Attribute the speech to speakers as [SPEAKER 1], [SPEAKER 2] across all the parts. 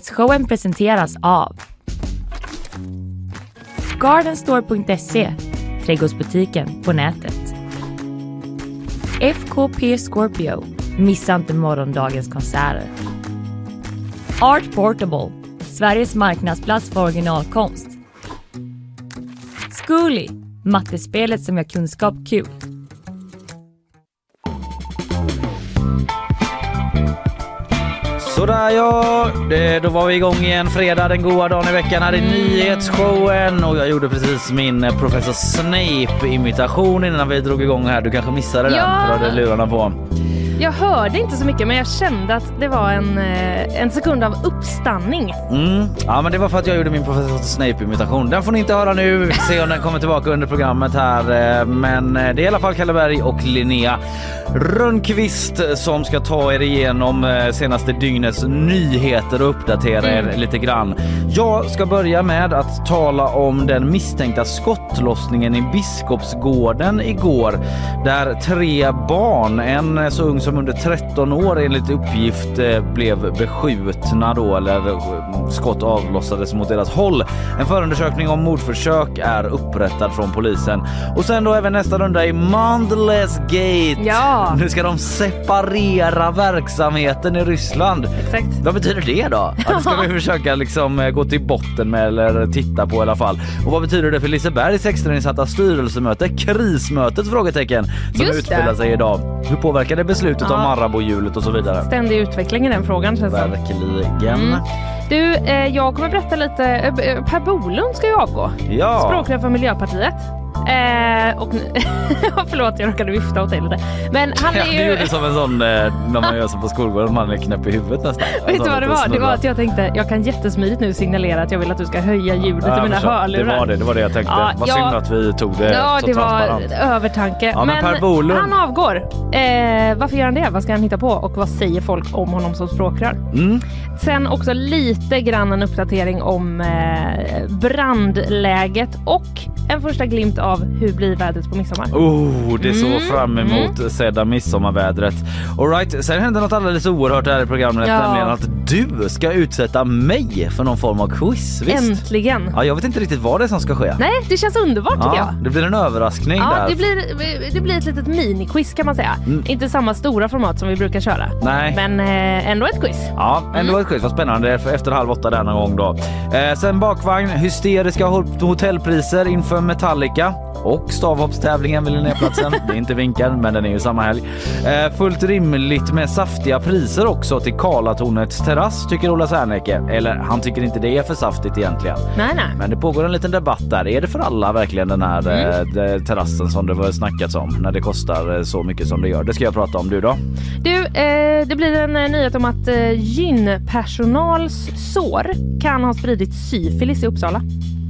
[SPEAKER 1] Nyhetsshowen presenteras av Gardenstore.se Trädgårdsbutiken på nätet. FKP Scorpio. Missa inte morgondagens konserter. Art Portable. Sveriges marknadsplats för originalkonst. Zcooly. Mattespelet som gör kunskap kul.
[SPEAKER 2] Sådär ja, det, då var vi igång igen fredag den goda dagen i veckan här i nyhetsshowen och jag gjorde precis min eh, professor Snape imitation innan vi drog igång här. Du kanske missade den
[SPEAKER 3] Ja.
[SPEAKER 2] för du hade lurarna på.
[SPEAKER 3] Jag hörde inte så mycket men jag kände att det var en, eh, en sekund av uppstanning.
[SPEAKER 2] Mm. Ja men det var för att jag gjorde min professor Snape imitation. Den får ni inte höra nu. Vi får se om den kommer tillbaka under programmet här. eh, Men eh, det är i alla fall Kalle Berg och Linnea Rönnqvist som ska ta er igenom eh, senaste dygnets nyheter och uppdatera er lite grann. Jag ska börja med att tala om den misstänkta skottlossningen i Biskopsgården igår där tre barn, en så ung som under 13 år enligt uppgift eh, blev beskjutna då eller eh, skott avlossades mot deras håll. En förundersökning om mordförsök är upprättad från polisen. Och sen då även nästa runda i Mandles Gate.
[SPEAKER 3] Ja.
[SPEAKER 2] Nu ska de separera verksamheten i Ryssland.
[SPEAKER 3] Exakt.
[SPEAKER 2] Vad betyder det då? Ja, det ska vi försöka liksom eh, gå till botten med eller titta på i alla fall. Och vad betyder det för Lisebergs extrainsatta styrelsemöte? Krismötet? Frågetecken. Som
[SPEAKER 3] Just det.
[SPEAKER 2] utspelar sig idag. Hur påverkar det beslutet
[SPEAKER 3] Ja.
[SPEAKER 2] om Marabouhjulet och så vidare?
[SPEAKER 3] Ständig utveckling i den frågan känns det
[SPEAKER 2] Verkligen.
[SPEAKER 3] Mm. Du, eh, jag kommer berätta lite. eh, b- eh, Per Bolund ska ju avgå.
[SPEAKER 2] Ja.
[SPEAKER 3] Språkrör för Miljöpartiet. Eh, och ni- förlåt, jag råkade vifta åt dig lite. Men han
[SPEAKER 2] Ja,
[SPEAKER 3] är
[SPEAKER 2] det
[SPEAKER 3] ju...
[SPEAKER 2] gjorde som en sån eh, när man gör så på skolgården, man är knäpp i huvudet nästan.
[SPEAKER 3] Vet du vad det var? Det var att
[SPEAKER 2] jag
[SPEAKER 3] jag tänkte jag kan jättesmidigt nu signalera att jag vill att du ska höja ljudet i mina hörlurar.
[SPEAKER 2] Det var det, det var det jag tänkte.
[SPEAKER 3] Ja,
[SPEAKER 2] vad
[SPEAKER 3] jag-
[SPEAKER 2] synd att vi tog det
[SPEAKER 3] Ja,
[SPEAKER 2] Eh, så
[SPEAKER 3] det var
[SPEAKER 2] transparent.
[SPEAKER 3] övertanke.
[SPEAKER 2] Ja, men Per Bolund-
[SPEAKER 3] han avgår. Eh, varför gör han det? Vad ska han hitta på? Och vad säger folk om honom som språkrör?
[SPEAKER 2] Mm.
[SPEAKER 3] Sen också lite grann en uppdatering om eh, brandläget och en första glimt av hur blir vädret på midsommar.
[SPEAKER 2] Oh, det såg
[SPEAKER 3] Mm.
[SPEAKER 2] fram emot sedda midsommarvädret. All right, sen hände något alldeles oerhört här i programmet,
[SPEAKER 3] Ja.
[SPEAKER 2] nämligen att du ska utsätta mig för någon form av quiz. Visst?
[SPEAKER 3] Äntligen!
[SPEAKER 2] Ja, jag vet inte riktigt vad det är som ska ske.
[SPEAKER 3] Nej, det känns underbart tycker jag.
[SPEAKER 2] Ja, det blir en överraskning
[SPEAKER 3] Ja,
[SPEAKER 2] där. Mm.
[SPEAKER 3] det blir, det blir ett litet miniquiz kan man säga. Inte samma stora format som vi brukar köra.
[SPEAKER 2] Nej.
[SPEAKER 3] Men eh, ändå ett quiz.
[SPEAKER 2] Ja, ändå ett quiz. Vad spännande. För Efter halv åtta denna gång då. Eh, sen bakvagn, hysteriska ho- hotellpriser inför Metallica. Och stavhoppstävlingen vid Linnéplatsen. Det är inte vinkeln, men den är ju samma helg. Eh, fullt rimligt med saftiga priser också till Karlatornets terrass, tycker Ola Serneke. Eller han tycker inte det är för saftigt egentligen.
[SPEAKER 3] Nej, nej.
[SPEAKER 2] Men det pågår en liten debatt där. Är det för alla verkligen den här eh, de- terrassen som det var snackats om? När det kostar eh, så mycket som det gör. Det ska jag prata om. Du då?
[SPEAKER 3] Du, eh, det blir en eh, nyhet om att eh, gynpersonals sår kan ha spridit syfilis i Uppsala.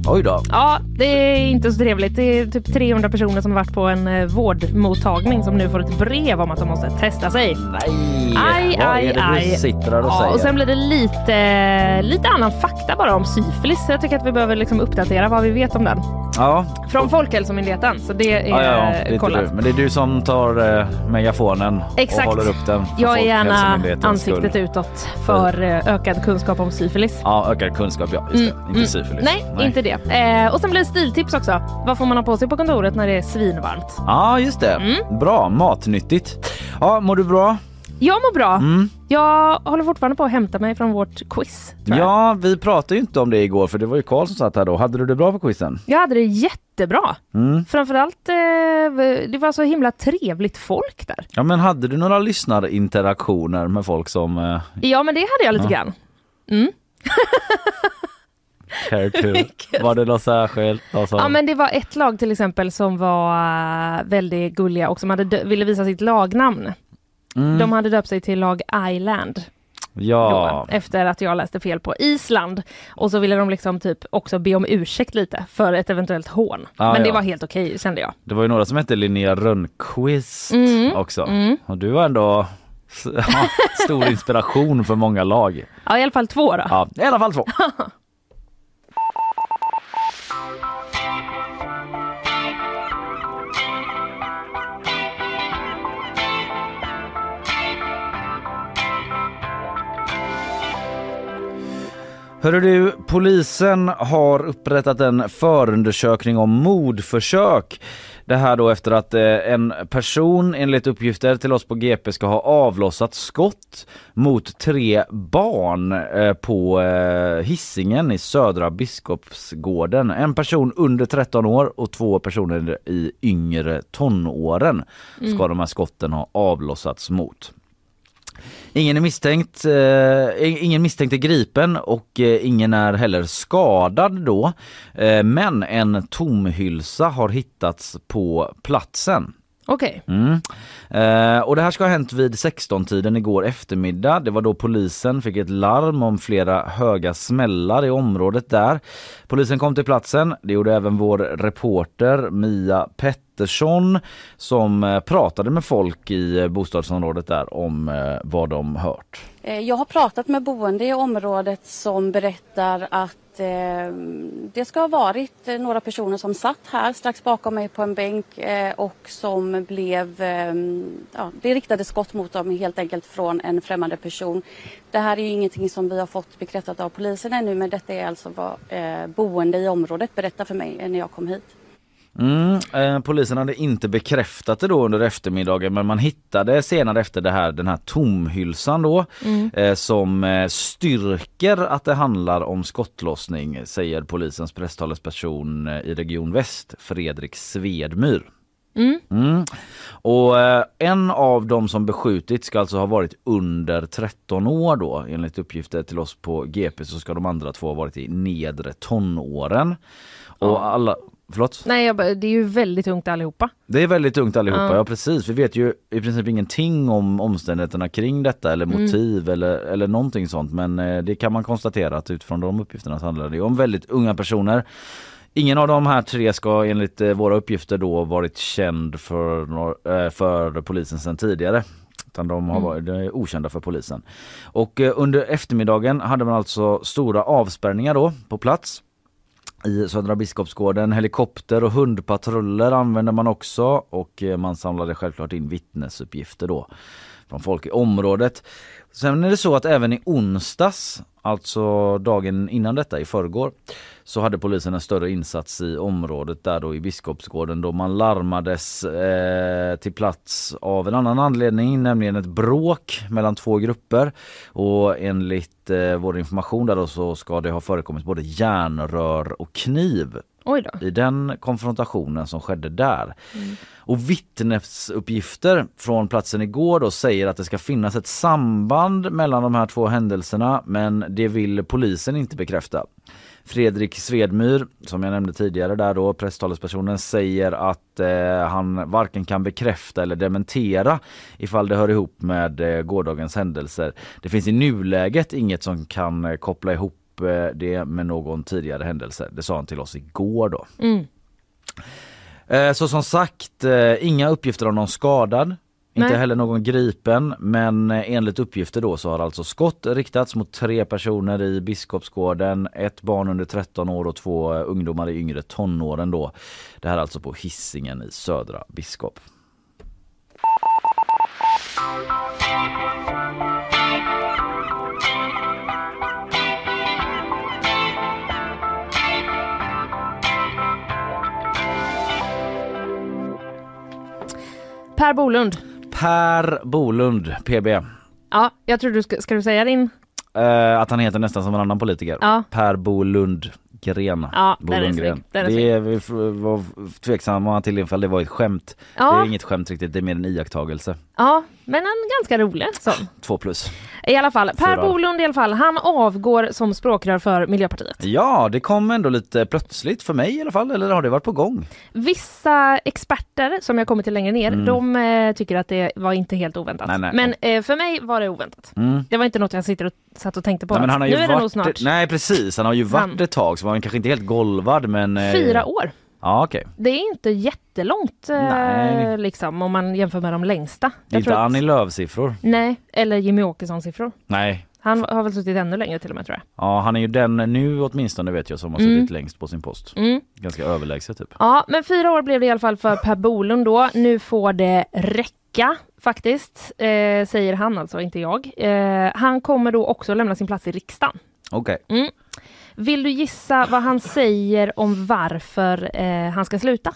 [SPEAKER 2] Oj då.
[SPEAKER 3] Ja, det är inte så trevligt. Det är typ 300 personer som har varit på en eh, vårdmottagning som nu får ett brev om att de måste testa sig.
[SPEAKER 2] Nej!
[SPEAKER 3] Aj,
[SPEAKER 2] Vad
[SPEAKER 3] aj,
[SPEAKER 2] är det du
[SPEAKER 3] aj.
[SPEAKER 2] sitter där och
[SPEAKER 3] Ja,
[SPEAKER 2] säger?
[SPEAKER 3] och sen blir det lite, lite annan fakta bara om syfilis. Jag tycker att vi behöver liksom uppdatera vad vi vet om den.
[SPEAKER 2] Ja,
[SPEAKER 3] Från Folkhälsomyndigheten. Så det är eh,
[SPEAKER 2] ja, ja, ja, det är inte
[SPEAKER 3] kollat.
[SPEAKER 2] du. Men det är du som tar eh, megafonen
[SPEAKER 3] Exakt.
[SPEAKER 2] och håller upp den för
[SPEAKER 3] Jag är gärna
[SPEAKER 2] Folkhälsomyndighetens
[SPEAKER 3] ansiktet
[SPEAKER 2] skull.
[SPEAKER 3] utåt för eh, ökad kunskap om syfilis.
[SPEAKER 2] Ja, ökad kunskap, ja. Just det. Inte syfilis.
[SPEAKER 3] Mm, Nej, inte det. Eh, och sen blir det stiltips också. Vad får man ha på sig på kontoret när det är svinvarmt?
[SPEAKER 2] Ja, just det.
[SPEAKER 3] Mm.
[SPEAKER 2] Bra. Matnyttigt. Ja, mår du bra?
[SPEAKER 3] Jag mår bra.
[SPEAKER 2] Mm.
[SPEAKER 3] Jag håller fortfarande på att hämta mig från vårt quiz. tror Jag.
[SPEAKER 2] Ja, vi pratade ju inte om det igår för det var ju Karl som satt här då. Hade du det bra på quizen?
[SPEAKER 3] jag hade det jättebra.
[SPEAKER 2] Mm.
[SPEAKER 3] Framförallt, eh, det var så himla trevligt folk där.
[SPEAKER 2] Ja, men hade du några lyssnarinteraktioner med folk som eh,
[SPEAKER 3] Ja, men det hade jag lite grann.
[SPEAKER 2] care to? Var det något särskilt? Alltså, Något som-
[SPEAKER 3] Ja, men det var ett lag till exempel som var eh, väldigt gulliga och som hade dö- ville visa sitt lagnamn.
[SPEAKER 2] Mm.
[SPEAKER 3] De hade döpt sig till lag Island.
[SPEAKER 2] ja.
[SPEAKER 3] då, efter att jag läste fel på Island. Och så ville de liksom typ också be om ursäkt lite för ett eventuellt hån.
[SPEAKER 2] Ah,
[SPEAKER 3] Men det
[SPEAKER 2] ja.
[SPEAKER 3] var helt okej kände jag.
[SPEAKER 2] Det var ju några som hette Linnea Rönnqvist också. Och du var ändå s- ja, stor inspiration för många lag.
[SPEAKER 3] Ja, i alla fall två då.
[SPEAKER 2] Ja, I alla fall två. Hörru du, polisen har upprättat en förundersökning om mordförsök. Det här då efter att eh, en person enligt uppgifter till oss på GP ska ha avlossat skott mot tre barn eh, på eh, hissingen i Södra Biskopsgården. En person under 13 år och två personer i yngre tonåren ska de här skotten ha avlossats mot. Ingen är misstänkt, eh, ingen misstänkt är gripen och eh, ingen är heller skadad då. Eh, men en tomhylsa har hittats på platsen.
[SPEAKER 3] Okej.
[SPEAKER 2] Mm. Eh, och det här ska ha hänt vid 16-tiden igår eftermiddag. Det var då polisen fick ett larm om flera höga smällar i området där. Polisen kom till platsen. Det gjorde även vår reporter Mia Pettersson som eh, pratade med folk i eh, bostadsområdet där om eh, vad de hört.
[SPEAKER 4] Eh, Jag har pratat med boende i området som berättar att eh, det ska ha varit eh, några personer som satt här strax bakom mig på en bänk eh, och som blev, eh, ja, det riktade skott mot dem helt enkelt från en främmande person. Det här är ju ingenting som vi har fått bekräftat av polisen ännu men detta är alltså vad eh, boende i området berättar för mig eh, när jag kom hit.
[SPEAKER 2] Mm, eh, polisen hade inte bekräftat det då under eftermiddagen men man hittade senare efter det här den här tomhylsan då eh, som eh, styrker att det handlar om skottlossning säger polisens presstalesperson eh, i Region Väst, Fredrik Svedmyr. Mm. Och eh, en av dem som beskjutits ska alltså ha varit under 13 år då. Enligt uppgifter till oss på GP så ska de andra två ha varit i nedre tonåren. Och alla... Förlåt?
[SPEAKER 3] Nej, jag, bara- det är ju väldigt ungt allihopa.
[SPEAKER 2] Det är väldigt tungt allihopa, ja. precis. Vi vet ju i princip ingenting om omständigheterna kring detta eller motiv eller, eller någonting sånt. Men eh, det kan man konstatera att utifrån de uppgifterna så handlar det ju om väldigt unga personer. Ingen av de här tre ska enligt eh, våra uppgifter då varit känd för, nor- eh, för polisen sedan tidigare. Utan de har varit de är okända för polisen. Och eh, under eftermiddagen hade man alltså stora avspärrningar då på plats i Södra Biskopsgården. Helikopter och hundpatruller använde man också och eh, man samlade självklart in vittnesuppgifter då från folk i området. Sen är det så att även i onsdags, alltså dagen innan detta i förrgår, så hade polisen en större insats i området där då i Biskopsgården då man larmades eh, till plats av en annan anledning, nämligen ett bråk mellan två grupper. Och enligt eh, vår information där då så ska det ha förekommit både järnrör och kniv
[SPEAKER 3] Oj då.
[SPEAKER 2] i den konfrontationen som skedde där. Och vittnesuppgifter från platsen igår då säger att det ska finnas ett samband mellan de här två händelserna men det vill polisen inte bekräfta. Fredrik Svedmyr, som jag nämnde tidigare där då, presstalespersonen säger att eh, han varken kan bekräfta eller dementera ifall det hör ihop med eh, gårdagens händelser. Det finns i nuläget inget som kan eh, koppla ihop eh, det med någon tidigare händelse. Det sa han till oss igår då.
[SPEAKER 3] Mm.
[SPEAKER 2] Eh, Så som sagt, eh, inga uppgifter om någon skadad. Inte
[SPEAKER 3] Nej.
[SPEAKER 2] heller någon gripen men eh, enligt uppgifter då så har alltså skott riktats mot tre personer i Biskopsgården, ett barn under 13 år och två eh, ungdomar i yngre tonåren då. Det här alltså på Hisingen i Södra Biskop.
[SPEAKER 3] Per Bolund.
[SPEAKER 2] Per Bolund, PB.
[SPEAKER 3] Ja, jag tror du ska, ska du säga din?
[SPEAKER 2] Eh, att han heter nästan som en annan politiker.
[SPEAKER 3] Ja.
[SPEAKER 2] Per Bolund. Gren.
[SPEAKER 3] Ja,
[SPEAKER 2] Bo
[SPEAKER 3] där är det
[SPEAKER 2] Lundgren.
[SPEAKER 3] snyggt, där är det
[SPEAKER 2] det är, vi f- var tveksamma till ifall det var ett skämt. Det är
[SPEAKER 3] Ja,
[SPEAKER 2] inget skämt riktigt, det är mer en iakttagelse.
[SPEAKER 3] ja men en ganska rolig sån.
[SPEAKER 2] Två plus.
[SPEAKER 3] I alla fall, Per
[SPEAKER 2] Fyra.
[SPEAKER 3] Bolund i alla fall, han avgår som språkrör för Miljöpartiet.
[SPEAKER 2] Ja, det kom ändå lite plötsligt för mig i alla fall, eller har det varit på gång? Mm.
[SPEAKER 3] Vissa experter, som jag kommer till längre ner, de eh, tycker att det var inte helt oväntat.
[SPEAKER 2] Nej, nej.
[SPEAKER 3] Men eh, för mig var det oväntat.
[SPEAKER 2] Mm.
[SPEAKER 3] Det var inte något jag sitter och satt och tänkte på.
[SPEAKER 2] Nej, men han har
[SPEAKER 3] alls.
[SPEAKER 2] ju
[SPEAKER 3] nu är det nog
[SPEAKER 2] varit,
[SPEAKER 3] snart
[SPEAKER 2] Nej precis, han har ju varit
[SPEAKER 3] Han-
[SPEAKER 2] ett tag så man är kanske inte helt golvad men... eh,
[SPEAKER 3] fyra år.
[SPEAKER 2] Ja okej.
[SPEAKER 3] Det är inte jättelångt eh,
[SPEAKER 2] Nej.
[SPEAKER 3] liksom, om man jämför med de längsta.
[SPEAKER 2] Det är inte Annie Lööf-siffror.
[SPEAKER 3] Nej, eller Jimmy Åkessons siffror.
[SPEAKER 2] Nej.
[SPEAKER 3] Han har väl suttit ännu längre till och med tror jag.
[SPEAKER 2] Ja han är ju den nu åtminstone vet jag som har suttit längst på sin post.
[SPEAKER 3] Mm.
[SPEAKER 2] Ganska överlägset typ.
[SPEAKER 3] Ja, men fyra år blev det i alla fall för Per Bolund då. Nu får det räcka faktiskt, eh, säger han alltså, inte jag. Eh, han kommer då också lämna sin plats i riksdagen.
[SPEAKER 2] Okej.
[SPEAKER 3] Vill du gissa vad han säger om varför eh, han ska sluta?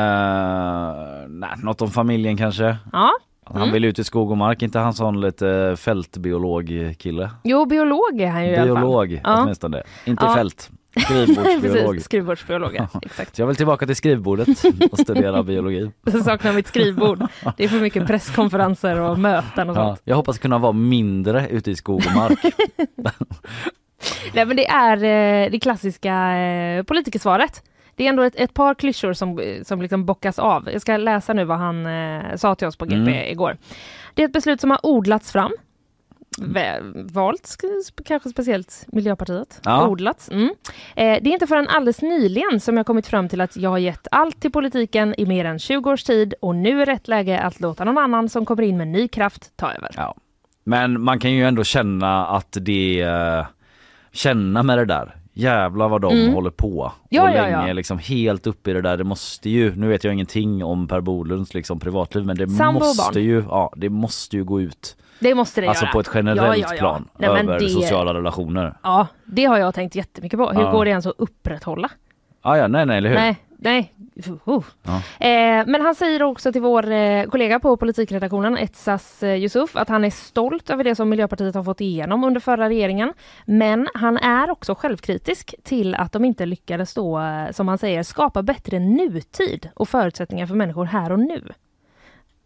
[SPEAKER 2] Eh, nej, något om familjen kanske?
[SPEAKER 3] Ja.
[SPEAKER 2] Att
[SPEAKER 3] Mm.
[SPEAKER 2] Han vill ut i skog och mark, inte han sån lite eh, fältbiolog-kille?
[SPEAKER 3] Jo, biolog är han ju i alla fall.
[SPEAKER 2] Biolog
[SPEAKER 3] Ja.
[SPEAKER 2] åtminstone, inte
[SPEAKER 3] Ja.
[SPEAKER 2] fält. Skrivbordsbiolog.
[SPEAKER 3] Precis, skrivbordsbiolog. ja. Exakt.
[SPEAKER 2] Så jag vill tillbaka till skrivbordet och studera biologi.
[SPEAKER 3] Jag saknar mitt skrivbord. Det är för mycket presskonferenser och möten och sånt.
[SPEAKER 2] Ja, jag hoppas kunna vara mindre ute i skog och mark.
[SPEAKER 3] Nej men det är eh, det klassiska eh, politikersvaret. Det är ändå ett, ett par klyschor som, som liksom bockas av. Jag ska läsa nu vad han eh, sa till oss på GP
[SPEAKER 2] Mm.
[SPEAKER 3] igår. Det är ett beslut som har odlats fram. Vä- Valt, sk- kanske speciellt Miljöpartiet.
[SPEAKER 2] Ja.
[SPEAKER 3] Odlats. Mm. Eh, det är inte förrän alldeles nyligen som jag kommit fram till att jag har gett allt till politiken i mer än 20 års tid och nu är rätt läge att låta någon annan som kommer in med ny kraft ta över.
[SPEAKER 2] Ja. Men man kan ju ändå känna att det, eh, känna med det där. Jävlar vad de håller på.
[SPEAKER 3] Mm. Ja,
[SPEAKER 2] och
[SPEAKER 3] ja, ja.
[SPEAKER 2] länge liksom helt uppe i det där. Det måste ju, nu vet jag ingenting om Per Bolunds liksom privatliv men det
[SPEAKER 3] Sambo och
[SPEAKER 2] måste
[SPEAKER 3] barn.
[SPEAKER 2] ju, ja det måste ju gå ut.
[SPEAKER 3] Det måste det
[SPEAKER 2] Alltså
[SPEAKER 3] göra.
[SPEAKER 2] på ett generellt
[SPEAKER 3] Ja, ja, ja.
[SPEAKER 2] plan
[SPEAKER 3] Nej, men
[SPEAKER 2] över
[SPEAKER 3] det-
[SPEAKER 2] sociala relationer.
[SPEAKER 3] Ja, det har jag tänkt jättemycket på. Hur
[SPEAKER 2] Ja.
[SPEAKER 3] går det ens att upprätthålla?
[SPEAKER 2] Ah, ja, nej nej eller hur.
[SPEAKER 3] Nej, nej. Uh.
[SPEAKER 2] Ja.
[SPEAKER 3] Eh, men han säger också till vår eh, kollega på politikredaktionen, Etsas eh, Yusuf, att han är stolt över det som Miljöpartiet har fått igenom under förra regeringen. Men han är också självkritisk till att de inte lyckades då, eh, som han säger, skapa bättre nutid och förutsättningar för människor här och nu.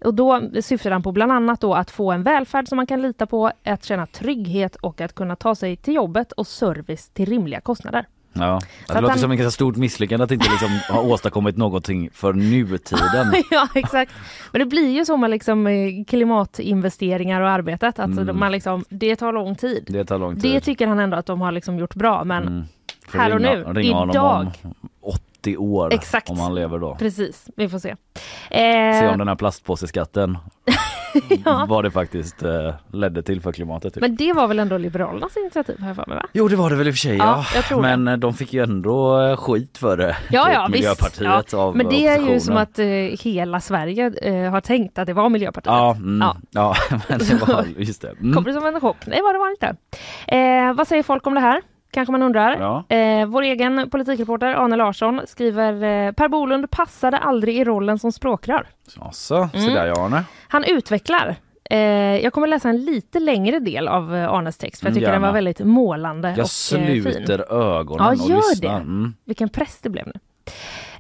[SPEAKER 3] Och då syftar han på bland annat då att få en välfärd som man kan lita på, att känna trygghet och att kunna ta sig till jobbet och service till rimliga kostnader.
[SPEAKER 2] Ja. Det
[SPEAKER 3] att
[SPEAKER 2] låter
[SPEAKER 3] han-
[SPEAKER 2] som ett ganska stort misslyckande att inte liksom ha åstadkommit någonting för nutiden.
[SPEAKER 3] ja exakt. Men det blir ju så med liksom eh, klimatinvesteringar och arbetet att man liksom, det tar lång tid. Det,
[SPEAKER 2] Mm. Det tar lång tid. Mm.
[SPEAKER 3] tycker han ändå att de har liksom gjort bra men
[SPEAKER 2] Får
[SPEAKER 3] här och
[SPEAKER 2] ringa,
[SPEAKER 3] nu,
[SPEAKER 2] ringa honom
[SPEAKER 3] idag.
[SPEAKER 2] om 80 år
[SPEAKER 3] Exakt.
[SPEAKER 2] om han lever då.
[SPEAKER 3] precis, vi får se. Eh,
[SPEAKER 2] Se om den här plastpåseskatten vad det faktiskt eh, ledde till för klimatet. Typ.
[SPEAKER 3] Men det var väl ändå Liberalernas initiativ här för mig va?
[SPEAKER 2] Jo det var det väl i och för sig
[SPEAKER 3] Ja, jag tror det.
[SPEAKER 2] men eh, de fick ju ändå eh, skit för det.
[SPEAKER 3] Ja,
[SPEAKER 2] typ
[SPEAKER 3] ja, visst. Ja.
[SPEAKER 2] Miljöpartiet av
[SPEAKER 3] Men det är ju
[SPEAKER 2] oppositionen.
[SPEAKER 3] som att eh, hela Sverige eh, har tänkt att det var Miljöpartiet.
[SPEAKER 2] Ja, mm,
[SPEAKER 3] Ja.
[SPEAKER 2] ja. men det var just det. Mm.
[SPEAKER 3] Kom det som en chock? Nej, vad det var inte. Eh, vad säger folk om det här? Kanske man undrar.
[SPEAKER 2] Ja.
[SPEAKER 3] Eh, vår egen politikreporter Arne Larsson skriver eh, Per Bolund passade aldrig i rollen som språkrör.
[SPEAKER 2] Alltså, se
[SPEAKER 3] Mm.
[SPEAKER 2] där ja Arne.
[SPEAKER 3] Han utvecklar. Eh, jag kommer läsa en lite längre del av eh, Arnes text för jag
[SPEAKER 2] Mm,
[SPEAKER 3] tycker den var
[SPEAKER 2] gärna.
[SPEAKER 3] väldigt målande
[SPEAKER 2] Jag
[SPEAKER 3] och eh, fin.
[SPEAKER 2] sluter ögonen
[SPEAKER 3] Ja,
[SPEAKER 2] och
[SPEAKER 3] gör
[SPEAKER 2] lyssnar.
[SPEAKER 3] det.
[SPEAKER 2] Mm.
[SPEAKER 3] Vilken press det blev nu.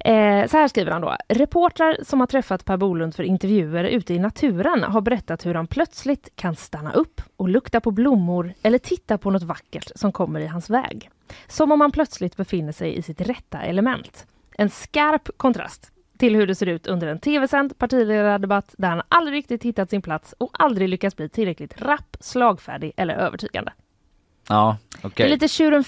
[SPEAKER 3] Eh, så här skriver han då. Reportrar som har träffat Per Bolund för intervjuer ute i naturen har berättat hur han plötsligt kan stanna upp och lukta på blommor eller titta på något vackert som kommer i hans väg. Som om han plötsligt befinner sig i sitt rätta element. En skarp kontrast till hur det ser ut under en tv-sänd partiledardebatt där han aldrig riktigt hittat sin plats och aldrig lyckats bli tillräckligt rapp, slagfärdig eller övertygande.
[SPEAKER 2] Ja,
[SPEAKER 3] Det
[SPEAKER 2] okej.
[SPEAKER 3] är lite liksom. tjuren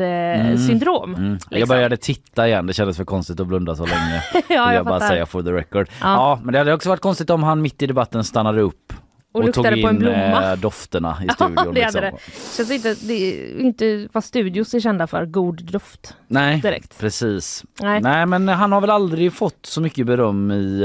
[SPEAKER 3] eh, Ferdinand-syndrom.
[SPEAKER 2] Mm. Jag började titta igen, det kändes för konstigt att blunda så länge. ja, jag,
[SPEAKER 3] jag
[SPEAKER 2] jag bara
[SPEAKER 3] fattar.
[SPEAKER 2] säga for the record. Ja. men det hade också varit konstigt om han mitt i debatten stannade upp
[SPEAKER 3] Och
[SPEAKER 2] och, tog
[SPEAKER 3] luktade
[SPEAKER 2] in
[SPEAKER 3] på en blomma.
[SPEAKER 2] eh, dofterna i
[SPEAKER 3] Ja,
[SPEAKER 2] studion.
[SPEAKER 3] det hade
[SPEAKER 2] liksom.
[SPEAKER 3] det. Känns inte, det är inte vad studios är kända för, god doft.
[SPEAKER 2] Nej,
[SPEAKER 3] Direkt.
[SPEAKER 2] precis.
[SPEAKER 3] Nej.
[SPEAKER 2] Nej. men han har väl aldrig fått så mycket beröm i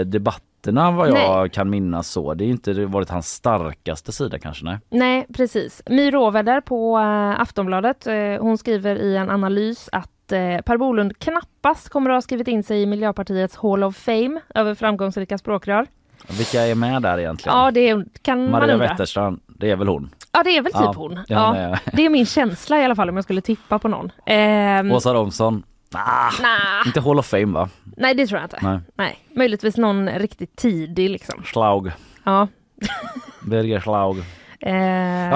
[SPEAKER 2] eh, debatterna vad jag kan minnas så. Det är inte det varit hans starkaste sida kanske nej.
[SPEAKER 3] Nej, precis. My Råväder på eh, Aftonbladet, eh, hon skriver i en analys att eh, Per Bolund knappast kommer att ha skrivit in sig i Miljöpartiets Hall of Fame över framgångsrika språkrör.
[SPEAKER 2] Vilka är med där egentligen?
[SPEAKER 3] Ja, det kan man
[SPEAKER 2] Maria
[SPEAKER 3] undra.
[SPEAKER 2] Wetterstrand, det är väl hon?
[SPEAKER 3] Ja, det är väl typ
[SPEAKER 2] Ja,
[SPEAKER 3] hon.
[SPEAKER 2] det är hon,
[SPEAKER 3] Ja,
[SPEAKER 2] ja.
[SPEAKER 3] det är min känsla i alla fall om jag skulle tippa på någon. Ehm,
[SPEAKER 2] Åsa Romson? Ah,
[SPEAKER 3] nah,
[SPEAKER 2] Mm. inte Hall of Fame va?
[SPEAKER 3] nej, det tror jag inte. Nej.
[SPEAKER 2] Nej.
[SPEAKER 3] Möjligtvis någon riktigt tidig liksom.
[SPEAKER 2] Schlaug.
[SPEAKER 3] Ja,
[SPEAKER 2] Birger Schlaug.
[SPEAKER 3] Eh,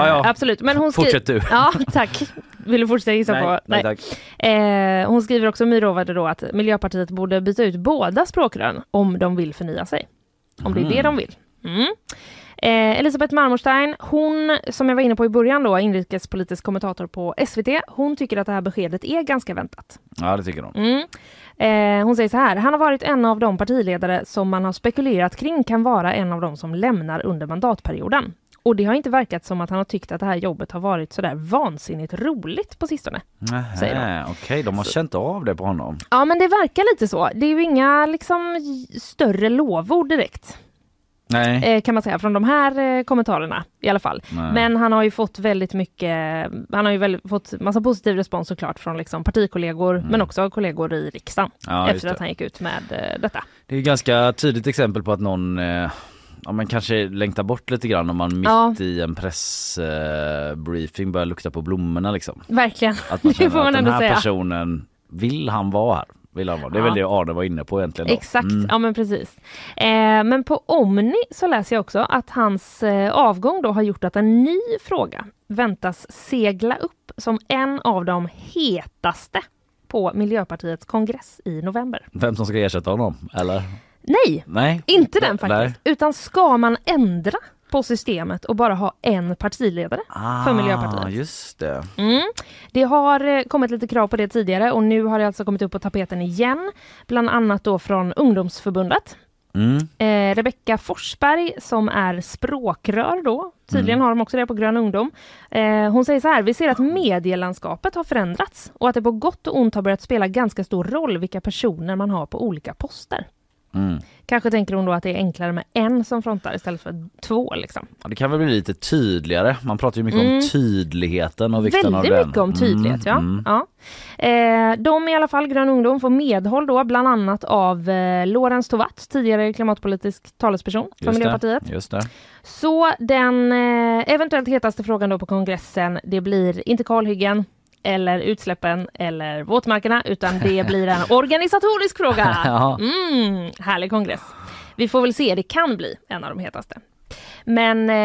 [SPEAKER 2] ja.
[SPEAKER 3] Absolut. Men hon skri-
[SPEAKER 2] Fortsätt du.
[SPEAKER 3] Ja, tack. Vill du fortsätta gissa på?
[SPEAKER 2] nej, nej tack.
[SPEAKER 3] Eh, hon skriver också, My Råvärde då, att Miljöpartiet borde byta ut båda språkrören om de vill förnya sig. Om det är det de vill. Mm. Eh, Elisabeth Marmorstein, hon som jag var inne på i början då, inrikespolitisk kommentator på SVT, hon tycker att det här beskedet är ganska väntat.
[SPEAKER 2] Ja det tycker hon.
[SPEAKER 3] Mm. Eh, hon säger så här, han har varit en av de partiledare som man har spekulerat kring kan vara en av de som lämnar under mandatperioden. Och det har inte verkat som att han har tyckt att det här jobbet har varit sådär vansinnigt roligt på sistone.
[SPEAKER 2] Nähä,
[SPEAKER 3] Säger
[SPEAKER 2] Okej, de har känt av det på honom.
[SPEAKER 3] Ja men det verkar lite så. Det är ju inga liksom större lovord direkt.
[SPEAKER 2] Nej.
[SPEAKER 3] eh, kan man säga, från de här eh, kommentarerna i alla fall.
[SPEAKER 2] Nej.
[SPEAKER 3] Men han har ju fått väldigt mycket, han har ju väl, fått massa positiv respons såklart från liksom partikollegor men också av kollegor i riksdagen
[SPEAKER 2] Mm. Ja, just
[SPEAKER 3] efter att
[SPEAKER 2] det.
[SPEAKER 3] han gick ut med eh, detta.
[SPEAKER 2] Det är ju ganska tydligt exempel på att någon eh, Ja men kanske längtar bort lite grann om man mitt
[SPEAKER 3] Ja.
[SPEAKER 2] i en pressbriefing eh, briefing börjar lukta på blommorna liksom.
[SPEAKER 3] Verkligen,
[SPEAKER 2] Att man
[SPEAKER 3] det
[SPEAKER 2] känner
[SPEAKER 3] får
[SPEAKER 2] att
[SPEAKER 3] man
[SPEAKER 2] den
[SPEAKER 3] ändå
[SPEAKER 2] här
[SPEAKER 3] säga.
[SPEAKER 2] personen, vill han vara här? Vill han vara? Det är
[SPEAKER 3] Ja.
[SPEAKER 2] väl det Arne var inne på egentligen då.
[SPEAKER 3] Exakt,
[SPEAKER 2] Mm.
[SPEAKER 3] ja men precis. Eh, men på Omni så läser jag också att hans eh, avgång då har gjort att en ny fråga väntas segla upp som en av de hetaste på Miljöpartiets kongress i november.
[SPEAKER 2] Vem som ska ersätta honom eller?
[SPEAKER 3] Nej,
[SPEAKER 2] Nej.
[SPEAKER 3] Inte den
[SPEAKER 2] Nej.
[SPEAKER 3] faktiskt, utan ska man ändra på systemet och bara ha en partiledare för
[SPEAKER 2] Ah,
[SPEAKER 3] Miljöpartiet?
[SPEAKER 2] just det.
[SPEAKER 3] Mm. Det har eh, kommit lite krav på det tidigare och nu har det alltså kommit upp på tapeten igen, bland annat då från ungdomsförbundet.
[SPEAKER 2] Mm.
[SPEAKER 3] Eh, Rebecka Forsberg som är språkrör då,
[SPEAKER 2] Mm.
[SPEAKER 3] tydligen har de också det på Grön ungdom. Eh, hon säger så här, vi ser att medielandskapet har förändrats och att det på gott och ont har börjat spela ganska stor roll vilka personer man har på olika poster.
[SPEAKER 2] Mm.
[SPEAKER 3] Kanske tänker hon då att det är enklare med en som frontar istället för två. Liksom.
[SPEAKER 2] Ja, det kan väl bli lite tydligare. Man pratar ju mycket om tydligheten och vikten av
[SPEAKER 3] Mm. Väldigt
[SPEAKER 2] den.
[SPEAKER 3] mycket om tydlighet.
[SPEAKER 2] Mm, mm.
[SPEAKER 3] ja. ja. Eh, de i alla fall, Grön ungdom, får medhåll då bland annat av eh, Lorentz Tovatt, tidigare klimatpolitisk talesperson för
[SPEAKER 2] Just
[SPEAKER 3] Miljöpartiet.
[SPEAKER 2] Det. Just det.
[SPEAKER 3] Så den eh, eventuellt hetaste frågan då på kongressen, det blir inte kalhyggen eller utsläppen eller våtmarkerna, utan det blir en organisatorisk fråga.
[SPEAKER 2] Ja.
[SPEAKER 3] Mm, härlig kongress. Vi får väl se, det kan bli en av de hetaste. Men eh,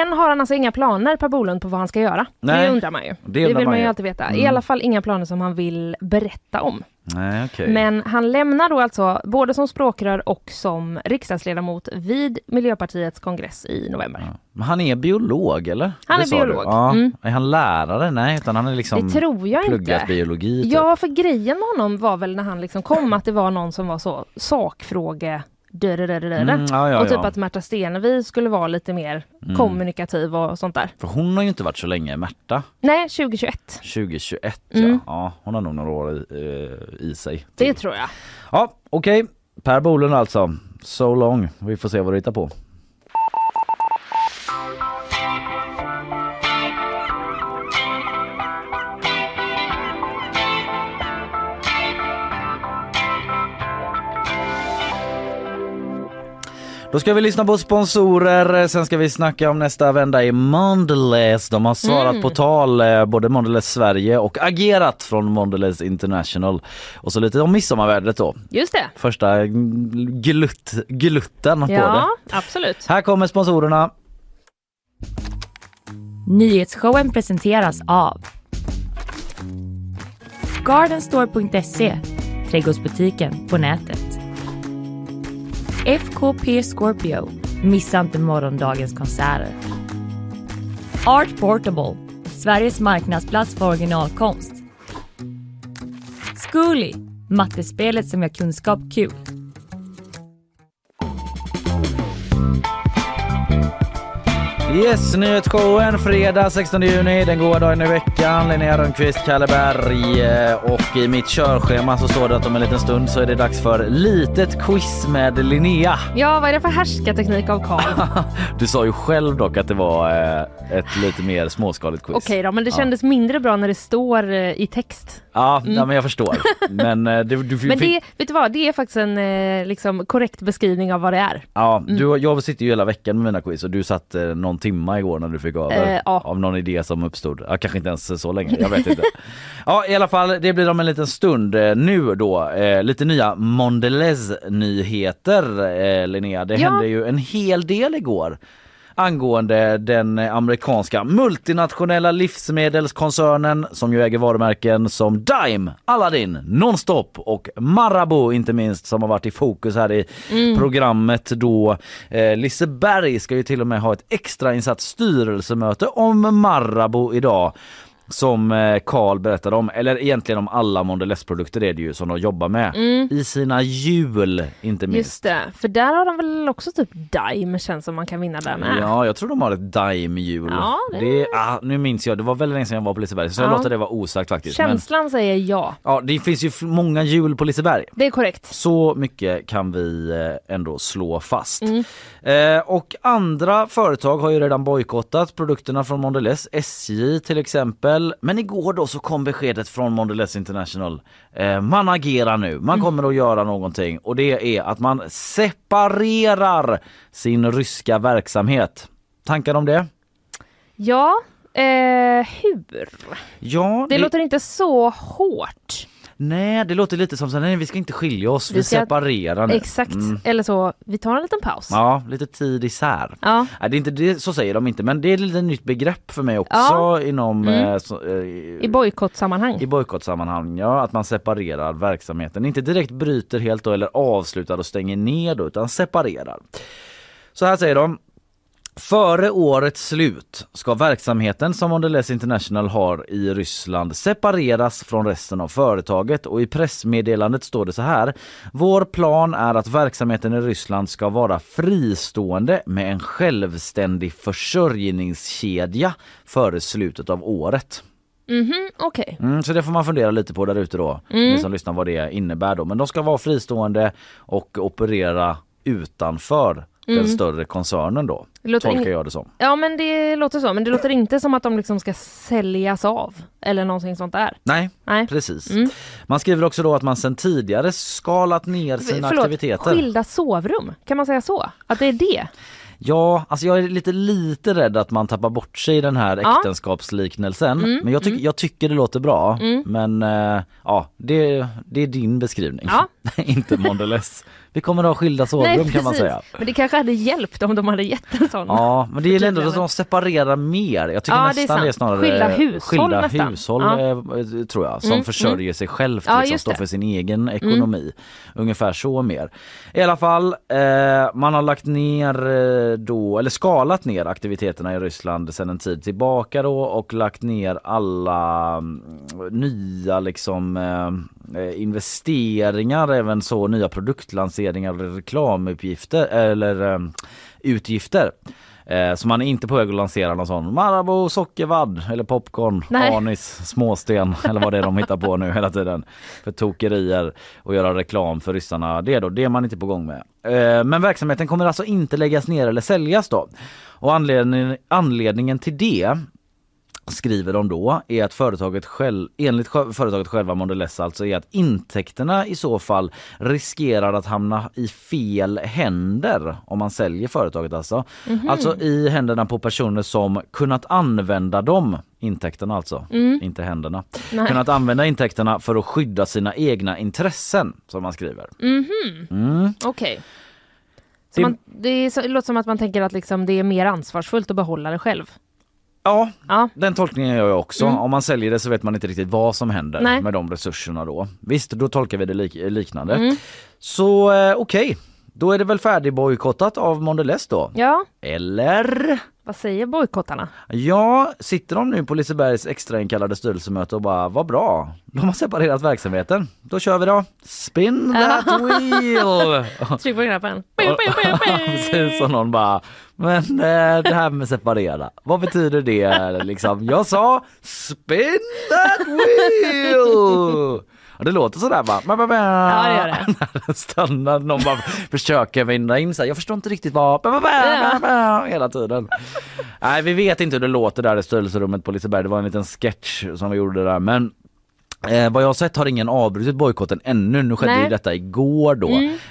[SPEAKER 3] än har han alltså inga planer, Per Bolund, på vad han ska göra.
[SPEAKER 2] Nej,
[SPEAKER 3] det undrar man ju.
[SPEAKER 2] det undrar
[SPEAKER 3] vill
[SPEAKER 2] man
[SPEAKER 3] man ju
[SPEAKER 2] ju. Mm.
[SPEAKER 3] alltid veta. I alla fall inga planer som han vill berätta om.
[SPEAKER 2] Nej, okej.
[SPEAKER 3] Men han lämnar då alltså både som språkrör och som riksdagsledamot vid Miljöpartiets kongress i november.
[SPEAKER 2] Men han är biolog eller?
[SPEAKER 3] Han
[SPEAKER 2] Det
[SPEAKER 3] är
[SPEAKER 2] sa du.
[SPEAKER 3] biolog.
[SPEAKER 2] Ja.
[SPEAKER 3] Mm.
[SPEAKER 2] Är han lärare? Nej, utan han är liksom
[SPEAKER 3] Det tror jag
[SPEAKER 2] pluggat
[SPEAKER 3] inte.
[SPEAKER 2] biologi. Typ.
[SPEAKER 3] Ja, för grejen med honom var väl när han liksom kom att det var någon som var så sakfråge dörrörörörö.
[SPEAKER 2] Mm, ja, ja,
[SPEAKER 3] och typ
[SPEAKER 2] ja. Mm.
[SPEAKER 3] att Märta Stenevi skulle vara lite mer kommunikativ och sånt där.
[SPEAKER 2] För hon har ju inte varit så länge, Märta.
[SPEAKER 3] Nej, 2021.
[SPEAKER 2] 2021 ja.
[SPEAKER 3] Mm.
[SPEAKER 2] ja. Hon har nog några år i, eh, i sig.
[SPEAKER 3] Det tror jag.
[SPEAKER 2] Ja, okej. Per Bolund alltså. So long. Vi får se vad du hittar på. Då ska vi lyssna på sponsorer, sen ska vi snacka om nästa vända i Mondelez. De har svarat på tal, eh, både Mondelez Sverige och agerat från Mondelez International. Och så lite om midsommarvädret då.
[SPEAKER 3] Just det.
[SPEAKER 2] Första gl- glutt, glutten på
[SPEAKER 3] Ja,
[SPEAKER 2] det.
[SPEAKER 3] absolut.
[SPEAKER 2] Här kommer sponsorerna.
[SPEAKER 1] Nyhetsshowen presenteras av Gardenstore.se Trädgårdsbutiken på nätet. FKP Scorpio. Missa inte morgondagens konserter. Art Portable. Sveriges marknadsplats för originalkonst. Zcooly. Mattespelet som gör kunskap kul.
[SPEAKER 2] Yes, nyhetsshowen fredag 16 juni, den goda dagen i veckan. Linnea Rönnqvist, Kalle Berg eh, och i mitt körschema så står det att om en liten stund så är det dags för litet quiz med Linnea.
[SPEAKER 3] Ja, vad är det för härskarteknik av Karl?
[SPEAKER 2] Du sa ju själv dock att det var eh, ett lite mer småskaligt quiz.
[SPEAKER 3] Okej då, men det kändes mindre bra när det står eh, i text.
[SPEAKER 2] Ja, ja men jag förstår. Men, eh, du, du,
[SPEAKER 3] Mm. Men
[SPEAKER 2] fick-
[SPEAKER 3] det, vet du vad, det är faktiskt en eh, liksom, korrekt beskrivning av vad det är.
[SPEAKER 2] Ja, du, jag sitter ju hela veckan med mina quiz och du satt eh, någon timma igår när du fick över
[SPEAKER 3] Eh, ja.
[SPEAKER 2] av någon idé som uppstod. Ja, kanske inte ens så länge, jag vet inte. ja, i alla fall, det blir om en liten stund. Eh, Nu då, eh, lite nya Mondelez-nyheter eh, Linnea. Det
[SPEAKER 3] Ja.
[SPEAKER 2] hände ju en hel del igår angående den eh, amerikanska multinationella livsmedelskoncernen som ju äger varumärken som Dime, Aladdin, Nonstop och Marabou inte minst som har varit i fokus här i programmet då eh, Liseberg ska ju till och med ha ett extrainsatt styrelsemöte om Marabou idag. som eh, Karl berättade om, eller egentligen om alla Mondelez-produkter är det ju som de jobbar med. I sina hjul inte minst.
[SPEAKER 3] Just det, för där har de väl också typ Dime känns som man kan vinna där med.
[SPEAKER 2] Ja, jag tror de har ett Daim-hjul.
[SPEAKER 3] Ja, det-
[SPEAKER 2] det... ah, nu minns jag, det var väldigt länge sedan jag var på Liseberg så jag
[SPEAKER 3] Ja.
[SPEAKER 2] låter det vara osagt faktiskt. Men,
[SPEAKER 3] Känslan säger ja.
[SPEAKER 2] ja, det finns ju f- många hjul på Liseberg.
[SPEAKER 3] Det är korrekt.
[SPEAKER 2] Så mycket kan vi eh, ändå slå fast.
[SPEAKER 3] Mm.
[SPEAKER 2] Eh, och andra företag har ju redan bojkottat produkterna från Mondelez, SJ till exempel. Men igår då så kom beskedet från Mondelez International. Eh, man agerar nu,
[SPEAKER 3] Mm.
[SPEAKER 2] man kommer att göra någonting och det är att man separerar sin ryska verksamhet. Tankar om det?
[SPEAKER 3] Ja, eh, hur?
[SPEAKER 2] Ja,
[SPEAKER 3] Det låter inte så hårt.
[SPEAKER 2] nej, det låter lite som så här, nej vi ska inte skilja oss, vi,
[SPEAKER 3] Vi ska-
[SPEAKER 2] separerar nu.
[SPEAKER 3] Exakt. Eller så, vi tar en liten paus.
[SPEAKER 2] Mm. Ja, lite tid isär.
[SPEAKER 3] Ja.
[SPEAKER 2] Nej, det är inte det, så säger de inte, men det är ett litet nytt begrepp för mig också
[SPEAKER 3] Ja.
[SPEAKER 2] inom
[SPEAKER 3] Mm.
[SPEAKER 2] eh, så, eh,
[SPEAKER 3] I
[SPEAKER 2] i,
[SPEAKER 3] bojkottsammanhang.
[SPEAKER 2] bojkottsammanhang. Ja, att man separerar verksamheten. Inte direkt bryter helt då, eller avslutar och stänger ner då, utan separerar. Så här säger de. Före årets slut ska verksamheten som Mondelez International har i Ryssland separeras från resten av företaget och i pressmeddelandet står det så här. Vår plan är att verksamheten i Ryssland ska vara fristående med en självständig försörjningskedja före slutet av året.
[SPEAKER 3] Mhm, okej.
[SPEAKER 2] Mm, så det får man fundera lite på där ute då,
[SPEAKER 3] Mm.
[SPEAKER 2] ni som lyssnar vad det innebär då. Men de ska vara fristående och operera utanför den större koncernen då.
[SPEAKER 3] Mm. Det låter
[SPEAKER 2] tolkar
[SPEAKER 3] ing-
[SPEAKER 2] jag det som.
[SPEAKER 3] Ja men det låter så, men det låter inte som att de liksom ska säljas av eller någonting sånt där.
[SPEAKER 2] Nej,
[SPEAKER 3] Nej. Mm.
[SPEAKER 2] precis. Man skriver också då att man sedan tidigare skalat ner sina
[SPEAKER 3] Förlåt,
[SPEAKER 2] aktiviteter.
[SPEAKER 3] skilda sovrum, kan man säga så? Att det är det?
[SPEAKER 2] Ja, alltså jag är lite, lite rädd att man tappar bort sig i den här
[SPEAKER 3] Ja. Mm.
[SPEAKER 2] äktenskapsliknelsen. Men jag, tyck, jag tycker det låter bra. Men eh, ja, det, det är din beskrivning.
[SPEAKER 3] Ja.
[SPEAKER 2] Inte Mondelez. Vi kommer att ha skilda sovrum kan man säga.
[SPEAKER 3] Men det kanske hade hjälpt om de hade gett en sån.
[SPEAKER 2] Ja, men det är ändå att
[SPEAKER 3] Förtydligande.
[SPEAKER 2] de separerar mer. Jag tycker
[SPEAKER 3] Ja, det är
[SPEAKER 2] nästan det är,
[SPEAKER 3] sant.
[SPEAKER 2] snarare
[SPEAKER 3] Skilda hushåll
[SPEAKER 2] skilda
[SPEAKER 3] nästan.
[SPEAKER 2] hushåll
[SPEAKER 3] Ja.
[SPEAKER 2] eh, tror jag, som
[SPEAKER 3] Mm,
[SPEAKER 2] försörjer sig själv,
[SPEAKER 3] Ja,
[SPEAKER 2] liksom,
[SPEAKER 3] just
[SPEAKER 2] står
[SPEAKER 3] det.
[SPEAKER 2] för sin egen ekonomi. Ungefär så mer. I alla fall, eh, man har lagt ner eh, då, eller skalat ner aktiviteterna i Ryssland sedan en tid tillbaka då och lagt ner alla mm, nya liksom eh, eh, investeringar, även så nya produktlanseringar och reklamuppgifter eller eh, utgifter. Eh, Så man är inte på väg att lansera någon sån Marabou, sockervadd eller popcorn,
[SPEAKER 3] Nej.
[SPEAKER 2] anis, småsten eller vad det är de hittar på nu hela tiden. För tokerier och göra reklam för ryssarna. Det är då, det är man inte på gång med. Eh, Men verksamheten kommer alltså inte läggas ner eller säljas då. Och anledningen, anledningen till det skriver de då är att företaget själv, enligt sjö- företaget själva Mondelez alltså är att intäkterna i så fall riskerar att hamna i fel händer om man säljer företaget alltså. Alltså i händerna på personer som kunnat använda dem, intäkterna alltså, inte händerna. Kunnat använda intäkterna för att skydda sina egna intressen som man skriver.
[SPEAKER 3] Okej. Så
[SPEAKER 2] Det-
[SPEAKER 3] man- Det, är så- det låter som att man tänker att liksom det är mer ansvarsfullt att behålla det själv.
[SPEAKER 2] Ja,
[SPEAKER 3] Ja.
[SPEAKER 2] Den tolkningen gör jag också. Om man säljer det så vet man inte riktigt vad som händer
[SPEAKER 3] Mm. Nej.
[SPEAKER 2] med de resurserna då. Visst, då tolkar vi det lik- liknande.
[SPEAKER 3] Mm.
[SPEAKER 2] Så eh, okej, då är det väl färdigbojkottat av Mondelez då?
[SPEAKER 3] Ja,
[SPEAKER 2] Eller?
[SPEAKER 3] vad säger bojkottarna?
[SPEAKER 2] Ja, sitter de nu på Lisebergs extrainkallade styrelsemöte och bara vad bra, de har separerat verksamheten. Då kör vi då. Spin that wheel!
[SPEAKER 3] Tryck på knappen.
[SPEAKER 2] Precis som någon bara, men eh, det här med separera, vad betyder det liksom? Jag sa spin that wheel! Och det låter sådär bara, ba, ba, ba.
[SPEAKER 3] Ja, det gör det.
[SPEAKER 2] När den stannar, någon bara försöker vinda in sig. Jag förstår inte riktigt vad, ba, ba, ba, ba, ba, hela tiden. Nej vi vet inte hur det låter där i styrelserummet på Liseberg, det var en liten sketch som vi gjorde där men Eh, vad jag har sett har ingen avbrutit bojkotten ännu. Nu skedde
[SPEAKER 3] Nej.
[SPEAKER 2] ju detta igår då.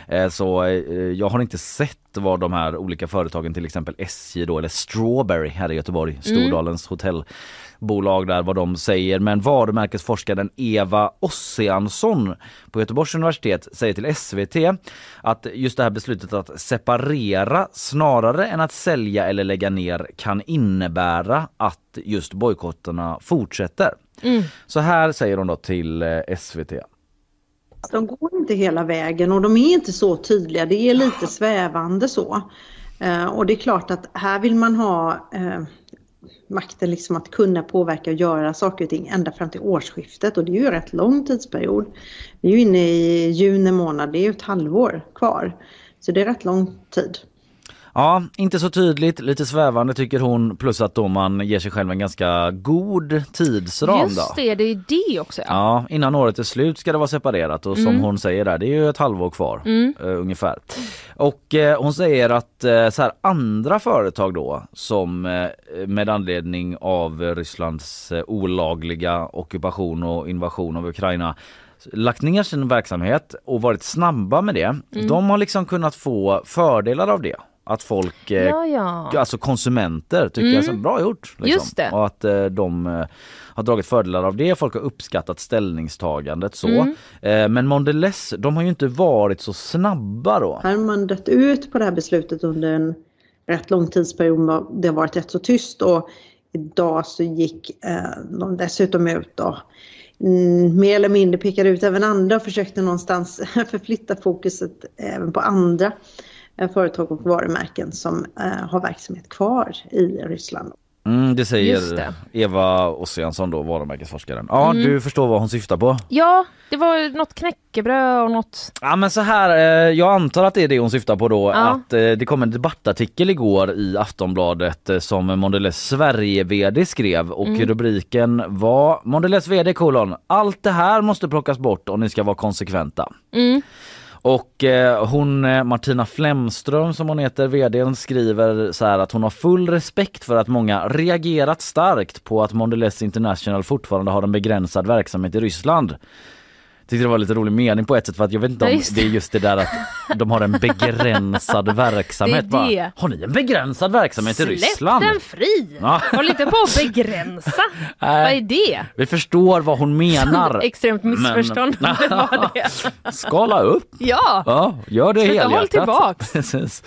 [SPEAKER 2] Eh, så eh, jag har inte sett vad de här olika företagen till exempel SJ då eller Strawberry här i Göteborg, Stordalens hotellbolag där vad de säger. Men varumärkesforskaren Eva Ossiansson på Göteborgs universitet säger till SVT att just det här beslutet att separera snarare än att sälja eller lägga ner kan innebära att just bojkotterna fortsätter. Så här säger hon då till eh, SVT.
[SPEAKER 5] De går inte hela vägen och de är inte så tydliga. Det är lite svävande så. Eh, Och det är klart att här vill man ha eh, makten liksom att kunna påverka och göra saker och ting ända fram till årsskiftet och det är ju en rätt lång tidsperiod. Vi är ju inne i juni månad, det är ju ett halvår kvar. Så det är rätt lång tid.
[SPEAKER 2] Ja, inte så tydligt, lite svävande tycker hon plus att då man ger sig själv en ganska god tidsram då.
[SPEAKER 3] Just det, det är det också. Ja.
[SPEAKER 2] Ja, innan året är slut ska det vara separerat och
[SPEAKER 3] Mm.
[SPEAKER 2] som hon säger där, det är ju ett halvår kvar eh, ungefär. Och eh, hon säger att eh, så här, andra företag då som eh, med anledning av eh, Rysslands eh, olagliga ockupation och invasion av Ukraina lagt ner sin verksamhet och varit snabba med det.
[SPEAKER 3] Mm.
[SPEAKER 2] De har liksom kunnat få fördelar av det. Att folk, eh,
[SPEAKER 3] Ja, ja.
[SPEAKER 2] alltså konsumenter tycker jag så bra gjort. Liksom.
[SPEAKER 3] Mm. Just det.
[SPEAKER 2] Och att eh, de eh, har dragit fördelar av det. Folk har uppskattat ställningstagandet så.
[SPEAKER 3] Mm.
[SPEAKER 2] Eh, men Mondelez, de har ju inte varit så snabba då.
[SPEAKER 5] Här har man dött ut på det här beslutet under en rätt lång tidsperiod. Det har varit rätt så tyst och idag så gick eh, de dessutom ut och mm, mer eller mindre pekade ut även andra och försökte någonstans förflytta fokuset även på andra eh, företag och varumärken som eh, har verksamhet kvar i Ryssland.
[SPEAKER 2] Mm, det säger
[SPEAKER 3] Just det. Mm.
[SPEAKER 2] Eva Ossiansson då, varumärkesforskaren. Ja, du förstår vad hon syftar på.
[SPEAKER 3] ja, det var något knäckebröd och något...
[SPEAKER 2] Ja men så här, eh, jag antar att det är det hon syftar på då.
[SPEAKER 3] Ja.
[SPEAKER 2] Att eh, det kom en debattartikel igår i Aftonbladet eh, som Mondelez Sverige-VD skrev och rubriken var Mondelez VD kolon, allt det här måste plockas bort om ni ska vara konsekventa. Och eh, hon, eh, Martina Flemström som hon heter, vdn skriver så här att hon har full respekt för att många reagerat starkt på att Mondelez International fortfarande har en begränsad verksamhet i Ryssland. Tyckte det var lite rolig mening på ett sätt för att jag vet inte om
[SPEAKER 3] Ja, just det.
[SPEAKER 2] det är just det där att de har en begränsad verksamhet.
[SPEAKER 3] Det är
[SPEAKER 2] bara.
[SPEAKER 3] det.
[SPEAKER 2] Har ni en begränsad verksamhet i Ryssland?
[SPEAKER 3] den fri!
[SPEAKER 2] Ja.
[SPEAKER 3] Håll inte på att begränsa. Vad är det?
[SPEAKER 2] Vi förstår vad hon menar.
[SPEAKER 3] Extremt missförstånd om det var det.
[SPEAKER 2] Skala upp!
[SPEAKER 3] Ja,
[SPEAKER 2] Ja, gör det
[SPEAKER 3] Sluta, håll
[SPEAKER 2] helhjärtat.
[SPEAKER 3] tillbaks.
[SPEAKER 2] Precis.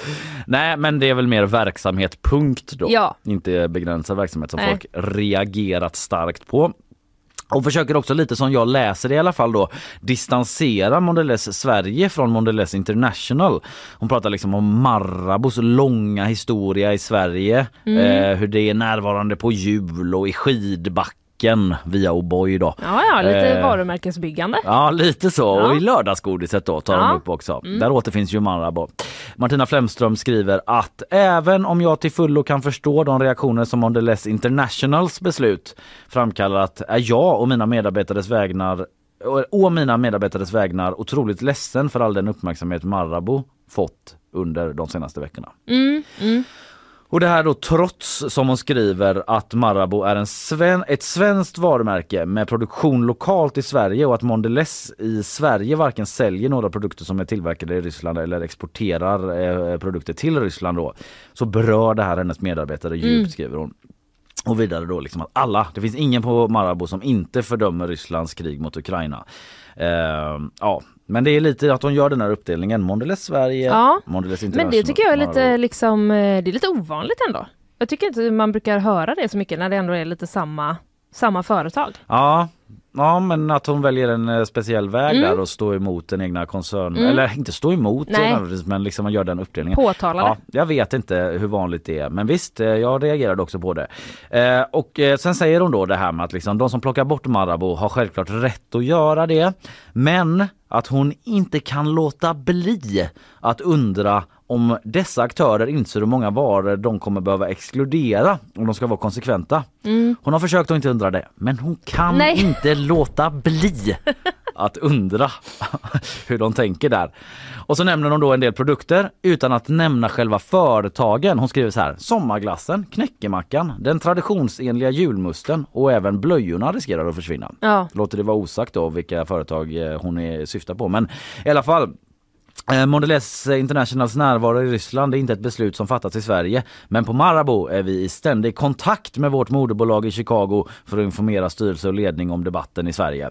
[SPEAKER 2] Nej, men det är väl mer verksamhet, punkt då.
[SPEAKER 3] Ja.
[SPEAKER 2] Inte begränsad verksamhet som
[SPEAKER 3] Nej.
[SPEAKER 2] folk reagerat starkt på. Och försöker också lite som jag läser det i alla fall då distansera Mondelez Sverige från Mondelez International. Hon pratar liksom om Marabos långa historia i Sverige.
[SPEAKER 3] Mm.
[SPEAKER 2] Eh, hur det är närvarande på jul och i skidbacken via O'boy då.
[SPEAKER 3] ja, ja lite
[SPEAKER 2] Eh,
[SPEAKER 3] varumärkesbyggande.
[SPEAKER 2] Ja lite så.
[SPEAKER 3] Ja.
[SPEAKER 2] Och i lördagsgodiset då tar de
[SPEAKER 3] Ja. Mm.
[SPEAKER 2] upp också. Där återfinns ju Marabou. Martina Flemström skriver att även om jag till fullo kan förstå de reaktioner som Mondelez Internationals beslut framkallat är jag och mina medarbetares vägnar och- och mina medarbetares vägnar otroligt ledsen för all den uppmärksamhet Marabou fått under de senaste veckorna. Och det här då trots, som hon skriver, att Marabou är en sven- ett svenskt varumärke med produktion lokalt i Sverige och att Mondelez i Sverige varken säljer några produkter som är tillverkade i Ryssland eller exporterar eh, produkter till Ryssland då. Så berör det här hennes medarbetare djupt
[SPEAKER 3] Mm.
[SPEAKER 2] skriver hon. Och vidare då liksom att alla, det finns ingen på Marabou som inte fördömer Rysslands krig mot Ukraina. Ehm, ja, men det är lite att hon gör den här uppdelningen, Mondelez Sverige,
[SPEAKER 3] Ja,
[SPEAKER 2] Mondelez
[SPEAKER 3] Men
[SPEAKER 2] International.
[SPEAKER 3] det tycker jag är lite,
[SPEAKER 2] Marabou.
[SPEAKER 3] liksom, eh, det är lite ovanligt ändå. Jag tycker inte man brukar höra det så mycket när det ändå är lite samma, samma företag.
[SPEAKER 2] Ja. ja, men att hon väljer en eh, speciell väg där och står emot den egna koncernen. Eller inte stå emot
[SPEAKER 3] Mm. Nej.
[SPEAKER 2] nödvändigtvis men liksom man gör den uppdelningen.
[SPEAKER 3] Påtala det.
[SPEAKER 2] Ja, jag vet inte hur vanligt det är men visst, eh, jag reagerade också på det. Eh, och eh, sen säger hon då det här med att liksom, de som plockar bort Marabou har självklart rätt att göra det. Men att hon inte kan låta bli att undra om dessa aktörer inser hur många varor de kommer behöva exkludera om de ska vara konsekventa. Hon har försökt att inte undra det men hon kan
[SPEAKER 3] Nej.
[SPEAKER 2] inte låta bli att undra hur de tänker där. Och så nämner de då en del produkter utan att nämna själva företagen. Hon skriver så här, sommarglassen, knäckemackan, den traditionsenliga julmusten och även blöjorna riskerar att försvinna.
[SPEAKER 3] Ja.
[SPEAKER 2] Låter det vara osagt då vilka företag eh, hon är, syftar på men i alla fall Eh, Mondelez Internationals närvaro i Ryssland är inte ett beslut som fattats i Sverige men på Marabou är vi i ständig kontakt med vårt moderbolag i Chicago för att informera styrelse och ledning om debatten i Sverige.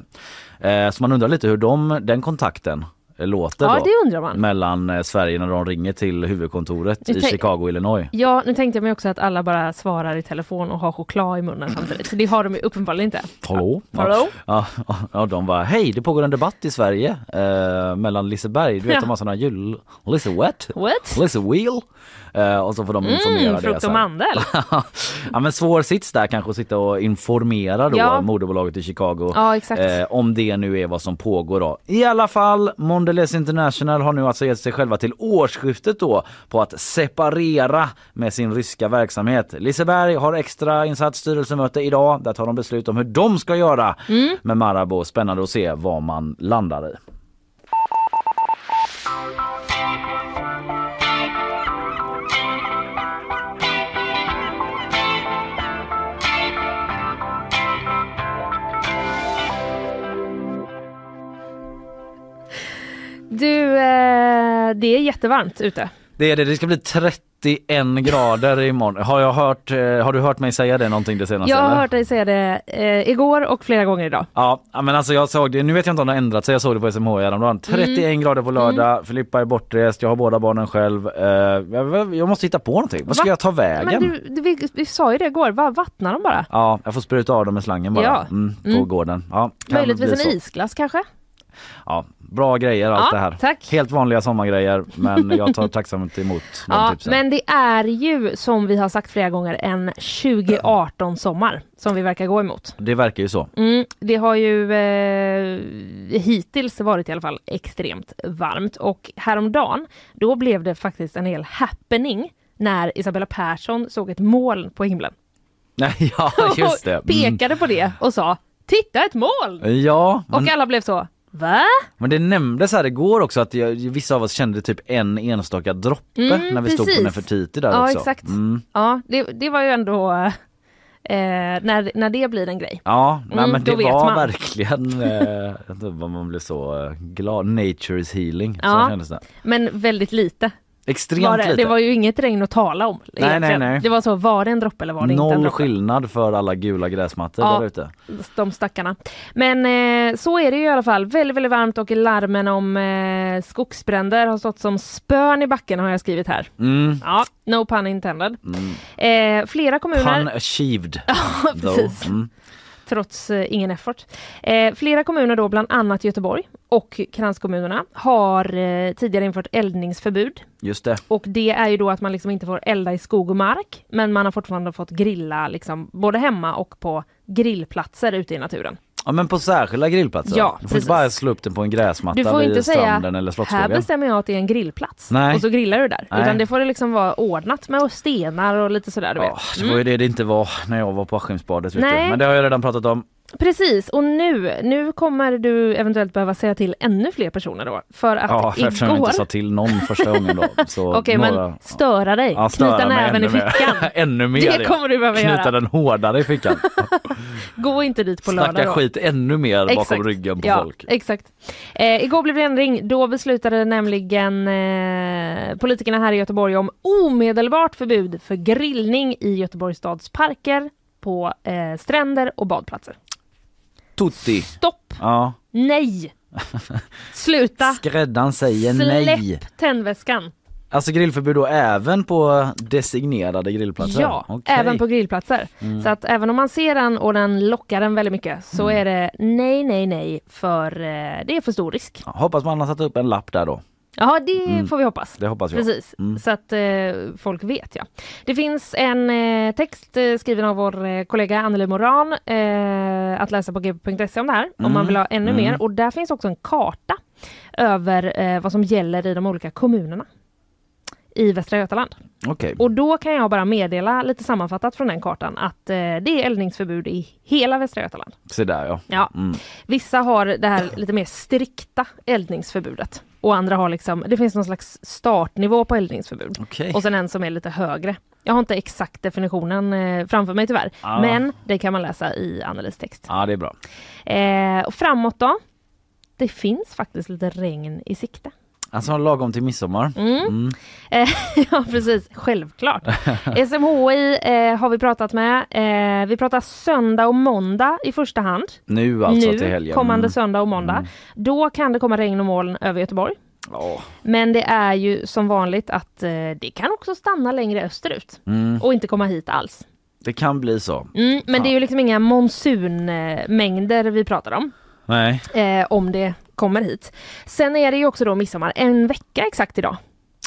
[SPEAKER 2] Eh, Så man undrar lite hur de, den kontakten låter
[SPEAKER 3] Ja,
[SPEAKER 2] då,
[SPEAKER 3] det undrar man.
[SPEAKER 2] mellan eh, Sverige när de ringer till huvudkontoret
[SPEAKER 3] Nu
[SPEAKER 2] i
[SPEAKER 3] tänk-
[SPEAKER 2] Chicago, Illinois.
[SPEAKER 3] Ja, nu tänkte jag mig också att alla bara svarar i telefon och har choklad i munnen samtidigt. Så det har de ju uppenbarligen inte.
[SPEAKER 2] Hallå?
[SPEAKER 3] Hallå?
[SPEAKER 2] Ja, ja, ja, de bara hej det pågår en debatt i Sverige eh, mellan Liseberg, du vet
[SPEAKER 3] Ja.
[SPEAKER 2] de har sådana jul... Lise what?
[SPEAKER 3] What?
[SPEAKER 2] Lise wheel? Eh, och så får de informera
[SPEAKER 3] Mm,
[SPEAKER 2] det.
[SPEAKER 3] frukt
[SPEAKER 2] så
[SPEAKER 3] och
[SPEAKER 2] här.
[SPEAKER 3] mandel.
[SPEAKER 2] ja men svår sits där kanske att sitta och informera då
[SPEAKER 3] Ja.
[SPEAKER 2] moderbolaget i Chicago
[SPEAKER 3] Ja, exakt.
[SPEAKER 2] eh, om det nu är vad som pågår då. I alla fall Mondelez International har nu alltså gett sig själva till årsskiftet då på att separera med sin ryska verksamhet. Liseberg har extra insatt styrelsemöte idag. Där tar de beslut om hur de ska göra
[SPEAKER 3] Mm.
[SPEAKER 2] med Marabou. Spännande att se vad man landar i.
[SPEAKER 3] Du, eh, det är jättevarmt ute.
[SPEAKER 2] Det är det, det ska bli 31 grader imorgon. Har, jag hört, eh, har du hört mig säga det någonting det senaste?
[SPEAKER 3] Jag har
[SPEAKER 2] eller?
[SPEAKER 3] hört dig säga det eh, igår och flera gånger idag.
[SPEAKER 2] Ja, ja, men alltså jag såg det, nu vet jag inte om det har ändrat sig, jag såg det på SMH häromdagen.
[SPEAKER 3] Mm.
[SPEAKER 2] 31 grader på lördag, Filippa är bortrest, jag har båda barnen själv. Eh, jag, jag måste hitta på någonting, vad ska
[SPEAKER 3] Va?
[SPEAKER 2] jag ta vägen?
[SPEAKER 3] Men du, du, vi, vi sa ju det igår, bara vattna dem bara.
[SPEAKER 2] Ja, jag får spruta av dem med slangen bara.
[SPEAKER 3] Ja.
[SPEAKER 2] Mm, på
[SPEAKER 3] Mm.
[SPEAKER 2] gården. Ja, kan bli
[SPEAKER 3] Möjligtvis
[SPEAKER 2] så.
[SPEAKER 3] en isglass kanske?
[SPEAKER 2] Ja, bra grejer allt
[SPEAKER 3] Ja,
[SPEAKER 2] det här.
[SPEAKER 3] tack.
[SPEAKER 2] Helt vanliga sommargrejer men jag tar tacksamt emot de
[SPEAKER 3] Ja,
[SPEAKER 2] tipsen.
[SPEAKER 3] men det är ju som vi har sagt flera gånger en 2018-sommar som vi verkar gå emot.
[SPEAKER 2] Det verkar ju så.
[SPEAKER 3] Mm, det har ju eh, hittills varit i alla fall extremt varmt och häromdagen då blev det faktiskt en hel happening när Isabella Persson såg ett moln på himlen.
[SPEAKER 2] Nej, ja just det.
[SPEAKER 3] Och pekade på det och sa Titta ett moln!
[SPEAKER 2] Mm. Ja, men,
[SPEAKER 3] Och alla blev så Va?
[SPEAKER 2] men det nämndes här igår också att jag, vissa av oss kände typ en enstaka droppe
[SPEAKER 3] Mm,
[SPEAKER 2] när vi stod på
[SPEAKER 3] precis.
[SPEAKER 2] Nefertiti där
[SPEAKER 3] Ja
[SPEAKER 2] också.
[SPEAKER 3] exakt.
[SPEAKER 2] Mm.
[SPEAKER 3] Ja, det, det var ju ändå eh, när, när det blir en grej.
[SPEAKER 2] Ja, nej,
[SPEAKER 3] Mm,
[SPEAKER 2] men
[SPEAKER 3] då
[SPEAKER 2] det
[SPEAKER 3] vet
[SPEAKER 2] var
[SPEAKER 3] man.
[SPEAKER 2] verkligen, eh, jag vet inte vad man blev så eh, glad, nature is healing.
[SPEAKER 3] Ja.
[SPEAKER 2] Så kändes det.
[SPEAKER 3] Men väldigt lite.
[SPEAKER 2] Extremt
[SPEAKER 3] Var det,
[SPEAKER 2] lite.
[SPEAKER 3] det var ju inget regn att tala om. egentligen.
[SPEAKER 2] nej, nej.
[SPEAKER 3] Det var så, var det en droppe eller var det inte en
[SPEAKER 2] Noll
[SPEAKER 3] droppe?
[SPEAKER 2] skillnad för alla gula gräsmattor
[SPEAKER 3] Ja.
[SPEAKER 2] där ute.
[SPEAKER 3] de stackarna. Men eh, så är det ju i alla fall. Väldigt, väldigt varmt och larmen om eh, skogsbränder har stått som spön i backen har jag skrivit här.
[SPEAKER 2] Mm.
[SPEAKER 3] Ja, no pun intended. Eh, flera kommuner,
[SPEAKER 2] Pun achieved. though.
[SPEAKER 3] precis.
[SPEAKER 2] Mm.
[SPEAKER 3] trots eh, ingen effort. Eh, flera kommuner då, bland annat Göteborg och kranskommunerna, har eh, tidigare infört eldningsförbud.
[SPEAKER 2] Just det.
[SPEAKER 3] Och det är ju då att man liksom inte får elda i skog och mark, men man har fortfarande fått grilla liksom, både hemma och på grillplatser ute i naturen.
[SPEAKER 2] Ja men på särskilda grillplatser.
[SPEAKER 3] Ja,
[SPEAKER 2] du får
[SPEAKER 3] precis.
[SPEAKER 2] inte bara slå upp den på en gräsmatta
[SPEAKER 3] Du får
[SPEAKER 2] vid
[SPEAKER 3] inte säga,
[SPEAKER 2] stranden eller
[SPEAKER 3] här
[SPEAKER 2] Slottsskogen.
[SPEAKER 3] bestämmer jag att det är en grillplats
[SPEAKER 2] Nej.
[SPEAKER 3] och så grillar du där.
[SPEAKER 2] Nej.
[SPEAKER 3] Utan det får det liksom vara ordnat med stenar och lite sådär du vet.
[SPEAKER 2] Ja, det var ju det det inte var när jag var på Askimsbadet. vet du.
[SPEAKER 3] Mm. Nej.
[SPEAKER 2] Men det har jag redan pratat om.
[SPEAKER 3] Precis, och nu, nu kommer du eventuellt behöva säga till ännu fler personer då. För att
[SPEAKER 2] Ja, eftersom jag
[SPEAKER 3] igår...
[SPEAKER 2] inte sa till någon första gången då. Så
[SPEAKER 3] Okej
[SPEAKER 2] några-
[SPEAKER 3] men störa dig,
[SPEAKER 2] Ja, störa
[SPEAKER 3] knyta
[SPEAKER 2] mig
[SPEAKER 3] näven i
[SPEAKER 2] ännu mer.
[SPEAKER 3] fickan.
[SPEAKER 2] ännu mer.
[SPEAKER 3] Det
[SPEAKER 2] ja.
[SPEAKER 3] kommer du behöva
[SPEAKER 2] Knyta
[SPEAKER 3] göra.
[SPEAKER 2] den hårdare i fickan.
[SPEAKER 3] Gå inte dit på lördag
[SPEAKER 2] Snacka
[SPEAKER 3] då.
[SPEAKER 2] skit ännu mer bakom
[SPEAKER 3] Exakt.
[SPEAKER 2] ryggen på
[SPEAKER 3] ja,
[SPEAKER 2] folk.
[SPEAKER 3] Exakt. Eh, igår blev det ändring. Då beslutade nämligen eh, politikerna här i Göteborg om omedelbart förbud för grillning i Göteborgs stads parker, på eh, stränder och badplatser.
[SPEAKER 2] Tutti.
[SPEAKER 3] Stopp!
[SPEAKER 2] Ja.
[SPEAKER 3] Nej! Sluta!
[SPEAKER 2] Skräddaren säger nej.
[SPEAKER 3] Släpp tändväskan!
[SPEAKER 2] Alltså grillförbud då även på designerade grillplatser?
[SPEAKER 3] Ja,
[SPEAKER 2] Okej. Mm.
[SPEAKER 3] även på grillplatser. Så att även om man ser den och den lockar en väldigt mycket så är det nej, nej, nej för eh, det är för stor risk.
[SPEAKER 2] Ja, Hoppas man har satt upp en lapp där då.
[SPEAKER 3] Ja, det
[SPEAKER 2] Mm.
[SPEAKER 3] får vi hoppas.
[SPEAKER 2] Det hoppas jag.
[SPEAKER 3] Precis, så att eh, folk vet ja. Det finns en eh, text eh, skriven av vår eh, kollega Anneli Moran eh, att läsa på gp.se om det här, om man vill ha ännu mer. Och där finns också en karta över eh, vad som gäller i de olika kommunerna i Västra Götaland.
[SPEAKER 2] Okej.
[SPEAKER 3] Och då kan jag bara meddela lite sammanfattat från den kartan att eh, det är eldningsförbud i hela Västra Götaland.
[SPEAKER 2] Se där ja. Mm,
[SPEAKER 3] Ja. Vissa har det här lite mer strikta eldningsförbudet och andra har liksom, det finns någon slags startnivå på eldningsförbud.
[SPEAKER 2] Okej.
[SPEAKER 3] Och sen en som är lite högre. Jag har inte exakt definitionen eh, framför mig tyvärr,
[SPEAKER 2] Ah.
[SPEAKER 3] men det kan man läsa i Annelies text.
[SPEAKER 2] Ja det är bra. Ah.
[SPEAKER 3] Eh, och framåt då? Det finns faktiskt lite regn i sikte.
[SPEAKER 2] Alltså lagom till midsommar. Mm.
[SPEAKER 3] Eh, ja precis, självklart. SMHI eh, har vi pratat med. Eh, vi pratar söndag och måndag i första hand.
[SPEAKER 2] Nu alltså till
[SPEAKER 3] nu,
[SPEAKER 2] helgen.
[SPEAKER 3] kommande
[SPEAKER 2] Mm.
[SPEAKER 3] söndag och måndag. Då kan det komma regn och moln över Göteborg.
[SPEAKER 2] Ja.
[SPEAKER 3] Men det är ju som vanligt att eh, det kan också stanna längre österut
[SPEAKER 2] Mm.
[SPEAKER 3] och inte komma hit alls.
[SPEAKER 2] Det kan bli så.
[SPEAKER 3] Mm, men det är ju liksom inga monsunmängder vi pratar om,
[SPEAKER 2] Nej.
[SPEAKER 3] eh, om det kommer hit. Sen är det ju också då midsommar, en vecka exakt idag.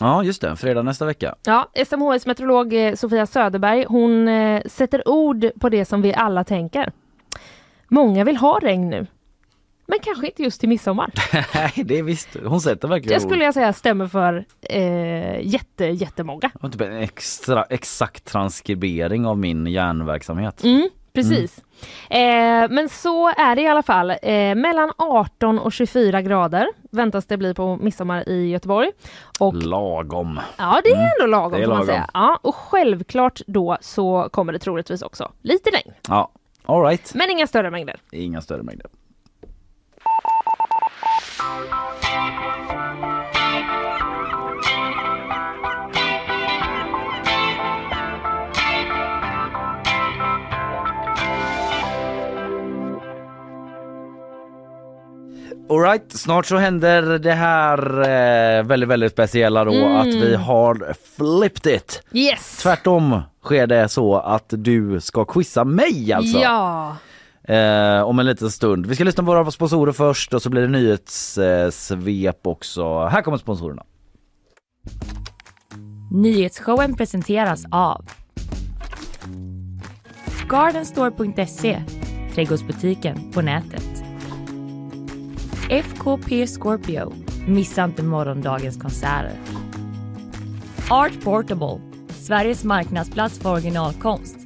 [SPEAKER 2] Ja just det, fredag nästa vecka.
[SPEAKER 3] Ja, SMHIs meteorolog eh, Sofia Söderberg, hon eh, sätter ord på det som vi alla tänker. Många vill ha regn nu, men kanske inte just till midsommar.
[SPEAKER 2] Nej det är visst, hon sätter verkligen
[SPEAKER 3] Det
[SPEAKER 2] ord.
[SPEAKER 3] skulle jag säga stämmer för eh, jätte, jättemånga.
[SPEAKER 2] Det var typ en extra, exakt transkribering av min hjärnverksamhet.
[SPEAKER 3] Mm, precis. Eh, men så är det i alla fall. Eh, mellan 18 och 24 grader väntas det bli på midsommar i Göteborg. Och
[SPEAKER 2] Lagom.
[SPEAKER 3] ja, det är ändå lagom
[SPEAKER 2] Mm. det är
[SPEAKER 3] får
[SPEAKER 2] lagom.
[SPEAKER 3] man säga. Ja, och självklart då så kommer det troligtvis också lite regn,
[SPEAKER 2] Ja, alright.
[SPEAKER 3] men inga större mängder.
[SPEAKER 2] Inga större mängder. Alright, snart så händer det här eh, väldigt, väldigt speciella då att vi har flipped it.
[SPEAKER 3] Yes!
[SPEAKER 2] Tvärtom sker det så att du ska quizza mig alltså.
[SPEAKER 3] Ja,
[SPEAKER 2] Eh, om en liten stund. Vi ska lyssna på våra sponsorer först och så blir det nyhetssvep eh, svep också. Här kommer sponsorerna.
[SPEAKER 1] Nyhetsshowen presenteras av Gardenstore.se Trädgårdsbutiken på nätet. FKP Scorpio. Missa inte morgondagens konserter. Art Portable. Sveriges marknadsplats för originalkonst.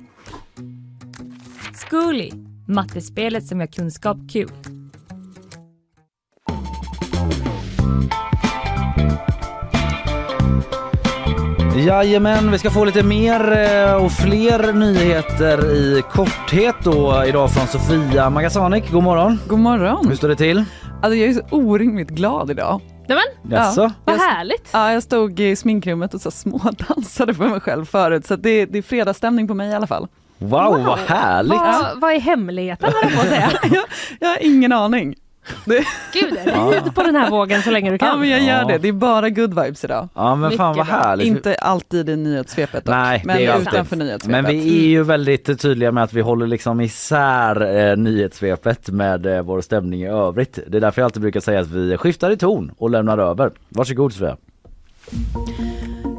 [SPEAKER 1] Zcooly. Mattespelet som gör kunskap kul.
[SPEAKER 2] Jajamän, vi ska få lite mer eh, och fler nyheter i korthet då idag från Sofia Magasanik. God morgon!
[SPEAKER 6] God morgon!
[SPEAKER 2] Hur står det till?
[SPEAKER 6] Alltså jag är så orimligt glad idag.
[SPEAKER 3] Nej, men
[SPEAKER 2] Jaså?
[SPEAKER 3] vad
[SPEAKER 6] Jag-
[SPEAKER 3] härligt!
[SPEAKER 6] Ja, jag stod i sminkrummet och så smådansade för mig själv förut, så att det, det är fredagsstämning på mig i alla fall.
[SPEAKER 2] Wow, vad härligt!
[SPEAKER 3] Vad, vad är hemligheten höll jag på att säga?
[SPEAKER 6] jag, jag har ingen aning. Det,
[SPEAKER 3] Gud, rid på den här vågen så länge du
[SPEAKER 6] ja,
[SPEAKER 3] kan.
[SPEAKER 6] men jag gör
[SPEAKER 2] Ja.
[SPEAKER 6] det. Det är bara good vibes idag.
[SPEAKER 2] Ja men fan vad
[SPEAKER 3] Mycket bra.
[SPEAKER 2] härligt!
[SPEAKER 6] Inte alltid i nyhetssvepet dock,
[SPEAKER 2] Nej,
[SPEAKER 6] men
[SPEAKER 2] det är alltid.
[SPEAKER 6] utanför nyhetssvepet. Mm.
[SPEAKER 2] Men vi är ju väldigt tydliga med att vi håller liksom isär eh, nyhetssvepet med eh, vår stämning i övrigt. Det är därför jag alltid brukar säga att vi skiftar i ton och lämnar över. Varsågod Sofia.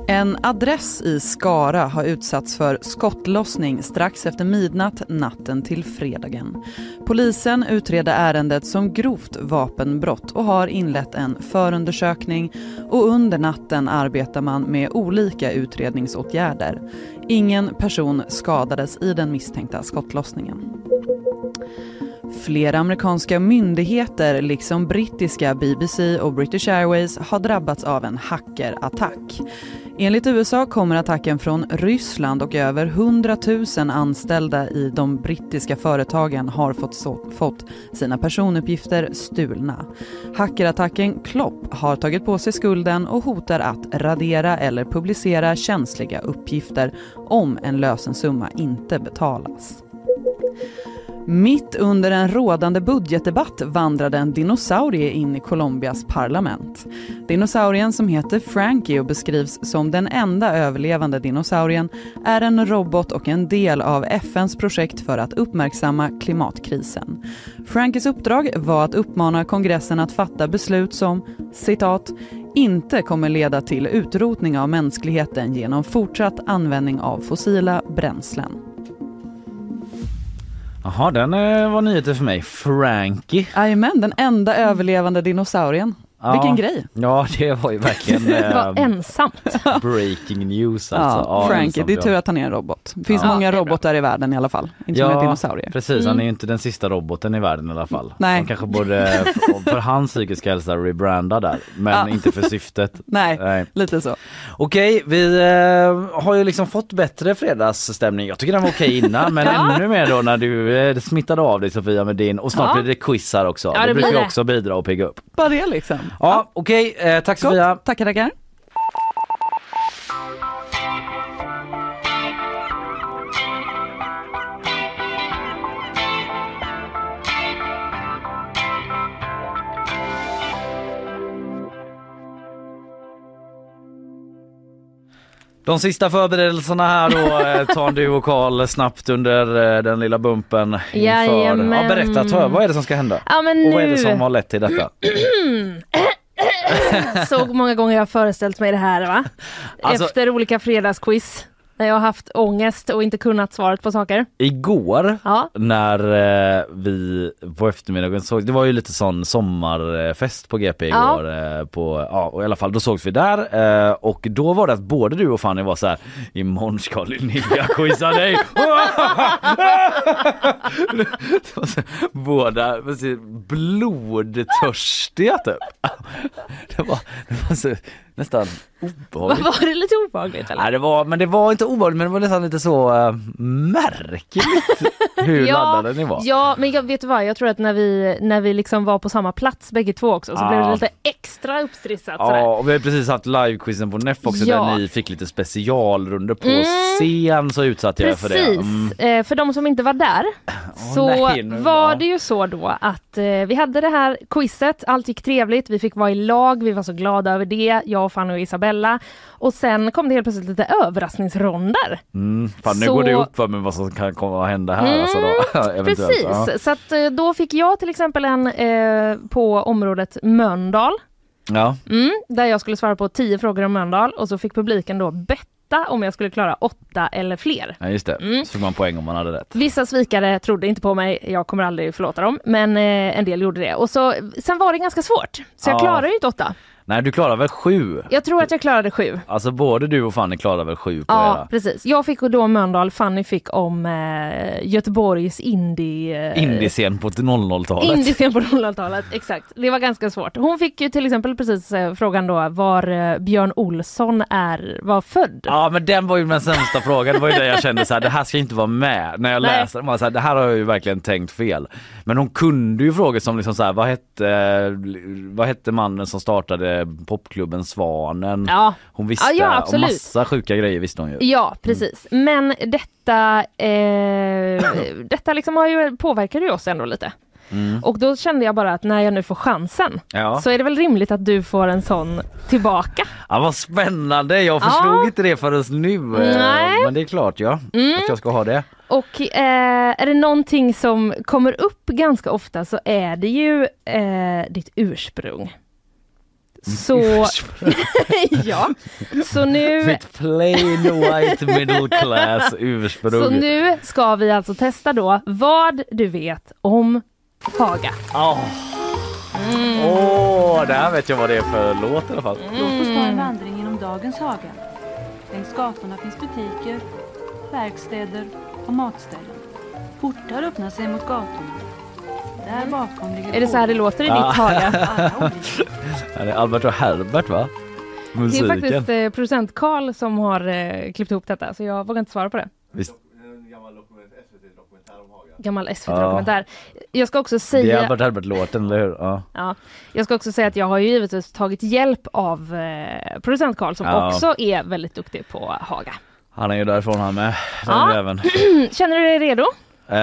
[SPEAKER 6] En adress i Skara har utsatts för skottlossning strax efter midnatt natten till fredagen. Polisen utreder ärendet som grovt vapenbrott och har inlett en förundersökning och under natten arbetar man med olika utredningsåtgärder. Ingen person skadades i den misstänkta skottlossningen. Flera amerikanska myndigheter, liksom brittiska BBC och British Airways, har drabbats av en hackerattack. Enligt USA kommer attacken från Ryssland och över 100 000 anställda i de brittiska företagen har fått, så, fått sina personuppgifter stulna. Hackerattacken Klopp har tagit på sig skulden och hotar att radera eller publicera känsliga uppgifter om en lösensumma inte betalas. Mitt under en rådande budgetdebatt vandrade en dinosaurie in i Colombias parlament. Dinosaurien som heter Frankie och beskrivs som den enda överlevande dinosaurien är en robot och en del av FNs projekt för att uppmärksamma klimatkrisen. Frankies uppdrag var att uppmana kongressen att fatta beslut som citat inte kommer leda till utrotning av mänskligheten genom fortsatt användning av fossila bränslen.
[SPEAKER 2] Jaha, den eh, var nyheter för mig. Frankie.
[SPEAKER 6] Jajamän, den enda överlevande dinosaurien.
[SPEAKER 2] Ja.
[SPEAKER 6] Vilken grej.
[SPEAKER 2] Ja det var ju verkligen
[SPEAKER 3] Det var
[SPEAKER 2] eh,
[SPEAKER 3] ensamt.
[SPEAKER 2] breaking news
[SPEAKER 6] Ja,
[SPEAKER 2] alltså. Ja,
[SPEAKER 6] Frankie,
[SPEAKER 2] ensam
[SPEAKER 6] det är
[SPEAKER 2] jag.
[SPEAKER 6] tur att han är en robot. Det finns
[SPEAKER 3] Ja,
[SPEAKER 6] många
[SPEAKER 3] det är bra.
[SPEAKER 6] robotar i världen i alla fall, inte många dinosaurier.
[SPEAKER 2] precis. Han är ju inte den sista roboten i världen i alla fall.
[SPEAKER 6] Mm. Nej.
[SPEAKER 2] Han kanske borde, eh, för, för hans psykiska hälsa, rebranda där. Men
[SPEAKER 6] Ja.
[SPEAKER 2] inte för syftet.
[SPEAKER 6] Nej,
[SPEAKER 2] Nej.
[SPEAKER 6] lite så.
[SPEAKER 2] Okej, vi eh, har ju liksom fått bättre fredagsstämning. Jag tycker den var okej innan men ännu mer då när du eh, smittade av dig Sofia med din och snart
[SPEAKER 3] Ja.
[SPEAKER 2] blir det quiz här också.
[SPEAKER 3] Ja,
[SPEAKER 2] det,
[SPEAKER 3] det blir
[SPEAKER 2] brukar ju
[SPEAKER 3] det.
[SPEAKER 2] också bidra och pigga upp.
[SPEAKER 6] Bara det liksom.
[SPEAKER 2] Ja, okej. Eh, tack
[SPEAKER 6] Gott.
[SPEAKER 2] Sofia.
[SPEAKER 6] Tackar, tackar.
[SPEAKER 2] De sista förberedelserna här då eh, tar du och Karl snabbt under eh, den lilla bumpen inför.
[SPEAKER 3] Jajamän.
[SPEAKER 2] Ja, berätta, ta, vad är det som ska hända?
[SPEAKER 3] Ja men
[SPEAKER 2] Och vad är det
[SPEAKER 3] nu,
[SPEAKER 2] som har lett till detta?
[SPEAKER 3] så många gånger jag har föreställt mig det här va?
[SPEAKER 2] Alltså-
[SPEAKER 3] Efter olika fredagsquiz. När jag har haft ångest och inte kunnat svaret på saker.
[SPEAKER 2] Igår
[SPEAKER 3] Ja.
[SPEAKER 2] när eh, vi på eftermiddagen såg, det var ju lite sån sommarfest på GP
[SPEAKER 3] Ja.
[SPEAKER 2] igår. Eh, på, ja, och I alla fall då sågs vi där eh, och då var det att både du och Fanny var så här imorgon ska Linnea quiza dig. Det var så- Båda precis, blodtörstiga typ. Det var, det var så, nästan obehagligt.
[SPEAKER 3] Var det lite obehagligt eller?
[SPEAKER 2] Nej, det var, men det var inte obehagligt men det var nästan lite så eh, märkligt hur laddade ni var.
[SPEAKER 3] Ja, men jag, vet du vad? Jag tror att när vi, när vi liksom var på samma plats bägge två också så
[SPEAKER 2] Ah.
[SPEAKER 3] blev det lite extra uppstrissat sådär.
[SPEAKER 2] Ja, och vi har precis haft livequizen på Neff också
[SPEAKER 3] Ja.
[SPEAKER 2] där ni fick lite specialrunder på
[SPEAKER 3] Mm.
[SPEAKER 2] scen så utsatte jag er
[SPEAKER 3] Precis,
[SPEAKER 2] för det. Mm.
[SPEAKER 3] Eh, för de som inte var där så
[SPEAKER 2] nej, nu
[SPEAKER 3] var
[SPEAKER 2] var-
[SPEAKER 3] det ju så då att eh, vi hade det här quizet, allt gick trevligt, vi fick vara i lag, vi var så glada över det, jag, Fanny och Isabella. Och sen kom det helt plötsligt lite överraskningsronder.
[SPEAKER 2] Mm. Fan, nu
[SPEAKER 3] Så- Mm.
[SPEAKER 2] går det upp för mig vad som kan komma att hända här alltså då. eventuellt.
[SPEAKER 3] Precis,
[SPEAKER 2] Ja.
[SPEAKER 3] så att, eh, då fick jag till exempel en eh, på området Mölndal.
[SPEAKER 2] Ja.
[SPEAKER 3] Mm, där jag skulle svara på 10 frågor om Mölndal och så fick publiken då betta om jag skulle klara åtta eller fler.
[SPEAKER 2] ja, just det.
[SPEAKER 3] Mm.
[SPEAKER 2] Så fick man poäng om man hade rätt.
[SPEAKER 3] Vissa svikare trodde inte på mig, jag kommer aldrig förlåta dem, men eh, en del gjorde det. Och så, sen var det ganska svårt, så jag
[SPEAKER 2] Ja.
[SPEAKER 3] klarade ju inte åtta.
[SPEAKER 2] Nej, du klarade väl sju?
[SPEAKER 3] Jag tror att jag klarade sju.
[SPEAKER 2] Alltså både du och Fanny klarade väl sju på
[SPEAKER 3] Ja,
[SPEAKER 2] era?
[SPEAKER 3] precis. Jag fick då Mölndal, Fanny fick om eh, Göteborgs indie... eh,
[SPEAKER 2] Indiescen på 00-talet.
[SPEAKER 3] Indien på 00-talet, exakt. Det var ganska svårt. Hon fick ju till exempel precis eh, frågan då var eh, Björn Olsson är, var född.
[SPEAKER 2] Ja men den var ju min sämsta fråga, det var ju där jag kände så här, det här ska inte vara med. När jag
[SPEAKER 3] Nej.
[SPEAKER 2] läste den var jag så här, det här har jag ju verkligen tänkt fel. Men hon kunde ju frågor som liksom så här, vad hette, eh, vad hette mannen som startade popklubben Svanen?
[SPEAKER 3] Ja.
[SPEAKER 2] Hon visste,
[SPEAKER 3] Ja, ja,
[SPEAKER 2] och
[SPEAKER 3] absolut.
[SPEAKER 2] massa sjuka grejer visste hon ju.
[SPEAKER 3] Ja, precis. Men detta, eh, detta liksom har ju, påverkade ju oss ändå lite. Och då kände jag bara att när jag nu får chansen
[SPEAKER 2] Mm. Ja.
[SPEAKER 3] så är det väl rimligt att du får en sån tillbaka.
[SPEAKER 2] Ja, vad spännande, jag förstod
[SPEAKER 3] Ja.
[SPEAKER 2] inte det förrän nu. eh,
[SPEAKER 3] Nej. Mm.
[SPEAKER 2] Men det är klart ja, att jag ska ha det.
[SPEAKER 3] Och eh, är det någonting som kommer upp ganska ofta så är det ju eh, ditt ursprung.
[SPEAKER 2] Mm,
[SPEAKER 3] Så, ja. så, nu,
[SPEAKER 2] Mitt plain white middle class ursprung.
[SPEAKER 3] så nu ska vi alltså testa då vad du vet om Haga.
[SPEAKER 2] Åh,
[SPEAKER 3] Mm.
[SPEAKER 2] Åh, det här vet jag vad det är för låt i alla fall.
[SPEAKER 7] Låt oss ta
[SPEAKER 3] Mm.
[SPEAKER 7] en vandring genom dagens Haga. Längs gatorna finns butiker, verkstäder och matställen. Portar öppnar sig mot gatorna. Där bakom ligger
[SPEAKER 3] Är det så här det låter i
[SPEAKER 2] Ah,
[SPEAKER 3] ditt Haga?
[SPEAKER 7] alla olika
[SPEAKER 2] Ja, det är Albert och Herbert va?
[SPEAKER 3] Det är
[SPEAKER 2] Musiken.
[SPEAKER 3] faktiskt eh, producent Karl som har eh, klippt ihop detta så jag vågar inte svara på det.
[SPEAKER 2] Visst.
[SPEAKER 3] Gammal SVT-dokumentär. Jag ska också
[SPEAKER 2] Ah. Det är
[SPEAKER 3] säga
[SPEAKER 2] Albert Herbert-låten, eller hur? Ja.
[SPEAKER 3] Ja, jag ska också säga att jag har ju givetvis tagit hjälp av eh, producent Karl som
[SPEAKER 2] Ja.
[SPEAKER 3] också är väldigt duktig på Haga.
[SPEAKER 2] Han är ju därifrån han med. Den
[SPEAKER 3] Ja.
[SPEAKER 2] jäveln.
[SPEAKER 3] Känner du dig redo?
[SPEAKER 2] Eh,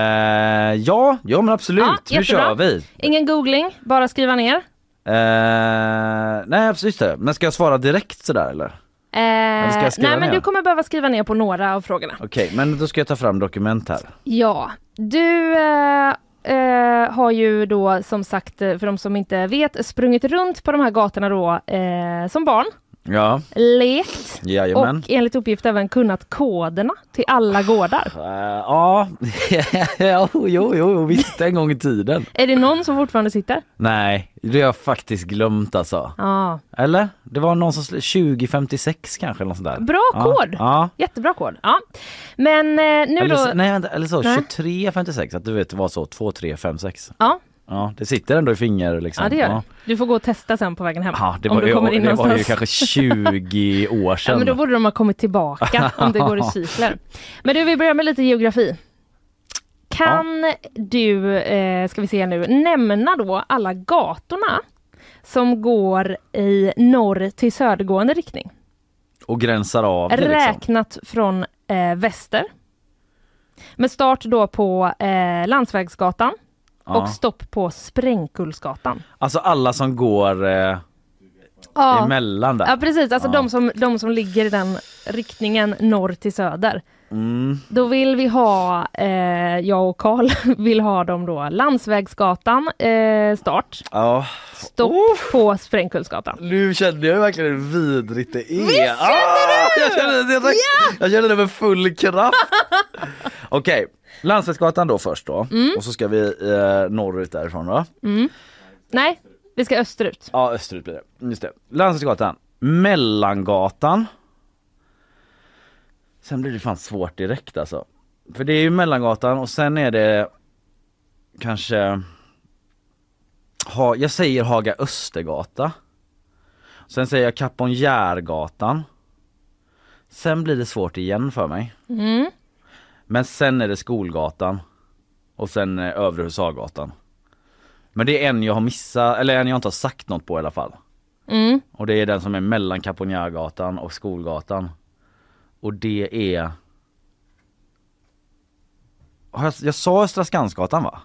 [SPEAKER 2] ja, ja men absolut.
[SPEAKER 3] Ja,
[SPEAKER 2] nu
[SPEAKER 3] jättebra.
[SPEAKER 2] kör vi.
[SPEAKER 3] Ingen googling, bara skriva ner.
[SPEAKER 2] Eh, nej absolut just det. Men ska jag svara direkt sådär eller?
[SPEAKER 3] Eh,
[SPEAKER 2] ska jag
[SPEAKER 3] nej
[SPEAKER 2] skriva
[SPEAKER 3] men
[SPEAKER 2] ner?
[SPEAKER 3] du kommer behöva skriva ner på några av frågorna.
[SPEAKER 2] Okej, men då ska jag ta fram dokument här.
[SPEAKER 3] Ja, du eh, eh, har ju då som sagt, eh, för de som inte vet, sprungit runt på de här gatorna då eh, som barn,
[SPEAKER 2] Ja,
[SPEAKER 3] lekt
[SPEAKER 2] jajamän.
[SPEAKER 3] och enligt uppgift även kunnat koderna till alla gårdar.
[SPEAKER 2] Eh, Ja, jo, jo, jo, visst en gång i tiden.
[SPEAKER 3] Är det någon som fortfarande sitter?
[SPEAKER 2] Nej, det har jag faktiskt glömt alltså.
[SPEAKER 3] Ja,
[SPEAKER 2] Eller? Det var någon som sl- 2056 kanske eller något sånt där.
[SPEAKER 3] Bra
[SPEAKER 2] ja.
[SPEAKER 3] kod.
[SPEAKER 2] Ja.
[SPEAKER 3] jättebra kod. Ja. Men eh, nu
[SPEAKER 2] Eller,
[SPEAKER 3] då...
[SPEAKER 2] så- nej vänta, eller så
[SPEAKER 3] Nej.
[SPEAKER 2] 2356 att du vet det var så 2356.
[SPEAKER 3] Ja,
[SPEAKER 2] Ja, det sitter ändå i finger liksom.
[SPEAKER 3] ja, det gör det. Du får gå och testa sen på vägen hem.
[SPEAKER 2] Ja, det
[SPEAKER 3] om
[SPEAKER 2] var,
[SPEAKER 3] du
[SPEAKER 2] ju,
[SPEAKER 3] kommer in
[SPEAKER 2] det var ju
[SPEAKER 3] någonstans.
[SPEAKER 2] kanske 20 år
[SPEAKER 3] Ja,
[SPEAKER 2] sedan.
[SPEAKER 3] men då borde de ha kommit tillbaka om det går i cykler. Men du, vi börjar med lite geografi. Kan du, eh, ska vi se nu, nämna då alla gatorna som går i norr till södergående riktning.
[SPEAKER 2] Och gränsar av det liksom.
[SPEAKER 3] Räknat från eh, väster. Med start då på eh, Landsvägsgatan
[SPEAKER 2] Ja.
[SPEAKER 3] och stopp på Sprängkullsgatan.
[SPEAKER 2] Alltså alla som går eh,
[SPEAKER 3] Ja.
[SPEAKER 2] emellan där.
[SPEAKER 3] ja precis, alltså
[SPEAKER 2] Ja.
[SPEAKER 3] de, som, de som ligger i den riktningen norr till söder.
[SPEAKER 2] Mm.
[SPEAKER 3] Då vill vi ha, eh, jag och Karl vill ha dem då Landsvägsgatan eh, start,
[SPEAKER 2] Ja.
[SPEAKER 3] stopp
[SPEAKER 2] Oh.
[SPEAKER 3] på Sprängkullsgatan.
[SPEAKER 2] Nu kände jag verkligen hur vidrigt det är. Visst kände du? Jag kände det direkt. Jag kände det med full kraft. Okej, Landsvägsgatan då först då. Och så ska vi eh, norrut därifrån då.
[SPEAKER 3] Nej, vi ska österut.
[SPEAKER 2] Ja österut blir det. Just det. Landsvägsgatan, Mellangatan. Sen blir det fan svårt direkt alltså. För det är ju Mellangatan och sen är det kanske ha, jag säger Haga Östergata. Sen säger jag Kaponjärgatan. Sen blir det svårt igen för mig. Men sen är det Skolgatan. Och sen eh, Övre Husargatan. Men det är en jag har missat, eller en jag inte har sagt något på i alla fall.
[SPEAKER 3] Mm.
[SPEAKER 2] Och det är den som är mellan Kaponjärgatan och Skolgatan. Och det är... Har Jag, jag sa Östra Skansgatan va?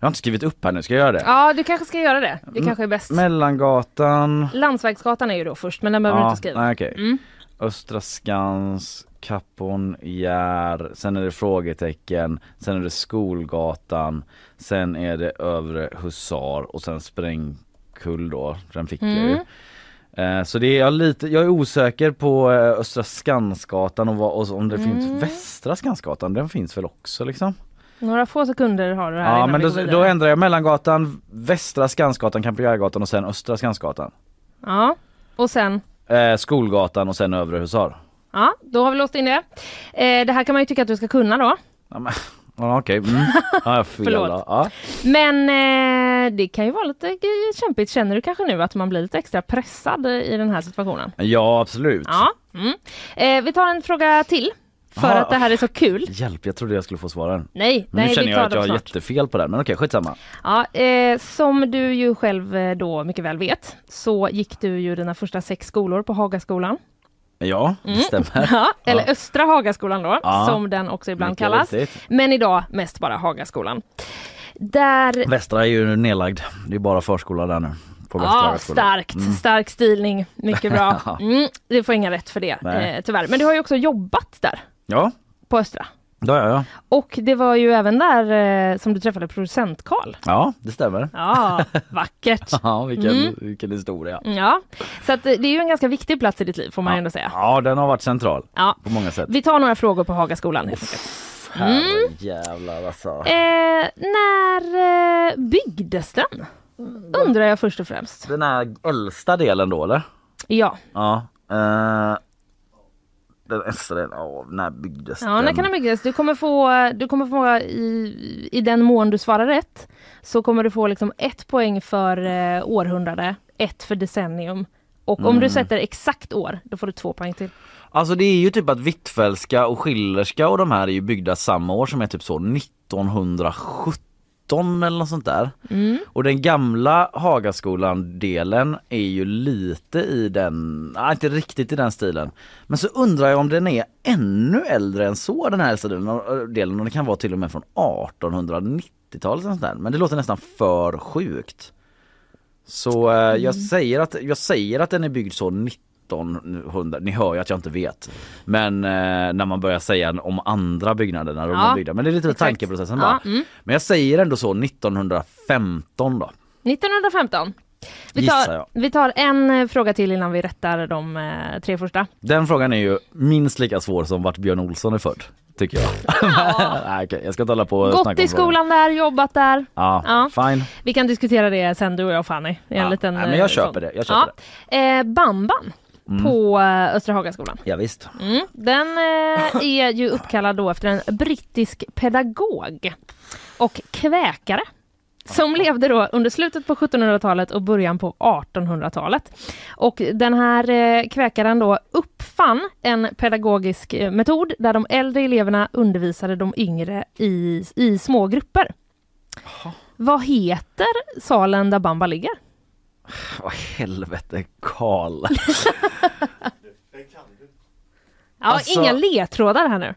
[SPEAKER 2] Jag har inte skrivit upp här nu, ska jag göra det?
[SPEAKER 3] Ja, du kanske ska göra det.
[SPEAKER 2] Mm.
[SPEAKER 3] Det kanske är bäst.
[SPEAKER 2] Mellangatan...
[SPEAKER 3] Landsvägsgatan är ju då först, men den behöver du inte skriva.
[SPEAKER 2] Nej, okej.
[SPEAKER 3] Mm.
[SPEAKER 2] Östra Skans, Kaponjär, sen är det frågetecken, sen är det Skolgatan, sen är det Övre Husar och sen Sprängkull då, den fick jag
[SPEAKER 3] Mm.
[SPEAKER 2] ju. Eh, Så det är jag lite, jag är osäker på eh, Östra Skansgatan och, vad, och om det
[SPEAKER 3] Mm.
[SPEAKER 2] finns Västra Skansgatan, den finns väl också liksom?
[SPEAKER 3] Några få sekunder har du här
[SPEAKER 2] Ja
[SPEAKER 3] innan
[SPEAKER 2] men
[SPEAKER 3] vi
[SPEAKER 2] då,
[SPEAKER 3] går
[SPEAKER 2] då
[SPEAKER 3] vidare.
[SPEAKER 2] ändrar jag Mellangatan, Västra Skansgatan, Kampionärgatan och sen Östra Skansgatan.
[SPEAKER 3] Ja, och sen
[SPEAKER 2] Eh, Skolgatan och sen Övre Husar.
[SPEAKER 3] Ja, då har vi låst in det. Eh, det här kan man ju tycka att du ska kunna då.
[SPEAKER 2] Ja, men, ja, okej. Mm. Ja, jag fel,
[SPEAKER 3] Förlåt.
[SPEAKER 2] då. Ja.
[SPEAKER 3] Men eh, det kan ju vara lite g- kämpigt. Känner du kanske nu att man blir lite extra pressad i den här situationen?
[SPEAKER 2] ja, absolut.
[SPEAKER 3] Ja. Mm. Eh, vi tar en fråga till. För
[SPEAKER 2] Aha.
[SPEAKER 3] att det här är så kul.
[SPEAKER 2] Hjälp, jag trodde jag skulle få svaren.
[SPEAKER 3] Nej,
[SPEAKER 2] Men
[SPEAKER 3] nej
[SPEAKER 2] nu
[SPEAKER 3] vi
[SPEAKER 2] känner
[SPEAKER 3] tar
[SPEAKER 2] jag att
[SPEAKER 3] dem
[SPEAKER 2] jag har
[SPEAKER 3] snart.
[SPEAKER 2] jättefel på den, men okej skitsamma.
[SPEAKER 3] Ja, eh, som du ju själv eh, då mycket väl vet så gick du ju dina första sex skolor på Hagaskolan.
[SPEAKER 2] Ja,
[SPEAKER 3] Mm.
[SPEAKER 2] det stämmer.
[SPEAKER 3] Ja, eller Östra Hagaskolan då,
[SPEAKER 2] Ja.
[SPEAKER 3] som den också ibland
[SPEAKER 2] Mycket
[SPEAKER 3] kallas.
[SPEAKER 2] riktigt.
[SPEAKER 3] Men idag mest bara Hagaskolan. Där
[SPEAKER 2] Västra är ju nedlagd, det är bara förskola där nu. På Mm. Västra
[SPEAKER 3] Ja,
[SPEAKER 2] Högskolan.
[SPEAKER 3] Ah, starkt. Stark stilning. Mycket bra. Mm, du får inga rätt för det,
[SPEAKER 2] Nej.
[SPEAKER 3] eh, tyvärr. Men du har ju också jobbat där,
[SPEAKER 2] Ja,
[SPEAKER 3] på Östra.
[SPEAKER 2] det gör jag.
[SPEAKER 3] Och det var ju även där eh, som du träffade producent Karl.
[SPEAKER 2] Ja, det stämmer.
[SPEAKER 3] Ja, vackert.
[SPEAKER 2] Ja, vilken,
[SPEAKER 3] Mm.
[SPEAKER 2] vilken historia.
[SPEAKER 3] Ja, så att, eh, det är ju en ganska viktig plats i ditt liv får man ju ändå säga.
[SPEAKER 2] Ja, den har varit central
[SPEAKER 3] Ja.
[SPEAKER 2] på många sätt.
[SPEAKER 3] Vi Mm. tar några frågor på Hagaskolan. helt enkelt.
[SPEAKER 2] Herrejävlar alltså.
[SPEAKER 3] Eh, när eh, byggdes den?
[SPEAKER 2] Mm.
[SPEAKER 3] Undrar jag först och främst.
[SPEAKER 2] Den här äldsta delen då eller?
[SPEAKER 3] Ja,
[SPEAKER 2] Ja. eh, den äldsta delen, ja, när byggdes
[SPEAKER 3] ja när
[SPEAKER 2] den?
[SPEAKER 3] kan den byggas? Du kommer få, du kommer få i, i den mån du svarar rätt, så kommer du få liksom ett poäng för eh, århundrade, ett för decennium. Och om
[SPEAKER 2] Mm.
[SPEAKER 3] du sätter exakt år, då får du två poäng till.
[SPEAKER 2] Alltså det är ju typ att Hvitfeldtska och Schillerska och de här är ju byggda samma år som är typ så 1917 eller något sånt där.
[SPEAKER 3] Mm.
[SPEAKER 2] Och den gamla Hagaskolan delen är ju lite i den, nej inte riktigt i den stilen. Men så undrar jag om den är ännu äldre än så den här äldsta delen- delen och det kan vara till och med från 1890-talet eller sånt där. Men det låter nästan för sjukt. Så eh,
[SPEAKER 3] Mm.
[SPEAKER 2] jag, säger att, jag säger att den är byggd så 1900, ni hör ju att jag inte vet. Men eh, när man börjar säga om andra byggnader när de
[SPEAKER 3] Ja,
[SPEAKER 2] var byggda. Men det är lite
[SPEAKER 3] exakt.
[SPEAKER 2] tankeprocessen
[SPEAKER 3] Ja, mm.
[SPEAKER 2] bara. Men jag säger ändå så 1915 då.
[SPEAKER 3] 1915. Vi
[SPEAKER 2] Gissar
[SPEAKER 3] tar,
[SPEAKER 2] jag.
[SPEAKER 3] vi tar en eh, fråga till innan vi rättar de eh, tre första.
[SPEAKER 2] Den frågan är ju minst lika svår som vart Björn Olsson är född. Tycker jag. Nej, okej, jag ska inte hålla på och
[SPEAKER 3] Gått
[SPEAKER 2] snacka om
[SPEAKER 3] i
[SPEAKER 2] frågan.
[SPEAKER 3] skolan där, jobbat där.
[SPEAKER 2] Ja,
[SPEAKER 3] Ja.
[SPEAKER 2] fine.
[SPEAKER 3] Vi kan diskutera det sen du och jag Fanny. I En
[SPEAKER 2] Ja,
[SPEAKER 3] liten,
[SPEAKER 2] nej, men jag
[SPEAKER 3] eh,
[SPEAKER 2] köper
[SPEAKER 3] sån.
[SPEAKER 2] det, jag köper Mm.
[SPEAKER 3] Eh, Bamban på eh, Östra Hagaskolan.
[SPEAKER 2] Ja, visst.
[SPEAKER 3] Mm. Den eh, är ju uppkallad då efter en brittisk pedagog och kväkare som levde då under slutet på 1700-talet och början på 1800-talet. Och den här eh, kväkaren då uppfann en pedagogisk eh, metod där de äldre eleverna undervisade de yngre i, i små grupper. Vad heter salen där Bamba ligger?
[SPEAKER 2] Vad i helvete Karl.
[SPEAKER 3] Ja,
[SPEAKER 2] Alltså-
[SPEAKER 3] inga ledtrådar här nu.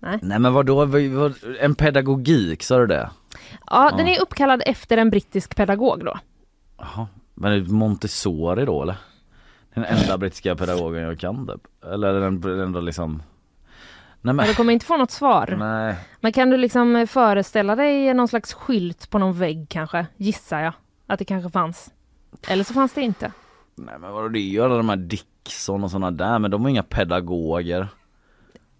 [SPEAKER 2] Nej men vadå, Vad- vad- en pedagogik, sa du det?
[SPEAKER 3] Ja, den är uppkallad efter en brittisk pedagog då.
[SPEAKER 2] Jaha, men är det Montessori då eller? Den enda brittiska pedagogen jag kan typ. Eller är den, den då liksom Nej men,
[SPEAKER 3] Men du kommer inte få något svar.
[SPEAKER 2] nej.
[SPEAKER 3] Men kan du liksom eh, föreställa dig någon slags skylt på någon vägg kanske? Gissar jag att det kanske fanns. Eller så fanns det inte.
[SPEAKER 2] nej men vadå det är ju alla de här Dickson och sådana där men de är inga pedagoger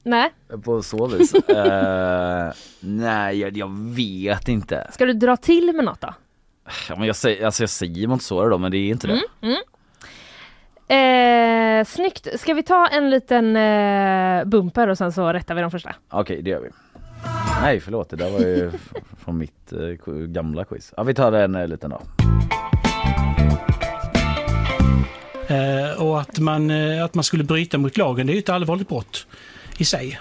[SPEAKER 3] Nej,
[SPEAKER 2] på så vis. Eh, nej jag, jag vet inte.
[SPEAKER 3] ska du dra till med något då?
[SPEAKER 2] Ja, men jag, säger, alltså jag säger Montessori då men det är inte det.
[SPEAKER 3] Eh, snyggt, ska vi ta en liten eh, bumper och sen så rättar vi den första?
[SPEAKER 2] Okej det gör vi. Nej förlåt det där var ju f- från mitt eh, k- gamla quiz. Ja vi tar den eh, liten då.
[SPEAKER 8] Eh, och att man, eh, att man skulle bryta mot lagen, det är ju ett allvarligt brott i sig.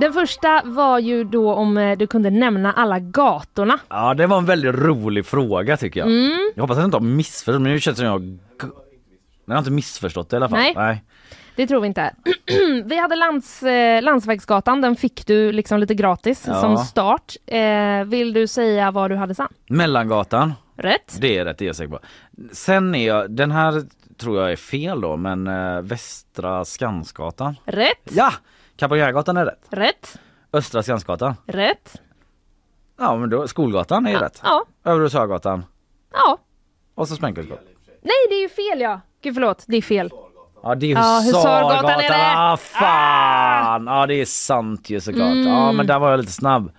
[SPEAKER 3] Den första var ju då om eh, du kunde nämna alla gatorna.
[SPEAKER 2] Ja det var en väldigt rolig fråga tycker jag.
[SPEAKER 3] Mm.
[SPEAKER 2] Jag hoppas att jag inte har missförstått men nu känns det som jag... Jag har inte missförstått det i alla fall.
[SPEAKER 3] Nej. Det tror vi inte. vi hade lands, eh, Landsvägsgatan, den fick du liksom lite gratis
[SPEAKER 2] Ja.
[SPEAKER 3] som start. Eh, vill du säga vad du hade sen?
[SPEAKER 2] Mellangatan,
[SPEAKER 3] Rätt?
[SPEAKER 2] det är rätt, det är jag säker på. Sen är jag, den här tror jag är fel då men eh, Västra Skansgatan.
[SPEAKER 3] Rätt?
[SPEAKER 2] Ja! Kapellgärgatan är rätt.
[SPEAKER 3] Rätt?
[SPEAKER 2] Östra Skansgatan.
[SPEAKER 3] Rätt?
[SPEAKER 2] Ja men då, Skolgatan är ju rätt.
[SPEAKER 3] Ja.
[SPEAKER 2] Övre Sörgatan.
[SPEAKER 3] Ja.
[SPEAKER 2] Och så Sprängkullsgatan.
[SPEAKER 3] Nej, det är ju fel ja. Gud förlåt, det är fel.
[SPEAKER 2] Ja det är
[SPEAKER 3] Ja,
[SPEAKER 2] Husargatan.
[SPEAKER 3] Husargatan är det.
[SPEAKER 2] Ah, fan! Ja det är sant ju såklart. Ja men där var jag lite snabb.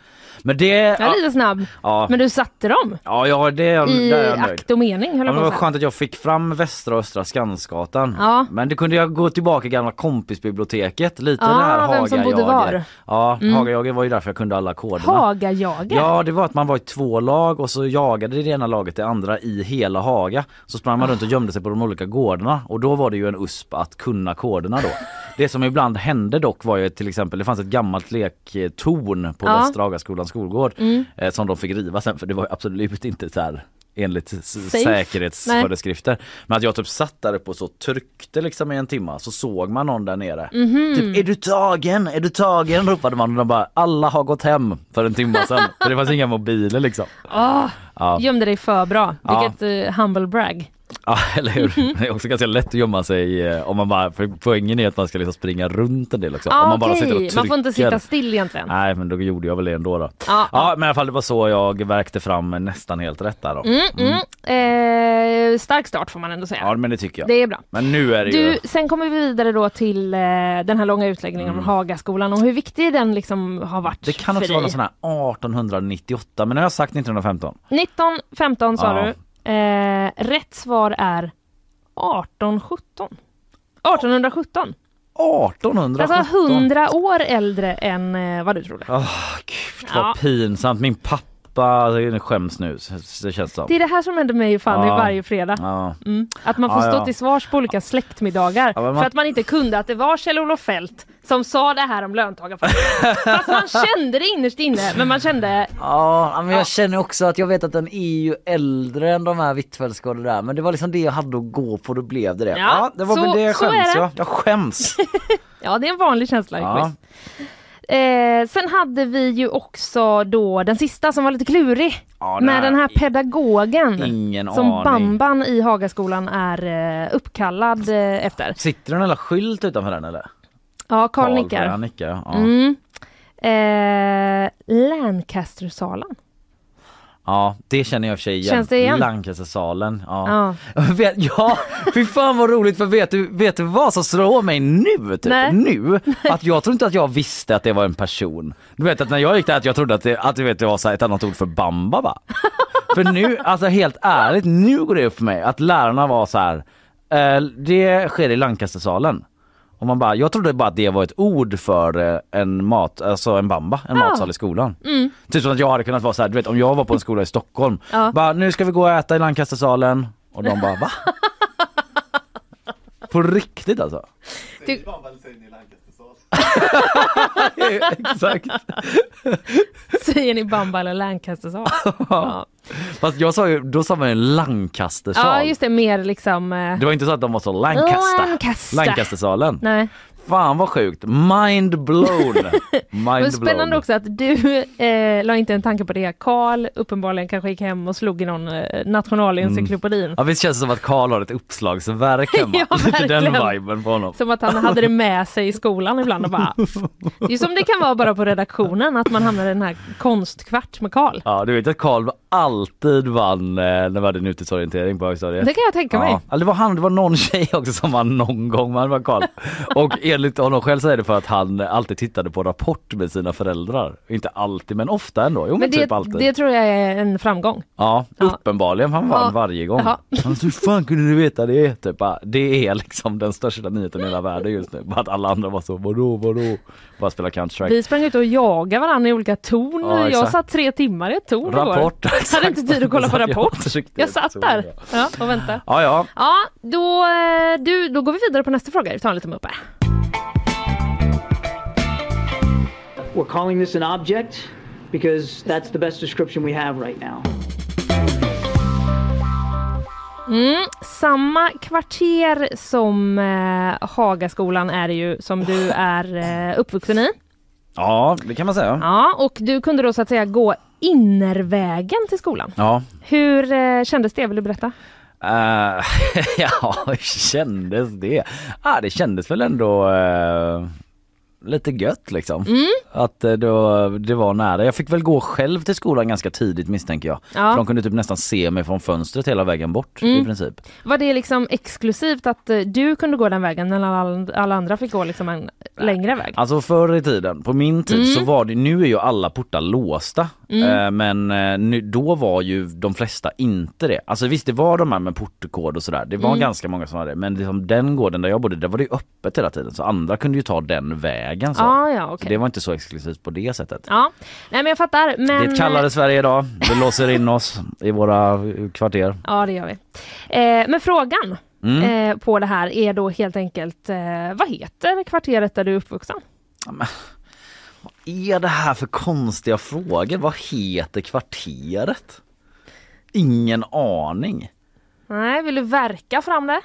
[SPEAKER 2] Men det...
[SPEAKER 3] Jag Mm. är lite snabb.
[SPEAKER 2] Ja.
[SPEAKER 3] Men du satte dem
[SPEAKER 2] Ja, ja det är,
[SPEAKER 3] i
[SPEAKER 2] där är jag nöjd.
[SPEAKER 3] akt och mening höll
[SPEAKER 2] Ja,
[SPEAKER 3] jag
[SPEAKER 2] men
[SPEAKER 3] på
[SPEAKER 2] vad
[SPEAKER 3] att säga.
[SPEAKER 2] skönt att jag fick fram Västra och Östra Skansgatan.
[SPEAKER 3] Ja.
[SPEAKER 2] Men det kunde jag gå tillbaka i gamla kompisbiblioteket. Lite
[SPEAKER 3] Ah,
[SPEAKER 2] det här
[SPEAKER 3] vem som bodde
[SPEAKER 2] Hagajager.
[SPEAKER 3] var. Mm.
[SPEAKER 2] Ja, Hagajager var ju därför jag kunde alla koderna.
[SPEAKER 3] Hagajager?
[SPEAKER 2] Ja det var att man var i två lag och så jagade det ena laget det andra i hela Haga. Så sprang man runt och gömde sig på de olika gårdarna och då var det ju en USP att kunna koderna då. Det som ibland hände dock var ju till exempel det fanns ett gammalt lektorn på
[SPEAKER 3] Ja. Mm.
[SPEAKER 2] Västra Hagaskolans skolgård eh, som de fick riva sen för det var ju absolut inte så här enligt s-
[SPEAKER 3] Safe.
[SPEAKER 2] säkerhetsföreskrifter. Men att jag typ satt där uppe och så tryckte liksom i en timma så såg man någon där nere.
[SPEAKER 3] Mhm.
[SPEAKER 2] Typ är du tagen? Är du tagen? ropade man och de bara alla har gått hem för en timma sedan. för det fanns inga mobiler liksom.
[SPEAKER 3] Ah,
[SPEAKER 2] Ja.
[SPEAKER 3] Gömde dig för bra.
[SPEAKER 2] Ja.
[SPEAKER 3] Vilket eh, humble brag.
[SPEAKER 2] Ja eller hur. Mhm. Det är också ganska lätt att gömma sig eh, om man bara, för poängen är att man ska liksom springa runt en del också.
[SPEAKER 3] Ah,
[SPEAKER 2] om man bara
[SPEAKER 3] okej.
[SPEAKER 2] sitter och
[SPEAKER 3] man får inte
[SPEAKER 2] trycker.
[SPEAKER 3] sitta still egentligen.
[SPEAKER 2] Nej men då gjorde jag väl det ändå då.
[SPEAKER 3] Ja.
[SPEAKER 2] Ja men i alla fall det var så jag verkte fram nästan helt rätt där då.
[SPEAKER 3] Mm, mm. Eh, stark start får man ändå säga.
[SPEAKER 2] Ja men det tycker jag.
[SPEAKER 3] Det är bra.
[SPEAKER 2] Men nu är det ju...
[SPEAKER 3] Du, sen kommer vi vidare då till eh, den här långa utläggningen om Hagaskolan och hur viktig den liksom har varit
[SPEAKER 2] Det kan
[SPEAKER 3] för
[SPEAKER 2] också vara någon
[SPEAKER 3] dig.
[SPEAKER 2] sån här 1898 men nu har jag sagt 1915.
[SPEAKER 3] 19, 15 sa
[SPEAKER 2] Ja.
[SPEAKER 3] du. Eh, rätt svar är 1817. 1817.
[SPEAKER 2] 1817?
[SPEAKER 3] Alltså 100 år äldre än eh, vad du trodde.
[SPEAKER 2] Åh, gud vad
[SPEAKER 3] Ja.
[SPEAKER 2] pinsamt. Min pappa jag skäms nu så- det känns som.
[SPEAKER 3] Det är det här som händer mig och Fanny
[SPEAKER 2] Ja.
[SPEAKER 3] varje fredag.
[SPEAKER 2] Ja.
[SPEAKER 3] Mm. Att man får
[SPEAKER 2] Ja,
[SPEAKER 3] stå
[SPEAKER 2] ja.
[SPEAKER 3] till svars på olika släktmiddagar
[SPEAKER 2] Ja, men man-
[SPEAKER 3] för att man inte kunde att det var Kjell-Olof Fält som sa det här om löntagarfonderna. Fast man kände det innerst inne, men man kände
[SPEAKER 2] Ja men jag känner också att jag vet att den är ju äldre än de här Hvitfeldtska och det där men det var liksom det jag hade att gå på då blev det det.
[SPEAKER 3] Ja, så- så är det.
[SPEAKER 2] jag. Jag skäms.
[SPEAKER 3] ja, det är en vanlig känsla i
[SPEAKER 2] Ja.
[SPEAKER 3] quiz. Eh, sen hade vi ju också då den sista som var lite klurig
[SPEAKER 2] Ja, det
[SPEAKER 3] med
[SPEAKER 2] här-
[SPEAKER 3] den här pedagogen
[SPEAKER 2] Ingen
[SPEAKER 3] som
[SPEAKER 2] aning.
[SPEAKER 3] Bamban i Hagaskolan är eh, uppkallad eh, efter.
[SPEAKER 2] Sitter det en jävla skylt utanför den eller?
[SPEAKER 3] Ja, Karl
[SPEAKER 2] Ja,
[SPEAKER 3] nickar.
[SPEAKER 2] nickar ja.
[SPEAKER 3] Mm. Eh, Lancastersalen.
[SPEAKER 2] Ja det känner jag i och för sig igen.
[SPEAKER 3] Känns det igen?
[SPEAKER 2] Lancastersalen. Ja.
[SPEAKER 3] Ja.
[SPEAKER 2] Vet- Ja, fy fan vad roligt för vet du, vet du vad som slår mig nu? Typ,
[SPEAKER 3] Nej.
[SPEAKER 2] nu? Att jag tror inte att jag visste att det var en person. Du vet att när jag gick där att jag trodde att det, att, du vet, det var så här ett annat ord för bamba va? För nu, alltså helt ärligt, nu går det upp för mig att lärarna var så här. Eh, det sker i Lancastersalen. Och man bara, jag trodde bara att det var ett ord för eh, en mat, alltså en bamba, en matsal i skolan.
[SPEAKER 3] Mm.
[SPEAKER 2] Typ som att jag hade kunnat vara så här, du vet om jag var på en skola i Stockholm,
[SPEAKER 3] Ja.
[SPEAKER 2] bara nu ska vi gå och äta i Lancastersalen och de bara va? på riktigt alltså?
[SPEAKER 3] Du-
[SPEAKER 2] Exakt.
[SPEAKER 3] Säger ni Bamba eller Lancastersal? ja.
[SPEAKER 2] Fast jag sa ju, då sa man ju Lancastersal.
[SPEAKER 3] Ja, just det, mer liksom... eh,
[SPEAKER 2] Det var inte så att de var så Lancaster.
[SPEAKER 3] Lancaster.
[SPEAKER 2] Lancastersalen.
[SPEAKER 3] Nej.
[SPEAKER 2] Fan vad sjukt. Mind blown. Mind
[SPEAKER 3] Men spännande också att du eh, la inte en tanke på det. Karl uppenbarligen kanske gick hem och slog i någon eh, nationalencyklopedin.
[SPEAKER 2] Ja visst känns det som att Karl har ett uppslagsverk hemma.
[SPEAKER 3] Ja,
[SPEAKER 2] Lite den
[SPEAKER 3] verkligen.
[SPEAKER 2] viben på honom.
[SPEAKER 3] Som att han hade det med sig i skolan ibland och bara... Det är som det kan vara bara på redaktionen, att man hamnar i den här konstkvart med Karl.
[SPEAKER 2] Ja du vet att Karl alltid vann eh, när vi hade en utesorientering på högstadiet.
[SPEAKER 3] Det kan jag tänka mig.
[SPEAKER 2] Ja, alltså det var han, det var någon tjej också som vann någon gång, man var Karl. Och enligt honom själv så är det för att han alltid tittade på Rapport med sina föräldrar. Inte alltid men ofta ändå, jo men,
[SPEAKER 3] Men det,
[SPEAKER 2] typ alltid.
[SPEAKER 3] det tror jag är en framgång.
[SPEAKER 2] Ja,
[SPEAKER 3] Ja.
[SPEAKER 2] uppenbarligen. Han vann
[SPEAKER 3] Ja.
[SPEAKER 2] varje gång.
[SPEAKER 3] Jaha.
[SPEAKER 2] Han sa, hur fan kunde du veta det? Typ, bara, det är liksom den största nyheten i hela världen just nu. Bara att alla andra var så, vadå, vadå? Bara spela Counter-Strike.
[SPEAKER 3] Vi sprang ut och jagade varandra i olika torn.
[SPEAKER 2] Ja,
[SPEAKER 3] jag
[SPEAKER 2] exakt.
[SPEAKER 3] satt tre timmar i ett torn
[SPEAKER 2] Rapport.
[SPEAKER 3] igår. Hade inte tid att kolla på
[SPEAKER 2] Jag
[SPEAKER 3] Rapport.
[SPEAKER 2] försökte-
[SPEAKER 3] Jag satt där ja, och väntade.
[SPEAKER 2] Ja, ja.
[SPEAKER 3] Ja, då, eh, du, då går vi vidare på nästa fråga. Vi tar en liten uppe.
[SPEAKER 9] We're calling this an object because that's the best description we have right now.
[SPEAKER 3] Mm, samma kvarter som eh, Hagaskolan är det ju som du är eh, uppvuxen i.
[SPEAKER 2] Ja, det kan man säga.
[SPEAKER 3] Ja, och du kunde då så att säga gå innervägen till skolan.
[SPEAKER 2] Ja.
[SPEAKER 3] Hur eh, kändes det? Vill du berätta?
[SPEAKER 2] Eh, ja, hur kändes det? Ah, det kändes väl ändå eh, lite gött liksom.
[SPEAKER 3] Mm.
[SPEAKER 2] Att eh, då, det var nära. Jag fick väl gå själv till skolan ganska tidigt misstänker jag.
[SPEAKER 3] Ja. Mm.
[SPEAKER 2] För de kunde typ nästan se mig från fönstret hela vägen bort i princip.
[SPEAKER 3] Var det liksom exklusivt att eh, du kunde gå den vägen när alla, alla andra fick gå liksom en längre väg?
[SPEAKER 2] Alltså förr i tiden, på min tid
[SPEAKER 3] Mm.
[SPEAKER 2] så var det, nu är ju alla portar låsta. Eh, Men eh, nu, då var ju de flesta inte det. Alltså visst det var de här med portkod och sådär, det var
[SPEAKER 3] Mm.
[SPEAKER 2] ganska många som hade det. Men liksom, den gården där jag bodde, där var det ju öppet hela tiden så andra kunde ju ta den vägen. Så.
[SPEAKER 3] Ja, ja,
[SPEAKER 2] så
[SPEAKER 3] Ah, okej.
[SPEAKER 2] det var inte så exklusivt på det sättet.
[SPEAKER 3] Ja, nej men jag fattar. Men...
[SPEAKER 2] Det är ett kallare Sverige idag, vi låser in oss i våra eh, kvarter.
[SPEAKER 3] Ja, det gör vi. Eh, men frågan
[SPEAKER 2] Mm.
[SPEAKER 3] eh, på det här är då helt enkelt, eh, vad heter kvarteret där du är uppvuxen?
[SPEAKER 2] är det här för konstiga frågor? Vad heter kvarteret? Ingen aning.
[SPEAKER 3] Nej, vill du verka fram det?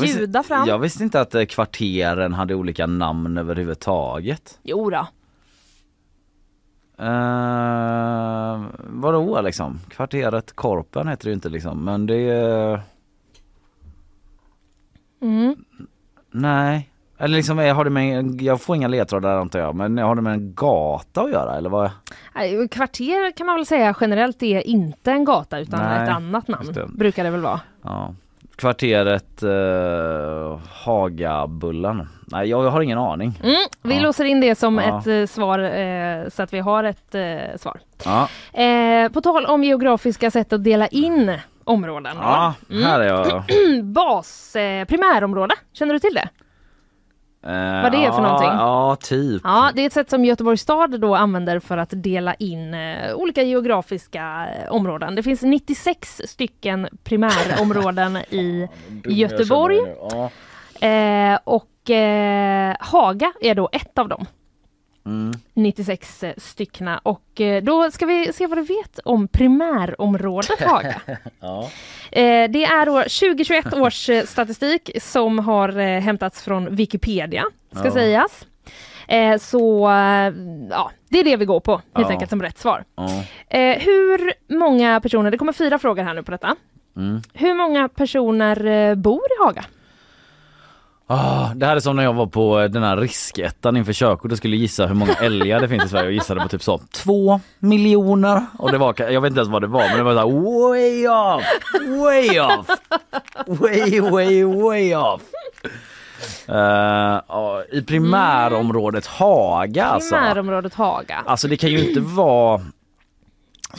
[SPEAKER 3] Bjuda fram.
[SPEAKER 2] jag visste inte att eh, kvarteren hade olika namn överhuvudtaget.
[SPEAKER 3] Jo då.
[SPEAKER 2] Uh, vadå liksom? Kvarteret Korpen heter det ju inte liksom men det är... Nej. Eller liksom eh, har det med, en- jag får inga ledtrådar antar jag men har det med en gata att göra eller vad?
[SPEAKER 3] Nej, Kvarter kan man väl säga generellt är inte en gata utan
[SPEAKER 2] Nej,
[SPEAKER 3] ett annat
[SPEAKER 2] just
[SPEAKER 3] namn
[SPEAKER 2] det.
[SPEAKER 3] brukar det väl vara.
[SPEAKER 2] Ja. Kvarteret eh, Hagabullan. Nej jag, jag har ingen aning.
[SPEAKER 3] Mm, vi
[SPEAKER 2] Ja.
[SPEAKER 3] låser in det som
[SPEAKER 2] Ja.
[SPEAKER 3] ett eh, svar eh, så att vi har ett eh, svar.
[SPEAKER 2] Ja,
[SPEAKER 3] Eh, på tal om geografiska sätt att dela in områden. då.
[SPEAKER 2] ja här är jag.
[SPEAKER 3] Bas, eh, primärområde, känner du till det?
[SPEAKER 2] Vad
[SPEAKER 3] det är för någonting?
[SPEAKER 2] Eh, Ja, typ.
[SPEAKER 3] Ja, det är ett sätt som Göteborgs stad då använder för att dela in eh, olika geografiska eh, områden. Det finns 96 stycken primärområden i Göteborg
[SPEAKER 2] Ja.
[SPEAKER 3] eh, och eh, Haga är då ett av dem.
[SPEAKER 2] Mm.
[SPEAKER 3] 96 styckna och eh, då ska vi se vad du vet om primärområdet Haga. Eh, Det är år 2021 års eh, statistik som har eh, hämtats från Wikipedia ska
[SPEAKER 2] Ja.
[SPEAKER 3] sägas. Eh, Så eh, ja, det är det vi går på helt
[SPEAKER 2] Ja.
[SPEAKER 3] enkelt som rätt svar.
[SPEAKER 2] Ja.
[SPEAKER 3] Eh, Hur många personer, det kommer fyra frågor här nu på detta.
[SPEAKER 2] Mm.
[SPEAKER 3] Hur många personer eh, bor i Haga?
[SPEAKER 2] Ah, det här är som när jag var på eh, den här riskettan inför körkort och skulle gissa hur många älgar det finns i Sverige och gissade på typ så två miljoner och det var, jag vet inte ens vad det var men det var såhär way off, way off, way way way off. Eh, ja, I primärområdet Haga alltså.
[SPEAKER 3] Primärområdet Haga.
[SPEAKER 2] Alltså det kan ju inte vara,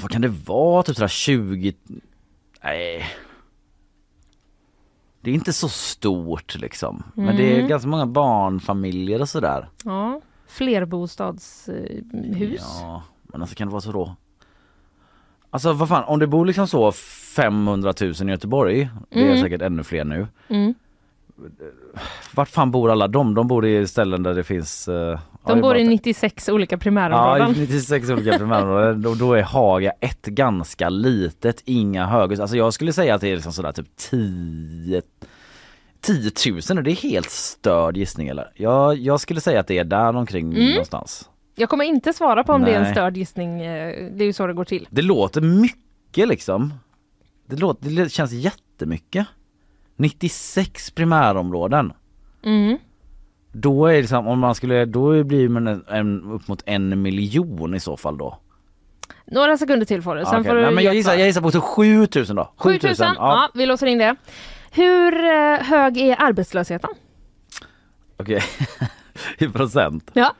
[SPEAKER 2] vad kan det vara, typ sådär 20, nej. Det är inte så stort liksom. Men det
[SPEAKER 3] Mm.
[SPEAKER 2] är ganska många barnfamiljer och sådär.
[SPEAKER 3] Ja. eh, Flerbostadshus.
[SPEAKER 2] Ja, men alltså kan det vara så då? Alltså vad fan,
[SPEAKER 3] Mm.
[SPEAKER 2] om det bor liksom så 500 000 i Göteborg, det är säkert ännu fler nu. vart fan bor alla de? De bor i ställen där det finns... eh, ja, det
[SPEAKER 3] De
[SPEAKER 2] är
[SPEAKER 3] bor
[SPEAKER 2] bara-
[SPEAKER 3] i 96 olika
[SPEAKER 2] Ja,
[SPEAKER 3] primärområden.
[SPEAKER 2] 96 olika primärområden och då är Haga ett ganska litet, inga höghus. Alltså jag skulle säga att det är liksom sådär typ 10 10 000 och det är helt störd gissning eller? Jag, jag skulle säga att det är där omkring någonstans.
[SPEAKER 3] Jag kommer inte svara på om det är en
[SPEAKER 2] Nej.
[SPEAKER 3] störd gissning. eh, Det är ju så det går till.
[SPEAKER 2] Det låter mycket liksom. Det, låter, det känns jättemycket. 96 primärområden.
[SPEAKER 3] Mm.
[SPEAKER 2] Då är det liksom, om man skulle, då blir man en, en, upp mot en miljon i så fall då.
[SPEAKER 3] Några sekunder till får du. Sen
[SPEAKER 2] Ja, Ah, okej.
[SPEAKER 3] får du
[SPEAKER 2] Nej, men jag,
[SPEAKER 3] ge ett
[SPEAKER 2] gissar,
[SPEAKER 3] svar.
[SPEAKER 2] jag gissar på 7000 då.
[SPEAKER 3] 7000, ja. vi låser in det. Hur eh, hög är arbetslösheten?
[SPEAKER 2] Okej, i procent.
[SPEAKER 3] Ja.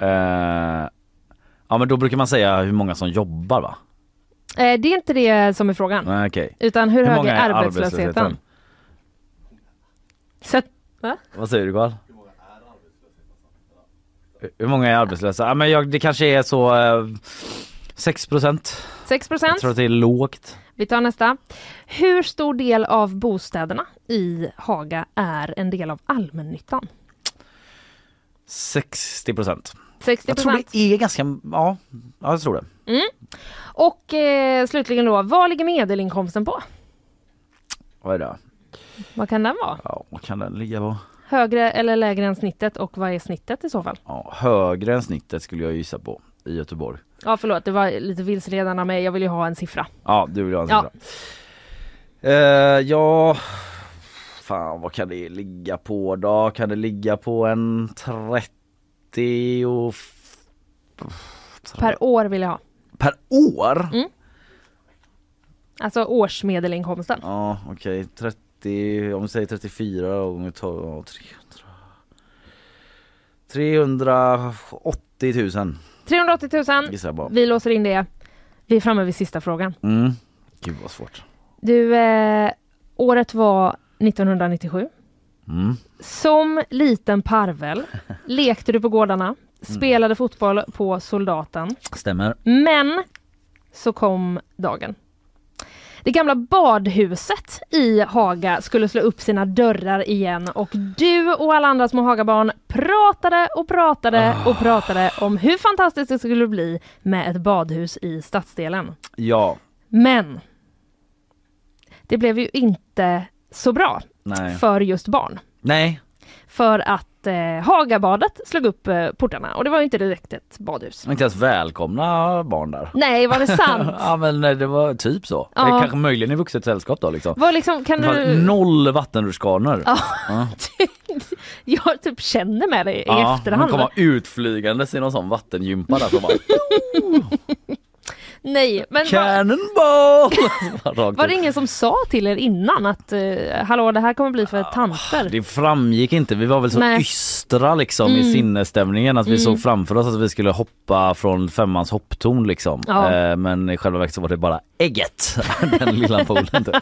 [SPEAKER 2] Eh, ja men då brukar man säga hur många som jobbar va?
[SPEAKER 3] Eh, det är inte det som är frågan,
[SPEAKER 2] Nej okej.
[SPEAKER 3] utan hur, hög är
[SPEAKER 2] många
[SPEAKER 3] arbetslösheten? Så, att- va?
[SPEAKER 2] Vad säger du Carl? Hur många är arbetslösa? Ja men jag, det kanske är så eh, 6 procent.
[SPEAKER 3] 6
[SPEAKER 2] Jag
[SPEAKER 3] procent.
[SPEAKER 2] tror att det är lågt.
[SPEAKER 3] Vi tar nästa. Hur stor del av bostäderna i Haga är en del av allmännyttan?
[SPEAKER 2] 60 procent.
[SPEAKER 3] 60
[SPEAKER 2] Jag tror
[SPEAKER 3] procent.
[SPEAKER 2] det är ganska, ja, ja jag tror det.
[SPEAKER 3] Och eh, slutligen då, vad ligger medelinkomsten på?
[SPEAKER 2] Vad är det?
[SPEAKER 3] Vad kan den vara?
[SPEAKER 2] Ja, vad kan den ligga på?
[SPEAKER 3] Högre eller lägre än snittet och vad är snittet i så fall?
[SPEAKER 2] Ja, högre än snittet skulle jag gissa på i Göteborg.
[SPEAKER 3] Ja förlåt, det var lite vilseledande av mig. Jag vill ju ha en siffra.
[SPEAKER 2] Ja, du vill ha en
[SPEAKER 3] Ja.
[SPEAKER 2] siffra. Ja. Eh, ja, fan vad kan det ligga på då? Kan det ligga på en 30 och f-
[SPEAKER 3] Per år vill jag ha.
[SPEAKER 2] per år?
[SPEAKER 3] Alltså årsmedelinkomsten.
[SPEAKER 2] Ja, okej 30, om vi säger 34 då, gånger 12, ja, 300 380 000
[SPEAKER 3] 380 000.
[SPEAKER 2] gissar jag bara.
[SPEAKER 3] Vi låser in det. Vi är framme vid sista frågan.
[SPEAKER 2] Mm. Gud vad svårt.
[SPEAKER 3] Du, eh, året var 1997.
[SPEAKER 2] Mm.
[SPEAKER 3] Som liten parvel lekte du på gårdarna,
[SPEAKER 2] Mm.
[SPEAKER 3] spelade fotboll på soldaten.
[SPEAKER 2] Stämmer.
[SPEAKER 3] Men så kom dagen. Det gamla badhuset i Haga skulle slå upp sina dörrar igen och du och alla andra små Hagabarn pratade och pratade
[SPEAKER 2] Ah.
[SPEAKER 3] och pratade om hur fantastiskt det skulle bli med ett badhus i stadsdelen.
[SPEAKER 2] Ja,
[SPEAKER 3] Men det blev ju inte så bra
[SPEAKER 2] nej.
[SPEAKER 3] för just barn.
[SPEAKER 2] Nej,
[SPEAKER 3] För att eh, Hagabadet slog upp eh, portarna och det var ju inte direkt ett badhus.
[SPEAKER 2] inte ens välkomna barn där.
[SPEAKER 3] Nej, var det sant?
[SPEAKER 2] Ja men nej, det var typ så.
[SPEAKER 3] Ja.
[SPEAKER 2] Det är kanske möjligen i vuxet sällskap då liksom.
[SPEAKER 3] Vad liksom, kan
[SPEAKER 2] Det fanns
[SPEAKER 3] du...
[SPEAKER 2] Noll vattenrutschkanor.
[SPEAKER 3] Ja. jag typ känner med dig i efterhand.
[SPEAKER 2] komma utflygandes i någon sån vattengympa där som bara
[SPEAKER 3] Nej, men var,
[SPEAKER 2] Cannonball! Alltså, Rakt
[SPEAKER 3] var det
[SPEAKER 2] ut.
[SPEAKER 3] ingen som sa till er innan att eh, hallå det här kommer bli för tanter?
[SPEAKER 2] Ah, det framgick inte, vi var väl så
[SPEAKER 3] Nej. Mm.
[SPEAKER 2] ystra liksom i sinnesstämningen att vi såg framför oss att vi skulle hoppa från femmans hopptorn liksom.
[SPEAKER 3] Ja.
[SPEAKER 2] Eh, Men i själva verket så var det bara ägget, den lilla poolen typ.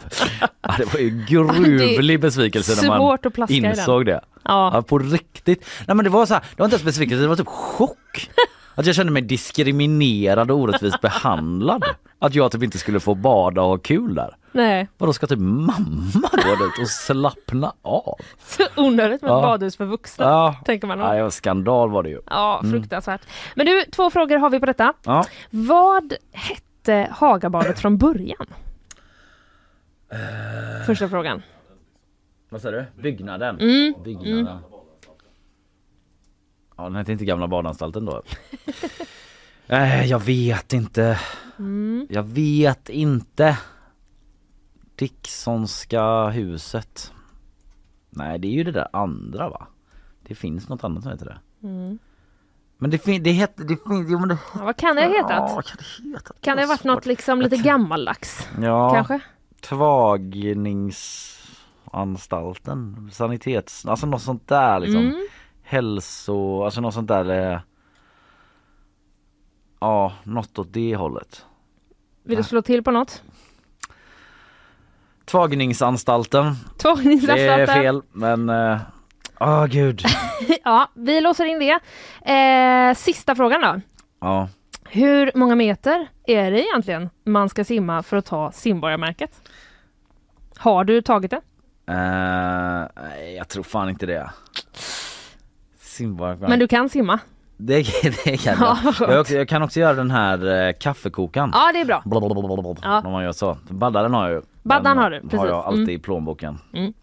[SPEAKER 2] ja, det var ju gruvlig besvikelse när man
[SPEAKER 3] Svårt att plaska i den.
[SPEAKER 2] insåg det. Ja,
[SPEAKER 3] Ja.
[SPEAKER 2] på riktigt. Nej men det var så här, det var inte ens besvikelse, det var typ chock. Att jag kände mig diskriminerad och orättvist behandlad. Att jag typ inte skulle få bada och ha kul där.
[SPEAKER 3] Nej,
[SPEAKER 2] Vadå ska typ mamma gå dit och slappna av?
[SPEAKER 3] så onödigt med
[SPEAKER 2] Ja.
[SPEAKER 3] ett badhus för vuxna.
[SPEAKER 2] Ja,
[SPEAKER 3] Tänker man
[SPEAKER 2] Nej,
[SPEAKER 3] då.
[SPEAKER 2] ja, skandal var det ju.
[SPEAKER 3] Ja, fruktansvärt. Men du, två frågor har vi på detta.
[SPEAKER 2] Ja.
[SPEAKER 3] Vad hette Hagabadet från början?
[SPEAKER 2] Eh.
[SPEAKER 3] Första frågan.
[SPEAKER 2] Vad säger du? Byggnaden?
[SPEAKER 3] Mm.
[SPEAKER 2] Byggnaden. Ja den hette inte gamla badanstalten då. Nej jag vet inte.
[SPEAKER 3] Mm.
[SPEAKER 2] Jag vet inte. Dicksonska huset. Nej det är ju det där andra va? Det finns något annat som heter det.
[SPEAKER 3] Mm.
[SPEAKER 2] Men det finns, det hette, det finns, jo men det
[SPEAKER 3] Ja, vad kan det ha
[SPEAKER 2] Ja,
[SPEAKER 3] hetat?
[SPEAKER 2] vad kan det heta?
[SPEAKER 3] Kan det ha varit något liksom lite gammaldags?
[SPEAKER 2] Ja.
[SPEAKER 3] Kanske?
[SPEAKER 2] tvagningsanstalten, sanitets, alltså något sånt där liksom.
[SPEAKER 3] Mm.
[SPEAKER 2] Hälso, alltså något sånt där eh, Ja, något åt det hållet.
[SPEAKER 3] Vill du slå till på något?
[SPEAKER 2] Tvagningsanstalten, det är
[SPEAKER 3] Tvångsanstalten?
[SPEAKER 2] fel men eh, Åh gud.
[SPEAKER 3] Ja, vi låser in det. Eh, sista frågan då.
[SPEAKER 2] Ja.
[SPEAKER 3] Hur många meter är det egentligen man ska simma för att ta simborgarmärket? Har du tagit det?
[SPEAKER 2] Eh, nej, jag tror fan inte det. Simba.
[SPEAKER 3] Men du kan simma?
[SPEAKER 2] Det, det kan
[SPEAKER 3] Ja, vad
[SPEAKER 2] jag.
[SPEAKER 3] skönt.
[SPEAKER 2] Jag, också, jag kan också göra den här eh, kaffekokaren.
[SPEAKER 3] Ja, det är bra.
[SPEAKER 2] Blablabla,
[SPEAKER 3] Ja.
[SPEAKER 2] När man gör så. Baddaren har jag ju.
[SPEAKER 3] Baddan
[SPEAKER 2] Den
[SPEAKER 3] har du,
[SPEAKER 2] Har
[SPEAKER 3] precis. Mm.
[SPEAKER 2] jag alltid i plånboken.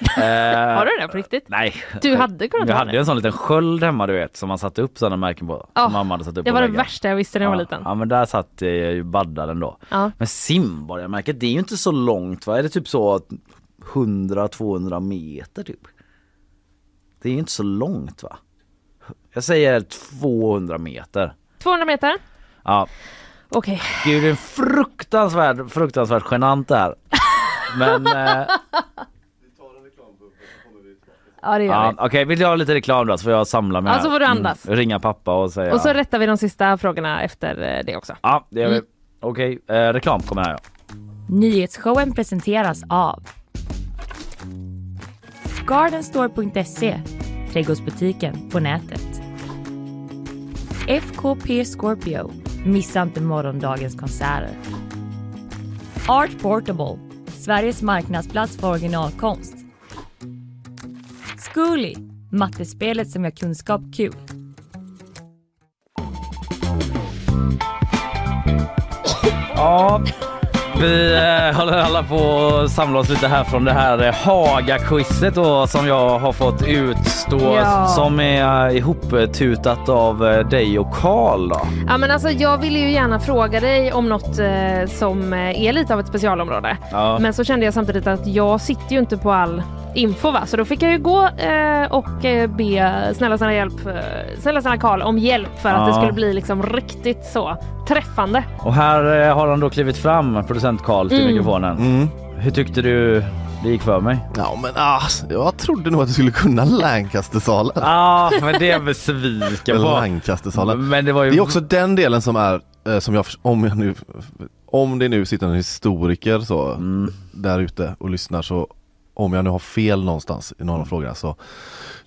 [SPEAKER 2] Eh,
[SPEAKER 3] Har du det på riktigt?
[SPEAKER 2] Nej.
[SPEAKER 3] Du hade kunnat
[SPEAKER 2] Jag
[SPEAKER 3] ha
[SPEAKER 2] hade
[SPEAKER 3] det.
[SPEAKER 2] ju en sån liten sköld hemma du vet som man satte upp sådana märken på.
[SPEAKER 3] Ja,
[SPEAKER 2] som mamma hade satt upp
[SPEAKER 3] Det
[SPEAKER 2] på
[SPEAKER 3] var det
[SPEAKER 2] väggen.
[SPEAKER 3] värsta jag visste när jag var liten.
[SPEAKER 2] Ja men där satt eh, ju baddaren då.
[SPEAKER 3] Ja.
[SPEAKER 2] Men simborgarmärket det är ju inte så långt va? Är det typ så att 100-200 meter typ? Det är ju inte så långt va? Jag säger 200 meter.
[SPEAKER 3] 200 meter?
[SPEAKER 2] Ja,
[SPEAKER 3] Okej.
[SPEAKER 2] gud det är fruktansvärt, fruktansvärt genant det här. Men eh,
[SPEAKER 3] Ja, det gör
[SPEAKER 2] ja,
[SPEAKER 3] vi.
[SPEAKER 2] okej vill jag ha lite reklam då så får jag samla mig
[SPEAKER 3] Ja,
[SPEAKER 2] här.
[SPEAKER 3] så får du andas.
[SPEAKER 2] Mm, ringa pappa och säga.
[SPEAKER 3] Och så rättar vi de sista frågorna efter eh, det också.
[SPEAKER 2] Ja det gör vi. Okej, eh, reklam kommer här ja.
[SPEAKER 1] Nyhetsshowen presenteras av Gardenstore.se Trädgårdsbutiken på nätet. FKP Scorpio. Missa inte morgondagens konserter. Art Portable. Sveriges marknadsplats för originalkonst. Zcooly. Mattespelet som gör kunskap kul.
[SPEAKER 2] Ja, vi eh, håller alla på att samla oss lite här från det här eh, Haga-quizet då, som jag har fått utstå
[SPEAKER 3] Ja.
[SPEAKER 2] som är eh, ihoptutat av eh, dig och Karl. då.
[SPEAKER 3] Ja, men alltså, jag ville ju gärna fråga dig om något eh, som eh, är lite av ett specialområde.
[SPEAKER 2] Ja.
[SPEAKER 3] Men så kände jag samtidigt att jag sitter ju inte på all info va? Så då fick jag ju gå eh, och eh, be snälla snälla hjälp, eh, snälla snälla Karl om hjälp för
[SPEAKER 2] Ja.
[SPEAKER 3] att det skulle bli liksom riktigt så träffande.
[SPEAKER 2] Och här eh, har han då klivit fram, producent Karl, till
[SPEAKER 3] Mm.
[SPEAKER 2] mikrofonen.
[SPEAKER 10] Mm.
[SPEAKER 2] Hur tyckte du det gick för mig?
[SPEAKER 10] Ja men ah, jag trodde nog att du skulle kunna Lancastersalen.
[SPEAKER 2] Ja, ah, men det är besviken på.
[SPEAKER 10] Lancastersalen.
[SPEAKER 2] Men det var ju...
[SPEAKER 10] Det är också den delen som är, eh, som jag, förs- om, jag nu, om det nu sitter en historiker så där ute och lyssnar så om jag nu har fel någonstans i någon av frågorna så,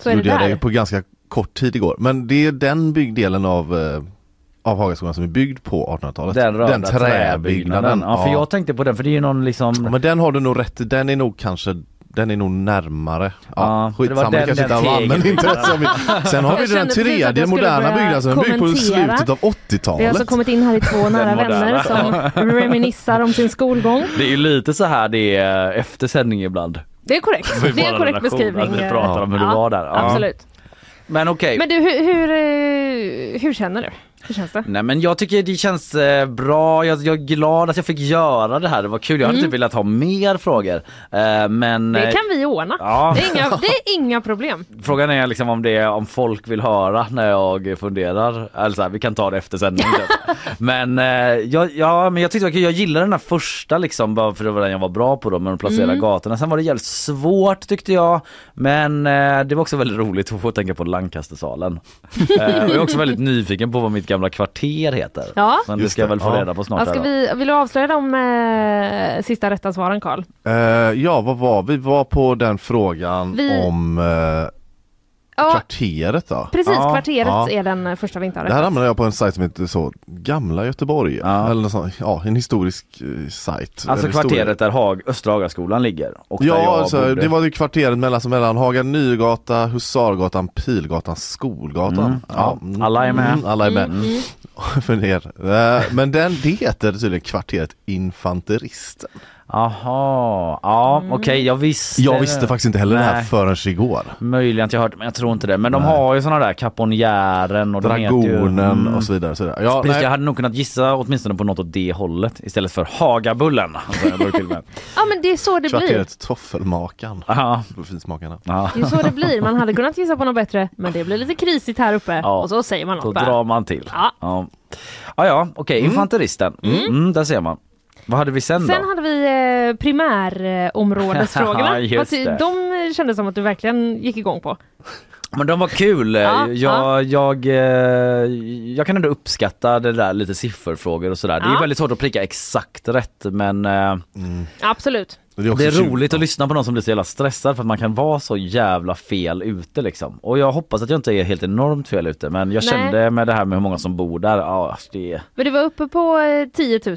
[SPEAKER 3] Så är det
[SPEAKER 10] gjorde jag
[SPEAKER 3] där.
[SPEAKER 10] det på ganska kort tid igår. Men det är den byggdelen av, eh, av Hagaskolan som är byggd på 1800-talet.
[SPEAKER 2] den röda
[SPEAKER 10] träbyggnaden.
[SPEAKER 2] Ja, för jag tänkte på den, för det är ju någon liksom...
[SPEAKER 10] Ja, men den har du nog rätt i. den är nog kanske den är nog närmare. Ja,
[SPEAKER 2] Ja, för det var
[SPEAKER 10] skitsamma, det
[SPEAKER 2] den-
[SPEAKER 10] kanske inte
[SPEAKER 2] den
[SPEAKER 10] alla använder intresset av. Sen har
[SPEAKER 3] Jag
[SPEAKER 10] vi
[SPEAKER 3] kände
[SPEAKER 10] den
[SPEAKER 3] precis att jag skulle
[SPEAKER 10] tredje moderna
[SPEAKER 3] börja
[SPEAKER 10] byggnaden som är byggd på
[SPEAKER 3] kommentera.
[SPEAKER 10] slutet av
[SPEAKER 3] Vi har alltså
[SPEAKER 10] 80-talet.
[SPEAKER 3] kommit in här i två nära vänner
[SPEAKER 2] moderna.
[SPEAKER 3] som reminissar om sin skolgång.
[SPEAKER 2] Det är ju lite så här det är eh, efter sändning ibland.
[SPEAKER 3] Det är korrekt.
[SPEAKER 2] För
[SPEAKER 3] Det är en
[SPEAKER 2] vår
[SPEAKER 3] korrekt
[SPEAKER 2] relation,
[SPEAKER 3] beskrivning. eh.
[SPEAKER 2] Att vi pratar om hur det var där. Ja.
[SPEAKER 3] Absolut.
[SPEAKER 2] Men okej.
[SPEAKER 3] Men du, hur, hur, eh, hur känner du? Hur känns det?
[SPEAKER 2] Nej men jag tycker det känns eh, bra, jag, jag är glad att jag fick göra det här, det var kul. Jag hade typ velat ha mer frågor. Eh, men
[SPEAKER 3] Mm. Det
[SPEAKER 2] eh,
[SPEAKER 3] kan vi ordna.
[SPEAKER 2] Ja.
[SPEAKER 3] Det, är inga, det är inga problem.
[SPEAKER 2] frågan är liksom om, det, om folk vill höra när jag funderar. Eller så här, vi kan ta det efter sändning. typ. men, eh, jag, ja, men jag tyckte det var kul, jag gillade den här första liksom bara för det var den jag var bra på då med att placera
[SPEAKER 3] Mm.
[SPEAKER 2] gatorna. Sen var det jävligt svårt tyckte jag. Men eh, det var också väldigt roligt att få tänka på Lancastersalen. eh, och jag är också väldigt nyfiken på vad mitt gamla kvarter heter.
[SPEAKER 3] Ja.
[SPEAKER 2] Men det
[SPEAKER 10] Just
[SPEAKER 2] ska jag
[SPEAKER 10] det,
[SPEAKER 2] väl få
[SPEAKER 10] ja.
[SPEAKER 2] reda på snart.
[SPEAKER 3] Vad ska
[SPEAKER 2] här då.
[SPEAKER 3] vi, vill du avslöja de eh, sista rätta svaren Karl?
[SPEAKER 10] Eh, ja, vad var vi? Vi var på den frågan
[SPEAKER 3] Vi-
[SPEAKER 10] om eh,
[SPEAKER 3] Ja,
[SPEAKER 10] kvarteret då.
[SPEAKER 3] precis.
[SPEAKER 2] Ja,
[SPEAKER 3] kvarteret
[SPEAKER 10] ja.
[SPEAKER 3] är den eh, första vi inte har
[SPEAKER 10] Det här
[SPEAKER 3] rätt.
[SPEAKER 10] hamnade jag på en sajt som heter så Gamla Göteborg.
[SPEAKER 2] Ja.
[SPEAKER 10] Eller något sånt, ja, en historisk eh, sajt.
[SPEAKER 2] Alltså
[SPEAKER 10] Eller historia.
[SPEAKER 2] kvarteret där Hag, Östra Hagaskolan ligger. Och där jag
[SPEAKER 10] Ja, alltså,
[SPEAKER 2] bodde.
[SPEAKER 10] det var ju kvarteret mellan, alltså, mellan Haga Nygata, Husargatan, Pilgatan, Skolgatan.
[SPEAKER 2] Mm. Ja, alla är med.
[SPEAKER 10] Mm, alla är med. För er. Eh, Men den, det heter tydligen kvarteret Infanteristen.
[SPEAKER 2] Jaha, ja
[SPEAKER 3] Mm.
[SPEAKER 2] okej jag visste
[SPEAKER 10] Jag visste faktiskt inte heller det här
[SPEAKER 2] Nej.
[SPEAKER 10] förrän igår.
[SPEAKER 2] Möjligen att jag hört men jag tror inte det. Men de har ju såna där kaponjären och de heter ju-
[SPEAKER 10] Dragonen
[SPEAKER 2] Mm.
[SPEAKER 10] och så vidare. och Så vidare. Ja,
[SPEAKER 2] Precis,
[SPEAKER 10] nej.
[SPEAKER 2] jag hade nog kunnat gissa åtminstone på något åt det hållet istället för Hagabullen. Alltså, jag drog till med.
[SPEAKER 3] Ja, men det är så det blir.
[SPEAKER 10] Kvarteret Toffelmakan.
[SPEAKER 2] Ja,
[SPEAKER 10] Finsmakarna.
[SPEAKER 2] ja.
[SPEAKER 3] Det är så det blir. Man hade kunnat gissa på något bättre, men det blir lite krisigt här uppe.
[SPEAKER 2] Ja.
[SPEAKER 3] Och så säger man något
[SPEAKER 2] Då
[SPEAKER 3] bara.
[SPEAKER 2] drar man till.
[SPEAKER 3] Ja.
[SPEAKER 2] Ja, ja, ja okej infanteristen. Mm. där ser man. Vad hade vi sen,
[SPEAKER 3] Sen
[SPEAKER 2] då?
[SPEAKER 3] hade vi eh, primärområdesfrågorna.
[SPEAKER 2] Just
[SPEAKER 3] Vad ty-
[SPEAKER 2] det.
[SPEAKER 3] de eh, kändes som att du verkligen gick igång på.
[SPEAKER 2] Men de var kul.
[SPEAKER 3] Ja,
[SPEAKER 2] jag,
[SPEAKER 3] ja.
[SPEAKER 2] Jag, eh, jag kan ändå uppskatta det där lite sifferfrågor och sådär. Det
[SPEAKER 3] Ja.
[SPEAKER 2] är väldigt svårt att pricka exakt rätt men eh,
[SPEAKER 3] Absolut.
[SPEAKER 10] Det är, också
[SPEAKER 2] det är
[SPEAKER 10] tjugo-
[SPEAKER 2] roligt att lyssna på någon som blir så jävla stressad för att man kan vara så jävla fel ute liksom. Och jag hoppas att jag inte är helt enormt fel ute men jag
[SPEAKER 3] Nej.
[SPEAKER 2] kände med det här med hur många som bor där, ja det
[SPEAKER 3] Men du var uppe på eh, 10 000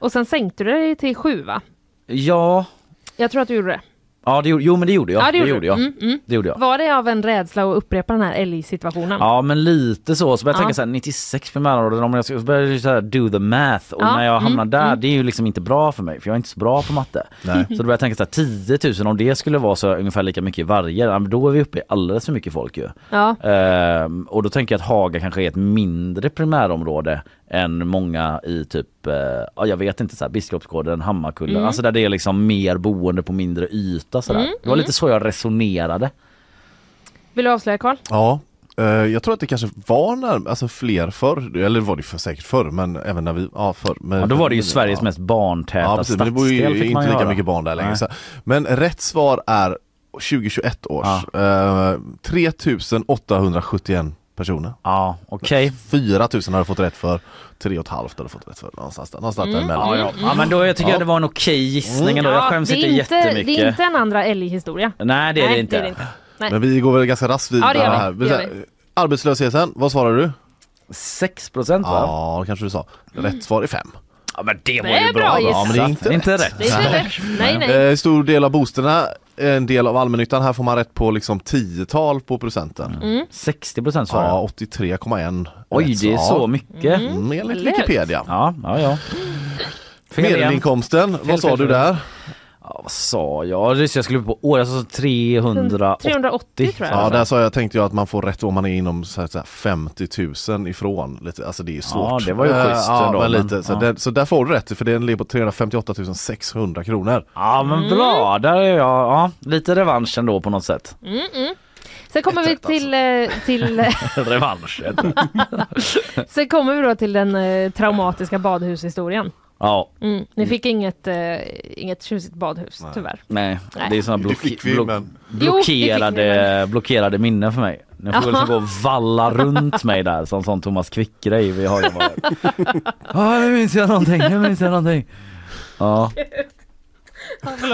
[SPEAKER 3] och sen sänkte du dig till 7 va?
[SPEAKER 2] Ja,
[SPEAKER 3] Jag tror att du gjorde det.
[SPEAKER 2] Ja, det, gjorde- jo men det gjorde jag.
[SPEAKER 3] Ja, det gjorde du.
[SPEAKER 2] jag.
[SPEAKER 3] Mm, mm.
[SPEAKER 2] Det gjorde jag.
[SPEAKER 3] Var det av en rädsla att upprepa den här älgsituationen?
[SPEAKER 2] Ja men lite så, så började jag tänka
[SPEAKER 3] Ja.
[SPEAKER 2] såhär 96 primärområden, om jag ska, så började jag såhär do the math och
[SPEAKER 3] Ja,
[SPEAKER 2] när jag
[SPEAKER 3] mm,
[SPEAKER 2] hamnar där det är ju liksom inte bra för mig för jag är inte så bra på matte.
[SPEAKER 10] Nej.
[SPEAKER 2] Så då började jag tänka såhär 10 000 om det skulle vara så ungefär lika mycket i varje, ja, men då är vi uppe i alldeles för mycket folk ju.
[SPEAKER 3] Ja.
[SPEAKER 2] Ehm, och då tänker jag att Haga kanske är ett mindre primärområde än många i typ, eh, ja jag vet inte, så här, Biskopsgården, Hammarkullen, alltså där det är liksom mer boende på mindre yta sådär.
[SPEAKER 3] Mm,
[SPEAKER 2] Det var lite så jag resonerade.
[SPEAKER 3] Vill du avslöja Karl?
[SPEAKER 10] Ja, eh, jag tror att det kanske var när, alltså fler förr, eller var det för, säkert förr men även när vi, ja förr. Men,
[SPEAKER 2] Ja, då var det ju
[SPEAKER 10] men-
[SPEAKER 2] Sveriges
[SPEAKER 10] ja.
[SPEAKER 2] mest barntäta
[SPEAKER 10] Ja precis, men det bor ju
[SPEAKER 2] stadsdel,
[SPEAKER 10] inte
[SPEAKER 2] fick man
[SPEAKER 10] lika
[SPEAKER 2] göra.
[SPEAKER 10] mycket barn där längre.
[SPEAKER 2] Nej.
[SPEAKER 10] Så. Men rätt svar är 2021 års, eh, 3871 personer.
[SPEAKER 2] Ja, okej.
[SPEAKER 10] 4000 har jag fått rätt för, 3,5 har jag fått rätt för, någonstans där, någonstans
[SPEAKER 3] Mm.
[SPEAKER 10] där mellan.
[SPEAKER 2] Ja, ja. ja men då jag tycker
[SPEAKER 10] Ja.
[SPEAKER 2] jag det var en okej gissning ändå. Jag skäms
[SPEAKER 3] det, är
[SPEAKER 2] inte
[SPEAKER 3] inte,
[SPEAKER 2] jättemycket.
[SPEAKER 3] det är inte en andra älghistoria.
[SPEAKER 2] Nej det är det
[SPEAKER 3] Nej,
[SPEAKER 2] inte.
[SPEAKER 10] Men vi går väl ganska raskt vidare
[SPEAKER 3] Ja, det gör vi.
[SPEAKER 10] här.
[SPEAKER 3] Det gör vi.
[SPEAKER 10] Så här, Arbetslösheten, vad svarar du?
[SPEAKER 2] 6 procent va? Ja.
[SPEAKER 10] Ja, det kanske du sa.
[SPEAKER 3] Mm.
[SPEAKER 10] Rätt svar är 5.
[SPEAKER 2] men det var
[SPEAKER 3] Det är
[SPEAKER 2] ju bra.
[SPEAKER 3] bra gissat.
[SPEAKER 10] Ja, men det är inte
[SPEAKER 2] rätt.
[SPEAKER 3] Det är inte lätt. Nej, nej.
[SPEAKER 10] Eh, stor del av bostäderna, en del av allmännyttan. Här får man rätt på liksom tiotal på procenten. Mm.
[SPEAKER 3] Mm.
[SPEAKER 2] 60 procent svarar jag.
[SPEAKER 10] Ja, 83,1.
[SPEAKER 2] Oj
[SPEAKER 10] rätt
[SPEAKER 2] det är
[SPEAKER 10] svar.
[SPEAKER 2] så mycket.
[SPEAKER 10] Mm, enligt
[SPEAKER 3] Lätt.
[SPEAKER 10] Wikipedia.
[SPEAKER 2] Ja, ja, ja. Fel igen.
[SPEAKER 10] Medelinkomsten, vad sa
[SPEAKER 2] fel,
[SPEAKER 10] du
[SPEAKER 2] fel.
[SPEAKER 10] där?
[SPEAKER 2] Ja, vad sa jag? Just det, Jag skulle upp på alltså år, jag sa 380.
[SPEAKER 3] 380 tror jag.
[SPEAKER 10] Ja, där sa jag, tänkte jag att man får rätt om man är inom så här, så här 50 000 ifrån. Lite, alltså det är svårt.
[SPEAKER 2] Ja, det var ju
[SPEAKER 10] Eh,
[SPEAKER 2] schysst
[SPEAKER 10] ja,
[SPEAKER 2] ändå,
[SPEAKER 10] men
[SPEAKER 2] men-
[SPEAKER 10] lite. Så,
[SPEAKER 2] ja.
[SPEAKER 10] där, så där får du rätt, för den ligger på 358 600 kronor.
[SPEAKER 2] Ja
[SPEAKER 3] Mm.
[SPEAKER 2] men bra, där är jag. Ja, lite revansch ändå på något sätt.
[SPEAKER 3] Sen kommer vi
[SPEAKER 10] Ett rätt,
[SPEAKER 3] till, eh, till,
[SPEAKER 2] revansch heter det.
[SPEAKER 3] sen kommer vi då till den eh, traumatiska badhushistorien.
[SPEAKER 2] Ja,
[SPEAKER 3] Mm. Ni fick inget, eh, inget tjusigt badhus tyvärr.
[SPEAKER 2] nej. Det är sådana
[SPEAKER 10] Det fick vi,
[SPEAKER 2] block-
[SPEAKER 10] men-
[SPEAKER 3] Jo, det fick
[SPEAKER 2] blockerade, blockerade minnen för mig. Nu får jag liksom gå och valla runt mig där som sån Thomas Quick-grej vi har ju varit. Ja, nu minns jag någonting, nu minns jag någonting. Ja.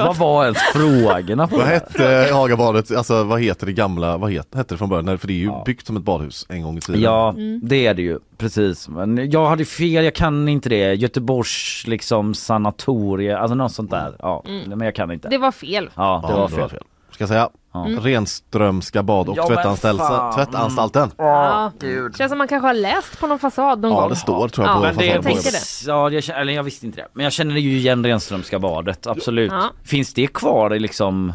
[SPEAKER 2] Vad var ens frågorna på
[SPEAKER 10] Vad
[SPEAKER 2] det?
[SPEAKER 10] hette Hagabadet, alltså vad heter det gamla, vad het- hette det från början? Nej, För det är ju
[SPEAKER 2] Ja.
[SPEAKER 10] byggt som ett badhus en gång i tiden.
[SPEAKER 2] Ja,
[SPEAKER 3] Mm.
[SPEAKER 2] det är det ju. Precis. Men jag hade fel, jag kan inte det. Göteborgs liksom sanatorie, alltså något sånt där. Ja, men jag kan inte.
[SPEAKER 3] Mm. Det var fel.
[SPEAKER 2] Ja,
[SPEAKER 10] Ja,
[SPEAKER 2] det var fel.
[SPEAKER 10] Ska jag säga? Mm. Renströmska bad och
[SPEAKER 2] Ja, men
[SPEAKER 10] tvättanstalten.
[SPEAKER 2] fan. Mm.
[SPEAKER 10] tvättanstalten.
[SPEAKER 3] Ja. Känns som man kanske har läst på någon fasad någon
[SPEAKER 10] Ja
[SPEAKER 3] gång.
[SPEAKER 10] det står tror jag
[SPEAKER 3] Ja,
[SPEAKER 10] på
[SPEAKER 3] men
[SPEAKER 2] Men det,
[SPEAKER 3] Jag
[SPEAKER 10] fasaden.
[SPEAKER 3] tänkte det.
[SPEAKER 2] Ja, jag, känner- eller jag visste inte det. Men jag känner ju igen Renströmska badet, absolut.
[SPEAKER 3] Ja.
[SPEAKER 2] Finns det kvar i liksom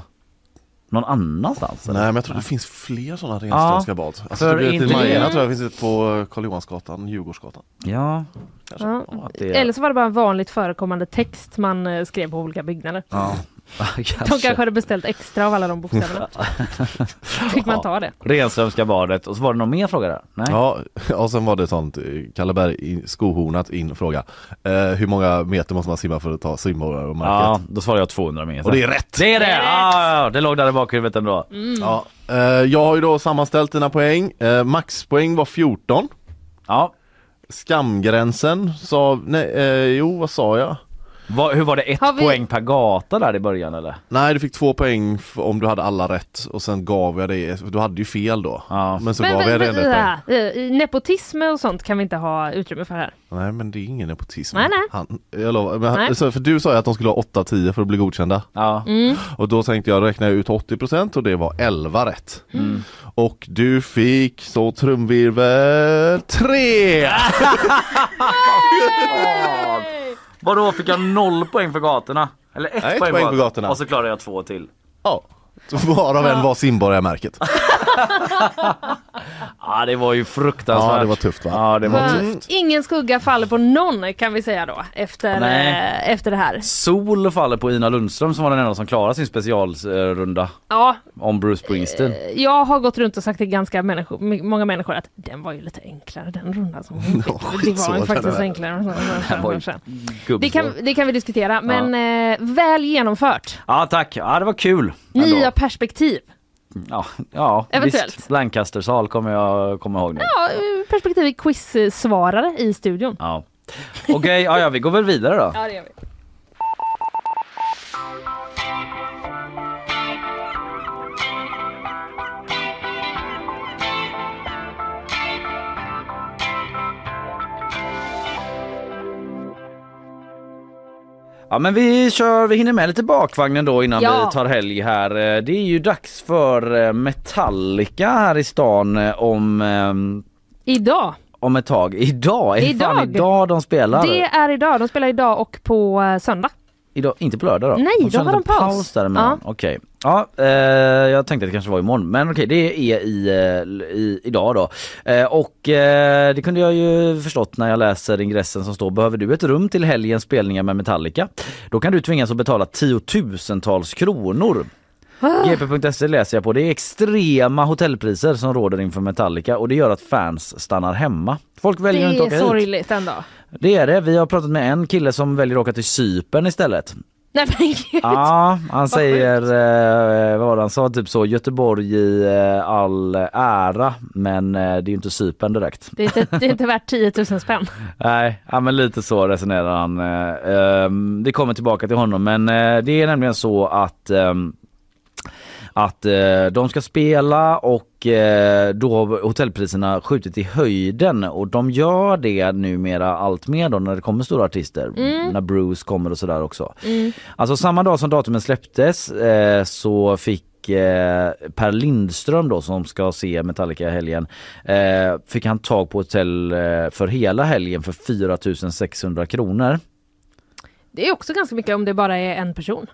[SPEAKER 2] någon annanstans?
[SPEAKER 10] Nej
[SPEAKER 2] Eller?
[SPEAKER 10] men jag tror det finns fler sådana Renströmska bad. Alltså,
[SPEAKER 2] För
[SPEAKER 10] det blir ett
[SPEAKER 2] inte-
[SPEAKER 10] i Majorna tror jag finns ett på Karl Johansgatan, Djurgårdsgatan.
[SPEAKER 2] Ja,
[SPEAKER 3] Ja.
[SPEAKER 2] ja, det...
[SPEAKER 3] Eller så var det bara en vanligt förekommande text man eh, skrev på olika byggnader.
[SPEAKER 2] Ja.
[SPEAKER 3] De kanske
[SPEAKER 2] kanske.
[SPEAKER 3] hade beställt extra av alla de bokstäverna. Fick man ta det?
[SPEAKER 2] Renströmska badet och så var det någon mer fråga där? Nej?
[SPEAKER 10] Ja och sen var det ett sånt eh, Kalleberg i- skohornat in fråga. Eh, hur många meter måste man simma för att ta simborgarmärket?
[SPEAKER 2] Ja, då svarade jag 200 meter.
[SPEAKER 10] Och det är rätt!
[SPEAKER 2] Det är det!
[SPEAKER 3] Det är rätt.
[SPEAKER 2] Ja, ja, ja, det låg där i bakhuvudet ändå.
[SPEAKER 10] Ja. Eh, jag har ju då sammanställt dina poäng. Eh, maxpoäng var 14.
[SPEAKER 2] Ja.
[SPEAKER 10] Skamgränsen sa, nej, eh, jo vad sa jag?
[SPEAKER 2] Vad- hur var det ett
[SPEAKER 3] Har vi-
[SPEAKER 2] poäng per gata där i början eller?
[SPEAKER 10] Nej du fick två poäng f- om du hade alla rätt och sen gav jag dig, du hade ju fel då.
[SPEAKER 2] Ja.
[SPEAKER 10] Men så
[SPEAKER 3] Men,
[SPEAKER 10] gav
[SPEAKER 3] men,
[SPEAKER 10] jag dig
[SPEAKER 3] men
[SPEAKER 10] en rätt poäng.
[SPEAKER 3] äh, eh, nepotism och sånt kan vi inte ha utrymme för här.
[SPEAKER 10] Nej men det är ingen nepotism.
[SPEAKER 3] Nej, nej.
[SPEAKER 10] Han, jag lovar, men han,
[SPEAKER 3] Nej.
[SPEAKER 10] så, för du sa ju att de skulle ha 8-10 för att bli godkända.
[SPEAKER 2] Ja.
[SPEAKER 3] Mm.
[SPEAKER 10] Och då tänkte jag räkna ut 80% och det var 11 rätt. Och du fick så trumvirvel 3!
[SPEAKER 2] Vadå fick jag noll poäng för gatorna? Eller ett,
[SPEAKER 10] Nej, ett
[SPEAKER 2] poäng,
[SPEAKER 10] poäng
[SPEAKER 2] bara.
[SPEAKER 10] för gatorna.
[SPEAKER 2] Och så klarade jag två till.
[SPEAKER 10] Ja. Så Varav en var simborgarmärket.
[SPEAKER 2] Ja det var ju fruktansvärt.
[SPEAKER 10] Ja, det var tufft, va?
[SPEAKER 2] Ja det var
[SPEAKER 3] För
[SPEAKER 2] tufft.
[SPEAKER 3] Ingen skugga faller på någon kan vi säga då efter,
[SPEAKER 2] Nej.
[SPEAKER 3] eh, efter det här.
[SPEAKER 2] Sol faller på Ina Lundström som var den enda som klarade sin specialrunda
[SPEAKER 3] Ja,
[SPEAKER 2] om Bruce
[SPEAKER 3] Eh,
[SPEAKER 2] Springsteen.
[SPEAKER 3] jag har gått runt och sagt till ganska människor, my- många människor att den var ju lite enklare den rundan som hon
[SPEAKER 10] Ja,
[SPEAKER 3] fick. Det var
[SPEAKER 10] skitsvår,
[SPEAKER 3] ju
[SPEAKER 10] den
[SPEAKER 3] faktiskt
[SPEAKER 10] där.
[SPEAKER 3] enklare.
[SPEAKER 2] Den var ju
[SPEAKER 3] Det kan,
[SPEAKER 2] gubbsvår.
[SPEAKER 3] det kan vi diskutera men eh, väl genomfört.
[SPEAKER 2] Ja tack, ja det var kul. ändå.
[SPEAKER 3] Nya perspektiv.
[SPEAKER 2] Ja, ja
[SPEAKER 3] Eventuellt.
[SPEAKER 2] visst. Lancastersal kommer jag komma ihåg nu.
[SPEAKER 3] Ja, eh, perspektiv i quizsvarare i studion.
[SPEAKER 2] Ja. Okej, ja, ja vi går väl vidare då.
[SPEAKER 3] Ja, det gör vi.
[SPEAKER 2] Ja Ja men vi kör, vi hinner med lite bakvagnen då innan
[SPEAKER 3] Ja.
[SPEAKER 2] vi tar helg här. Eh, Det är ju dags för eh, Metallica här i stan eh, om, ehm,
[SPEAKER 3] Idag!
[SPEAKER 2] om ett tag. Idag! Är det Fan,
[SPEAKER 3] Idag.
[SPEAKER 2] idag de spelar.
[SPEAKER 3] Det är idag. De spelar idag och på eh, söndag.
[SPEAKER 2] Idag, inte på lördag då?
[SPEAKER 3] Nej, då
[SPEAKER 2] kör en
[SPEAKER 3] har de
[SPEAKER 2] liten
[SPEAKER 3] paus.
[SPEAKER 2] däremellan. Okej. Ja, eh, jag tänkte att det kanske var imorgon men okej det är i, eh, i, idag då. Eh, och eh, det kunde jag ju förstått när jag läser ingressen som står Behöver du ett rum till helgens spelningar med Metallica? Då kan du tvingas att betala tiotusentals kronor.
[SPEAKER 3] Ah.
[SPEAKER 2] GP.se E läser jag på. Det är extrema hotellpriser som råder inför Metallica och det gör att fans stannar hemma. Folk väljer att inte
[SPEAKER 3] det är
[SPEAKER 2] åka hit.
[SPEAKER 3] sorgligt ändå.
[SPEAKER 2] Det är det. Vi har pratat med en kille som väljer att åka till Cypern istället.
[SPEAKER 3] Nej men gud.
[SPEAKER 2] Ja, han säger, eh, vad var det han sa, typ så Göteborg i eh, all ära men eh, det är ju inte Cypern direkt.
[SPEAKER 3] Det, är inte, det är inte värt 10 000 spänn.
[SPEAKER 2] Nej, ja, men lite så resonerar han. Eh, ehm, Vi kommer tillbaka till honom men eh, det är nämligen så att ehm, att eh, de ska spela och eh, då har hotellpriserna skjutit i höjden och de gör det numera allt mer då när det kommer stora artister. När Bruce kommer och sådär också. Alltså samma dag som datumen släpptes eh, så fick eh, Per Lindström då som ska se Metallica i helgen eh, fick han tag på hotell eh, för hela helgen för 4 600 kronor.
[SPEAKER 3] Det är också ganska mycket om det bara är en person.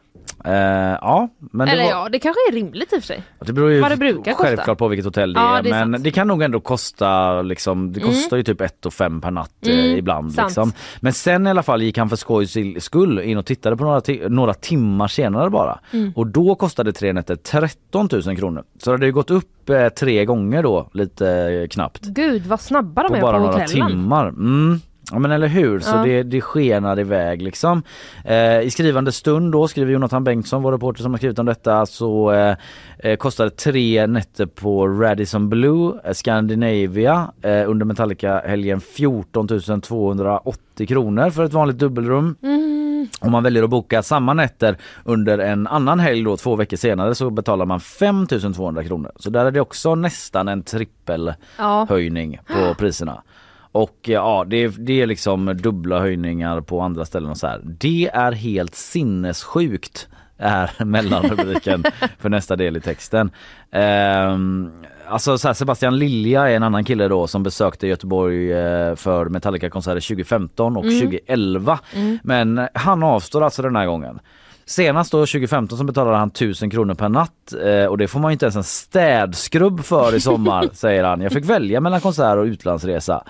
[SPEAKER 2] Eh, ja, men det
[SPEAKER 3] Eller
[SPEAKER 2] var-
[SPEAKER 3] ja, det kanske är rimligt i och för sig.
[SPEAKER 2] Det beror ju
[SPEAKER 3] Vad det brukar kosta.
[SPEAKER 2] självklart på vilket hotell det
[SPEAKER 3] Ja,
[SPEAKER 2] är
[SPEAKER 3] det är
[SPEAKER 2] men
[SPEAKER 3] sant.
[SPEAKER 2] det kan nog ändå kosta liksom, det kostar ju typ ett och fem per natt eh,
[SPEAKER 3] Mm,
[SPEAKER 2] ibland.
[SPEAKER 3] sant.
[SPEAKER 2] Liksom. Men sen i alla fall gick han för skojs skull in och tittade på några, ti- några timmar senare bara
[SPEAKER 3] Mm.
[SPEAKER 2] och då kostade tre nätter 13 000 kronor. Så det hade ju gått upp eh, tre gånger då lite eh, knappt
[SPEAKER 3] Gud vad snabba de
[SPEAKER 2] på
[SPEAKER 3] är
[SPEAKER 2] bara
[SPEAKER 3] på
[SPEAKER 2] några
[SPEAKER 3] hotellen.
[SPEAKER 2] timmar. Mm. Ja men eller hur, så
[SPEAKER 3] Ja.
[SPEAKER 2] det, det skenar iväg liksom. Eh, I skrivande stund då skriver Jonathan Bengtsson, vår reporter som har skrivit om detta, så eh, eh, kostade tre nätter på Radisson Blue, eh, Scandinavia eh, under Metallica-helgen 14 280 kronor för ett vanligt dubbelrum.
[SPEAKER 3] Mm.
[SPEAKER 2] Om man väljer att boka samma nätter under en annan helg då två veckor senare så betalar man 5 200 kronor. Så där är det också nästan en trippel
[SPEAKER 3] Ja.
[SPEAKER 2] höjning på priserna. Och eh, ja, det, det är liksom dubbla höjningar på andra ställen och så här. Det är helt sinnessjukt är mellanrubriken för nästa del i texten. Ehm, alltså så här, Sebastian Lilja är en annan kille då som besökte Göteborg eh, för Metallica-konserter 2015 och 2011. Men han avstår alltså den här gången. Senast då 2015 så betalade han 1000 kronor per natt eh, och det får man ju inte ens en städskrubb för i sommar säger han. Jag fick välja mellan konsert och utlandsresa.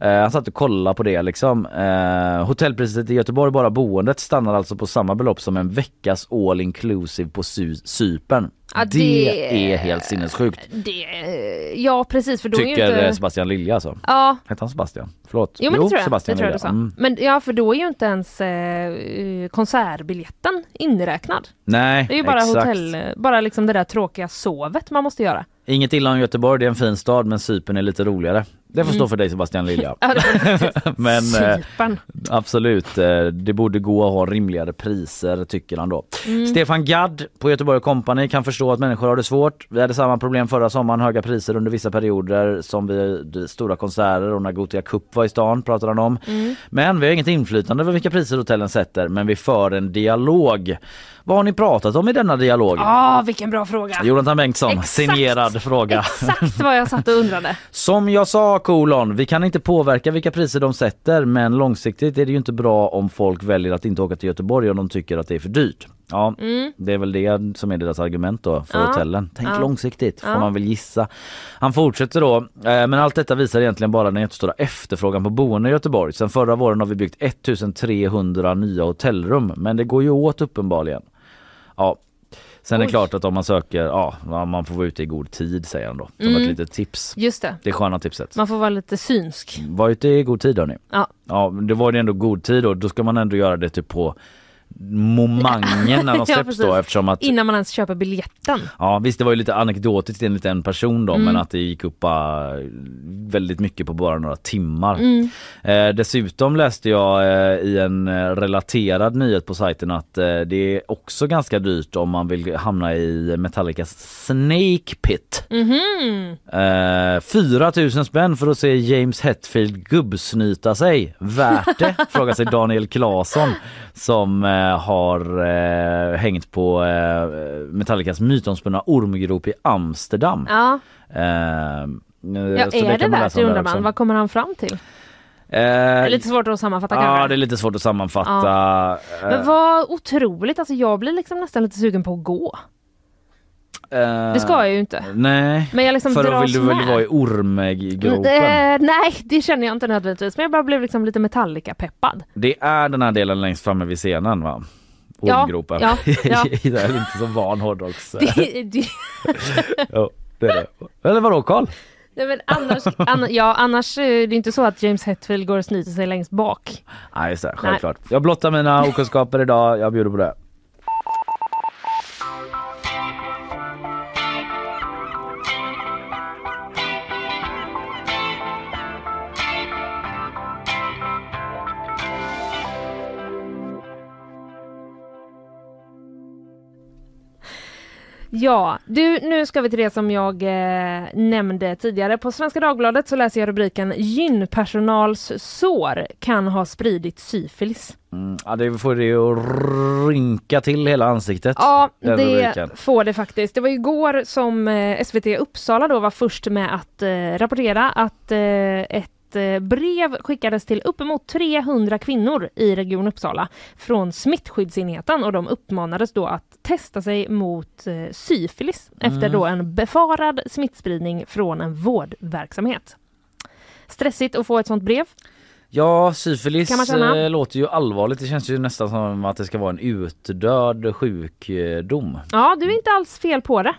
[SPEAKER 2] Eh, han satt och kollade på det liksom. Eh, hotellpriset i Göteborg, bara boendet, stannar alltså på samma belopp som en veckas all inclusive på Sy- Cypern.
[SPEAKER 3] Ja,
[SPEAKER 2] det...
[SPEAKER 3] det-
[SPEAKER 2] är helt sinnessjukt
[SPEAKER 3] Det, ja precis för då är
[SPEAKER 2] tycker
[SPEAKER 3] ju
[SPEAKER 2] eh,
[SPEAKER 3] inte...
[SPEAKER 2] Sebastian Lilja alltså.
[SPEAKER 3] Ja,
[SPEAKER 2] Hette han Sebastian? Förlåt.
[SPEAKER 3] jo men det tror jag.
[SPEAKER 2] Sebastian
[SPEAKER 3] det tror jag
[SPEAKER 2] Lilja.
[SPEAKER 3] du sa.
[SPEAKER 2] Mm.
[SPEAKER 3] Men ja för då är ju inte ens eh, eh, konsertbiljetten inräknad.
[SPEAKER 2] Nej,
[SPEAKER 3] Det är ju bara
[SPEAKER 2] exakt.
[SPEAKER 3] hotell, bara liksom det där tråkiga sovet man måste göra.
[SPEAKER 2] Inget illa om Göteborg, det är en fin stad men Cypern är lite roligare. Det får stå för dig Sebastian Lilja.
[SPEAKER 3] Ja, det var
[SPEAKER 2] men eh,
[SPEAKER 3] Cypern.
[SPEAKER 2] absolut, eh, det borde gå att ha rimligare priser tycker han då. Stefan Gadd på Göteborg Company kan förstå att människor har det svårt. Vi hade samma problem förra sommaren, höga priser under vissa perioder som vid stora konserter och när Gothia Cup var i stan pratade han om. Men vi har inget inflytande över vilka priser hotellen sätter men vi för en dialog. Vad har ni pratat om i denna dialog?
[SPEAKER 3] Ah, vilken bra fråga!
[SPEAKER 2] Jonathan Bengtsson,
[SPEAKER 3] Exakt.
[SPEAKER 2] signerad fråga.
[SPEAKER 3] Exakt vad jag satt och undrade.
[SPEAKER 2] Som jag sa kolon, vi kan inte påverka vilka priser de sätter men långsiktigt är det ju inte bra om folk väljer att inte åka till Göteborg om de tycker att det är för dyrt. Ja, det är väl det som är deras argument då för
[SPEAKER 3] Mm. Ja.
[SPEAKER 2] hotellen. Tänk
[SPEAKER 3] Ja.
[SPEAKER 2] långsiktigt får
[SPEAKER 3] Ja.
[SPEAKER 2] man väl gissa. Han fortsätter då, eh, men allt detta visar egentligen bara den jättestora efterfrågan på boende i Göteborg. Sen förra våren har vi byggt 1300 nya hotellrum men det går ju åt uppenbarligen. Ja, sen är det
[SPEAKER 3] Oj.
[SPEAKER 2] klart att om man söker, ja man får vara ute i god tid säger han då. Som ett
[SPEAKER 3] Mm.
[SPEAKER 2] litet tips.
[SPEAKER 3] Just det,
[SPEAKER 2] Det sköna tipset.
[SPEAKER 3] man får vara lite synsk.
[SPEAKER 2] Var ute i god tid hörni.
[SPEAKER 3] Ja.
[SPEAKER 2] Ja, men det var det ändå god tid då. Då ska man ändå göra det typ på momangen när de
[SPEAKER 3] Ja,
[SPEAKER 2] släpps
[SPEAKER 3] precis.
[SPEAKER 2] då eftersom att
[SPEAKER 3] Innan man ens köper biljetten.
[SPEAKER 2] Ja visst det var ju lite anekdotiskt enligt en person då
[SPEAKER 3] Mm.
[SPEAKER 2] men att det gick upp äh, väldigt mycket på bara några timmar.
[SPEAKER 3] Mm.
[SPEAKER 2] Eh, dessutom läste jag eh, i en eh, relaterad nyhet på sajten att eh, det är också ganska dyrt om man vill hamna i Metallicas Snake Pit. Eh, 4 000 spänn för att se James Hetfield gubbsnyta sig. Värt det? Frågar sig Daniel Claesson som eh, eh, har eh, hängt på eh, Metallicas mytomspunna ormgrop i Amsterdam.
[SPEAKER 3] Ja,
[SPEAKER 2] Eh,
[SPEAKER 3] ja är det värt det undrar man. Vad kommer han fram till? Det är
[SPEAKER 2] Eh,
[SPEAKER 3] lite svårt att sammanfatta
[SPEAKER 2] Ja,
[SPEAKER 3] kanske.
[SPEAKER 2] det är lite svårt att sammanfatta. Eh,
[SPEAKER 3] Men vad otroligt, alltså jag blir liksom nästan lite sugen på att gå.
[SPEAKER 2] eh,
[SPEAKER 3] Det ska jag ju inte.
[SPEAKER 2] Nej.
[SPEAKER 3] Men jag liksom
[SPEAKER 2] För då
[SPEAKER 3] dras
[SPEAKER 2] vill du väl
[SPEAKER 3] med.
[SPEAKER 2] vara i ormgropen?
[SPEAKER 3] Eh, nej, det känner jag inte nödvändigtvis. Men jag bara blev liksom lite Metallica-peppad.
[SPEAKER 2] Det är den här delen längst framme vid scenen va?
[SPEAKER 3] Ja,
[SPEAKER 2] Ormgropen.
[SPEAKER 3] ja, ja.
[SPEAKER 2] jag är inte så van hårdrocks...
[SPEAKER 3] Det, det,
[SPEAKER 2] Ja, det är det. Eller vadå Karl?
[SPEAKER 3] nej, men annars, anna, ja, annars eh, det är det inte så att James Hetfield går och snyter sig längst bak.
[SPEAKER 2] Nej just det, självklart. Jag blottar mina okunskaper idag, jag bjuder på det.
[SPEAKER 3] Ja, du, nu ska vi till det som jag eh, nämnde tidigare. På Svenska Dagbladet så läser jag rubriken Gynpersonals sår kan ha spridit syfilis.
[SPEAKER 2] Mm, ja, det får det ju att rynka till hela ansiktet.
[SPEAKER 3] Ja,
[SPEAKER 2] den
[SPEAKER 3] det
[SPEAKER 2] rubriken.
[SPEAKER 3] får det faktiskt. Det var igår som eh, SVT Uppsala då var först med att eh, rapportera att eh, ett eh, brev skickades till uppemot 300 kvinnor i Region Uppsala från smittskyddsenheten och de uppmanades då att testa sig mot eh, syfilis efter då en befarad smittspridning från en vårdverksamhet. Stressigt att få ett sånt brev.
[SPEAKER 2] Ja, syfilis
[SPEAKER 3] Kan man känna?
[SPEAKER 2] eh, låter ju allvarligt. Det känns ju nästan som att det ska vara en utdöd sjukdom.
[SPEAKER 3] Ja, du är inte alls fel på det.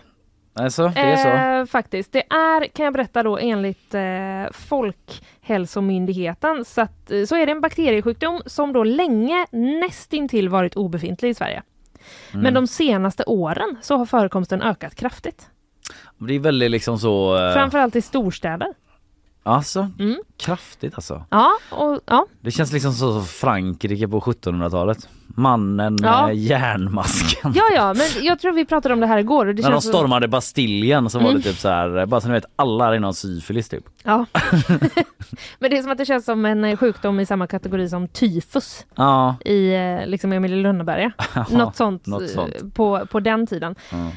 [SPEAKER 2] Alltså, det är så.
[SPEAKER 3] Eh, faktiskt. Det är, kan jag berätta då, enligt eh, Folkhälsomyndigheten så, att, eh, så är det en bakteriesjukdom som då länge nästintill varit obefintlig i Sverige.
[SPEAKER 2] Mm.
[SPEAKER 3] Men de senaste åren så har förekomsten ökat kraftigt.
[SPEAKER 2] Det är väldigt liksom så... eh,
[SPEAKER 3] Framförallt i storstäder.
[SPEAKER 2] Alltså,
[SPEAKER 3] Mm.
[SPEAKER 2] kraftigt alltså.
[SPEAKER 3] Ja, och, ja.
[SPEAKER 2] Det känns liksom som Frankrike på 1700-talet. Mannen
[SPEAKER 3] Ja.
[SPEAKER 2] med järnmasken.
[SPEAKER 3] ja, ja, men jag tror vi pratade om det här igår. Och det
[SPEAKER 2] När de
[SPEAKER 3] känns Mm. som-
[SPEAKER 2] stormade Bastiljen så var det typ så här, bara så ni vet alla hade någon syfilis typ.
[SPEAKER 3] Ja. men det är som att det känns som en eh, sjukdom i samma kategori som tyfus.
[SPEAKER 2] Ja,
[SPEAKER 3] i eh, liksom Emil i Lönneberga. något sånt,
[SPEAKER 2] något
[SPEAKER 3] eh,
[SPEAKER 2] sånt.
[SPEAKER 3] På, på den tiden.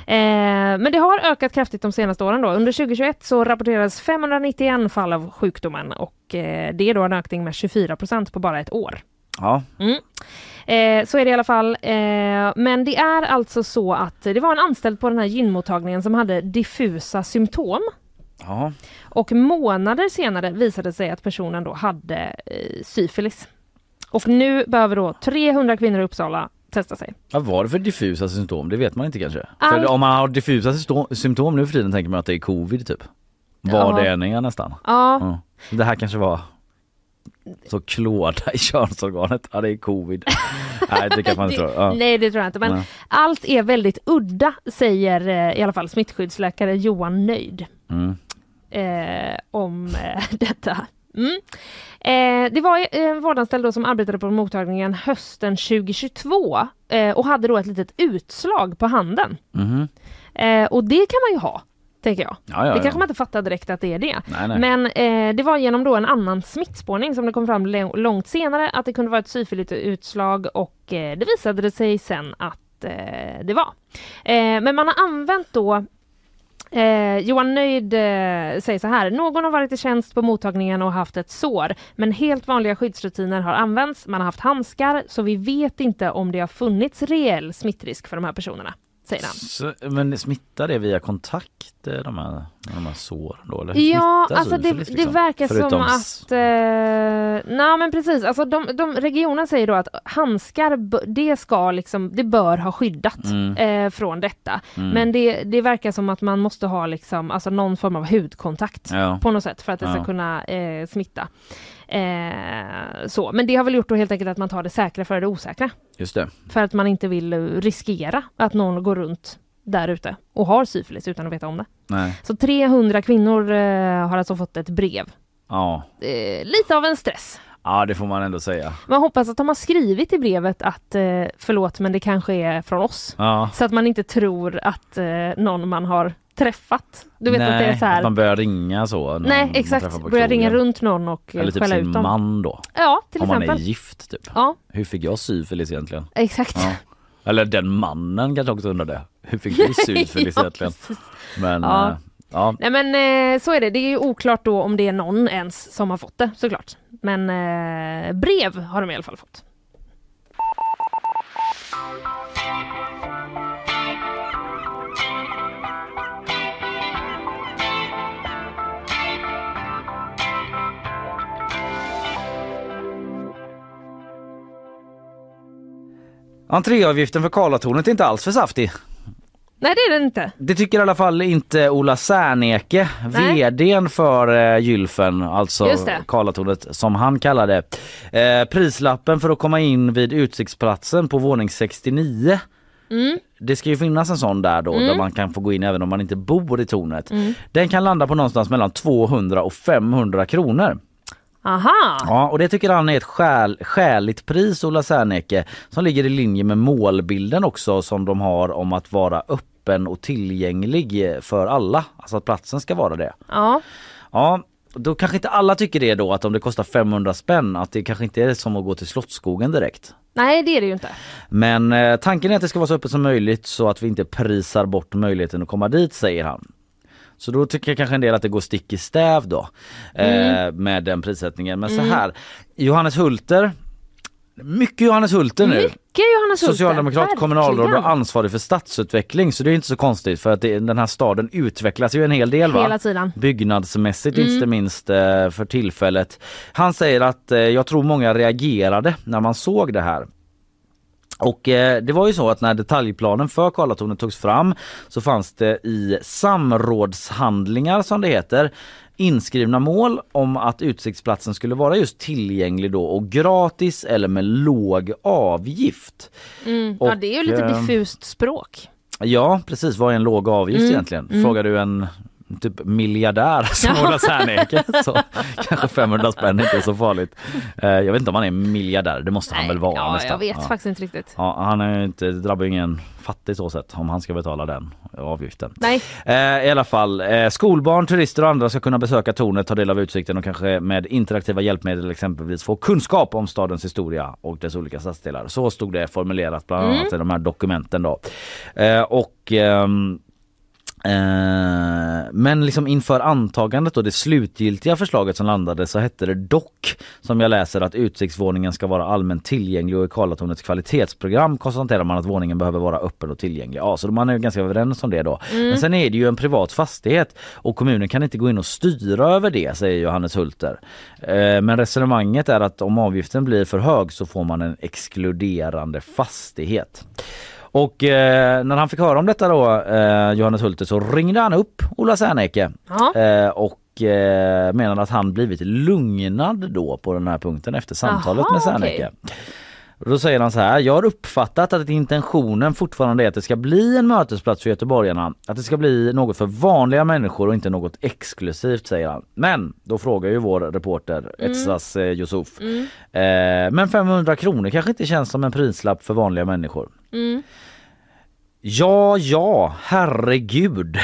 [SPEAKER 3] Eh, men det har ökat kraftigt de senaste åren. Då. Under 2021 så rapporterades 591 fall av sjukdomen och eh, det är då en ökning med 24 procent på bara ett år.
[SPEAKER 2] ja.
[SPEAKER 3] Eh, så är det i alla fall. Eh, men det är alltså så att det var en anställd på den här gynmottagningen som hade diffusa symptom.
[SPEAKER 2] ja.
[SPEAKER 3] Och månader senare visade det sig att personen då hade eh, syfilis. Och nu behöver då 300 kvinnor i Uppsala testa sig.
[SPEAKER 2] Vad var det för diffusa symptom? Det vet man inte kanske.
[SPEAKER 3] Allt-
[SPEAKER 2] För om man har diffusa systo- symptom nu för tiden tänker man att det är covid typ. Vad det än är nästan.
[SPEAKER 3] Ja,
[SPEAKER 2] Ja. Det här kanske var så klåda i könsorganet. Ja det är covid. Nej det kan man inte tro. Ja.
[SPEAKER 3] nej det tror jag inte. Men
[SPEAKER 2] Nej.
[SPEAKER 3] allt är väldigt udda säger eh, i alla fall smittskyddsläkare Johan Nöjd
[SPEAKER 2] Mm.
[SPEAKER 3] eh, om eh, detta. Mm. Eh, det var eh, en vårdanställd då som arbetade på mottagningen hösten 2022 eh, och hade då ett litet utslag på handen.
[SPEAKER 2] Mhm.
[SPEAKER 3] Eh, och det kan man ju ha, tänker jag.
[SPEAKER 2] Ja, ja,
[SPEAKER 3] det kanske
[SPEAKER 2] ja.
[SPEAKER 3] man inte fattar direkt att det är det.
[SPEAKER 2] Nej, nej.
[SPEAKER 3] Men eh, det var genom då en annan smittspårning som det kom fram lång- långt senare att det kunde vara ett syfiligt utslag och eh, det visade det sig sen att eh, det var. Eh, men man har använt då Eh, Johan Nöjd eh, säger så här. Någon har varit i tjänst på mottagningen och haft ett sår. Men helt vanliga skyddsrutiner har använts. Man har haft handskar så vi vet inte om det har funnits reell smittrisk för de här personerna. Säger han.
[SPEAKER 2] Så, men smittar det via kontakt eh, de här, med de här såren då? Eller hur
[SPEAKER 3] Ja,
[SPEAKER 2] smittar
[SPEAKER 3] alltså det,
[SPEAKER 2] syfilis,
[SPEAKER 3] det
[SPEAKER 2] liksom?
[SPEAKER 3] verkar som
[SPEAKER 2] Förutom s-
[SPEAKER 3] att... Eh, nej men precis, alltså de, de, regionen säger då att handskar, b- det ska liksom, det bör ha skyddat
[SPEAKER 2] Mm.
[SPEAKER 3] eh, från detta. Men det, det verkar som att man måste ha liksom, alltså någon form av hudkontakt
[SPEAKER 2] Ja.
[SPEAKER 3] på något sätt för att det ska
[SPEAKER 2] Ja.
[SPEAKER 3] kunna eh, smitta. Eh, så. Men det har väl gjort då helt enkelt att man tar det säkra före det osäkra.
[SPEAKER 2] Just det.
[SPEAKER 3] För att man inte vill eh, riskera att någon går runt där ute och har syfilis utan att veta om det.
[SPEAKER 2] Nej.
[SPEAKER 3] Så 300 kvinnor eh, har alltså fått ett brev.
[SPEAKER 2] Ja.
[SPEAKER 3] Eh, lite av en stress.
[SPEAKER 2] ja, det får man ändå säga.
[SPEAKER 3] Man hoppas att de har skrivit i brevet att eh, förlåt men det kanske är från oss.
[SPEAKER 2] Ja.
[SPEAKER 3] Så att man inte tror att eh, någon man har träffat. Du vet
[SPEAKER 2] Nej,
[SPEAKER 3] att det är så här.
[SPEAKER 2] man börjar ringa så. när
[SPEAKER 3] Nej,
[SPEAKER 2] man
[SPEAKER 3] exakt.
[SPEAKER 2] träffar på
[SPEAKER 3] Börja ringa
[SPEAKER 2] krogen.
[SPEAKER 3] runt någon och eh,
[SPEAKER 2] Eller typ
[SPEAKER 3] skälla
[SPEAKER 2] sin
[SPEAKER 3] ut dem.
[SPEAKER 2] man då.
[SPEAKER 3] Ja, till
[SPEAKER 2] Om man är
[SPEAKER 3] exempel.
[SPEAKER 2] gift typ.
[SPEAKER 3] Ja,
[SPEAKER 2] Hur fick jag syfilis egentligen?
[SPEAKER 3] exakt.
[SPEAKER 2] Ja. Eller den mannen kanske också undrade. Hur fick du syfilis
[SPEAKER 3] Ja,
[SPEAKER 2] egentligen?
[SPEAKER 3] precis.
[SPEAKER 2] Men
[SPEAKER 3] Ja.
[SPEAKER 2] eh, ja.
[SPEAKER 3] Nej men eh, så är det. Det är ju oklart då om det är någon ens som har fått det såklart. Men eh, brev har de i alla fall fått.
[SPEAKER 2] Entréavgiften för Karlatornet är inte alls för saftig.
[SPEAKER 3] Nej det är det inte.
[SPEAKER 2] Det tycker i alla fall inte Ola Serneke,
[SPEAKER 3] Nej.
[SPEAKER 2] vdn för eh, Gylfen, alltså
[SPEAKER 3] Just det.
[SPEAKER 2] Karlatornet som han kallade eh, Prislappen för att komma in vid utsiktsplatsen på våning 69
[SPEAKER 3] Mm.
[SPEAKER 2] det ska ju finnas en sån där då där man kan få gå in även om man inte bor i tornet.
[SPEAKER 3] Mm.
[SPEAKER 2] Den kan landa på någonstans mellan 200 och 500 kronor.
[SPEAKER 3] Aha!
[SPEAKER 2] Ja, och det tycker han är ett skäl, skäligt pris Ola Serneke som ligger i linje med målbilden också som de har om att vara öppen och tillgänglig för alla. Alltså att platsen ska vara det.
[SPEAKER 3] Ja.
[SPEAKER 2] Ja, då kanske inte alla tycker det då att om det kostar 500 spänn att det kanske inte är som att gå till Slottsskogen direkt.
[SPEAKER 3] Nej det är det ju inte.
[SPEAKER 2] Men eh, tanken är att det ska vara så öppet som möjligt så att vi inte prisar bort möjligheten att komma dit säger han. Så då tycker jag kanske en del att det går stick i stäv då eh,
[SPEAKER 3] Mm.
[SPEAKER 2] med den prissättningen. Men så här, Johannes Hulter, mycket Johannes Hulter nu.
[SPEAKER 3] Mycket Johannes Hultén.
[SPEAKER 2] Socialdemokrat,
[SPEAKER 3] Verkligen.
[SPEAKER 2] kommunalråd och ansvarig för stadsutveckling så det är inte så konstigt för att det, den här staden utvecklas ju en hel del va?
[SPEAKER 3] Hela tiden.
[SPEAKER 2] byggnadsmässigt
[SPEAKER 3] Mm.
[SPEAKER 2] inte minst eh, för tillfället. Han säger att eh, jag tror många reagerade när man såg det här. Och eh, det var ju så att när detaljplanen för Karlatornet togs fram så fanns det i samrådshandlingar som det heter inskrivna mål om att utsiktsplatsen skulle vara just tillgänglig då och gratis eller med låg avgift.
[SPEAKER 3] Mm. ja
[SPEAKER 2] Och,
[SPEAKER 3] det är ju lite
[SPEAKER 2] eh,
[SPEAKER 3] diffust språk.
[SPEAKER 2] Ja precis, vad är en låg avgift
[SPEAKER 3] Mm.
[SPEAKER 2] egentligen? Frågar du en typ miljardär som Ola Serneke så kanske 500 spänn inte är så farligt. Eh, Jag vet inte om han är miljardär, det måste han väl vara
[SPEAKER 3] ja,
[SPEAKER 2] nästan.
[SPEAKER 3] jag vet
[SPEAKER 2] Ja.
[SPEAKER 3] faktiskt inte riktigt.
[SPEAKER 2] Ja, han är ju inte, det drabbar ju ingen fattig så sett om han ska betala den avgiften.
[SPEAKER 3] Nej.
[SPEAKER 2] Eh, I alla fall, eh, skolbarn, turister och andra ska kunna besöka tornet, ta del av utsikten och kanske med interaktiva hjälpmedel exempelvis få kunskap om stadens historia och dess olika stadsdelar. Så stod det formulerat bland annat i de här dokumenten då. Eh, och ehm, Eh, Men liksom inför antagandet och det slutgiltiga förslaget som landade så hette det dock som jag läser att utsiktsvåningen ska vara allmänt tillgänglig och i Karlatornets kvalitetsprogram konstaterar man att våningen behöver vara öppen och tillgänglig. Ja, så man är ju ganska överens om det då. Men sen är det ju en privat fastighet och kommunen kan inte gå in och styra över det säger Johannes Hulter. Eh, Men resonemanget är att om avgiften blir för hög så får man en exkluderande fastighet. Och eh, när han fick höra om detta då, eh, Johannes Hulter, så ringde han upp Ola Serneke
[SPEAKER 3] Ja.
[SPEAKER 2] eh, och eh, menade att han blivit lugnad då på den här punkten efter samtalet
[SPEAKER 3] Aha,
[SPEAKER 2] med Serneke. Och Då säger han så här, jag har uppfattat att intentionen fortfarande är att det ska bli en mötesplats för göteborgarna. Att det ska bli något för vanliga människor och inte något exklusivt säger han. Men då frågar ju vår reporter Etsas eh, Yusuf.
[SPEAKER 3] Mm.
[SPEAKER 2] Eh, men 500 kronor kanske inte känns som en prislapp för vanliga människor.
[SPEAKER 3] mm.
[SPEAKER 2] Ja, ja, herregud,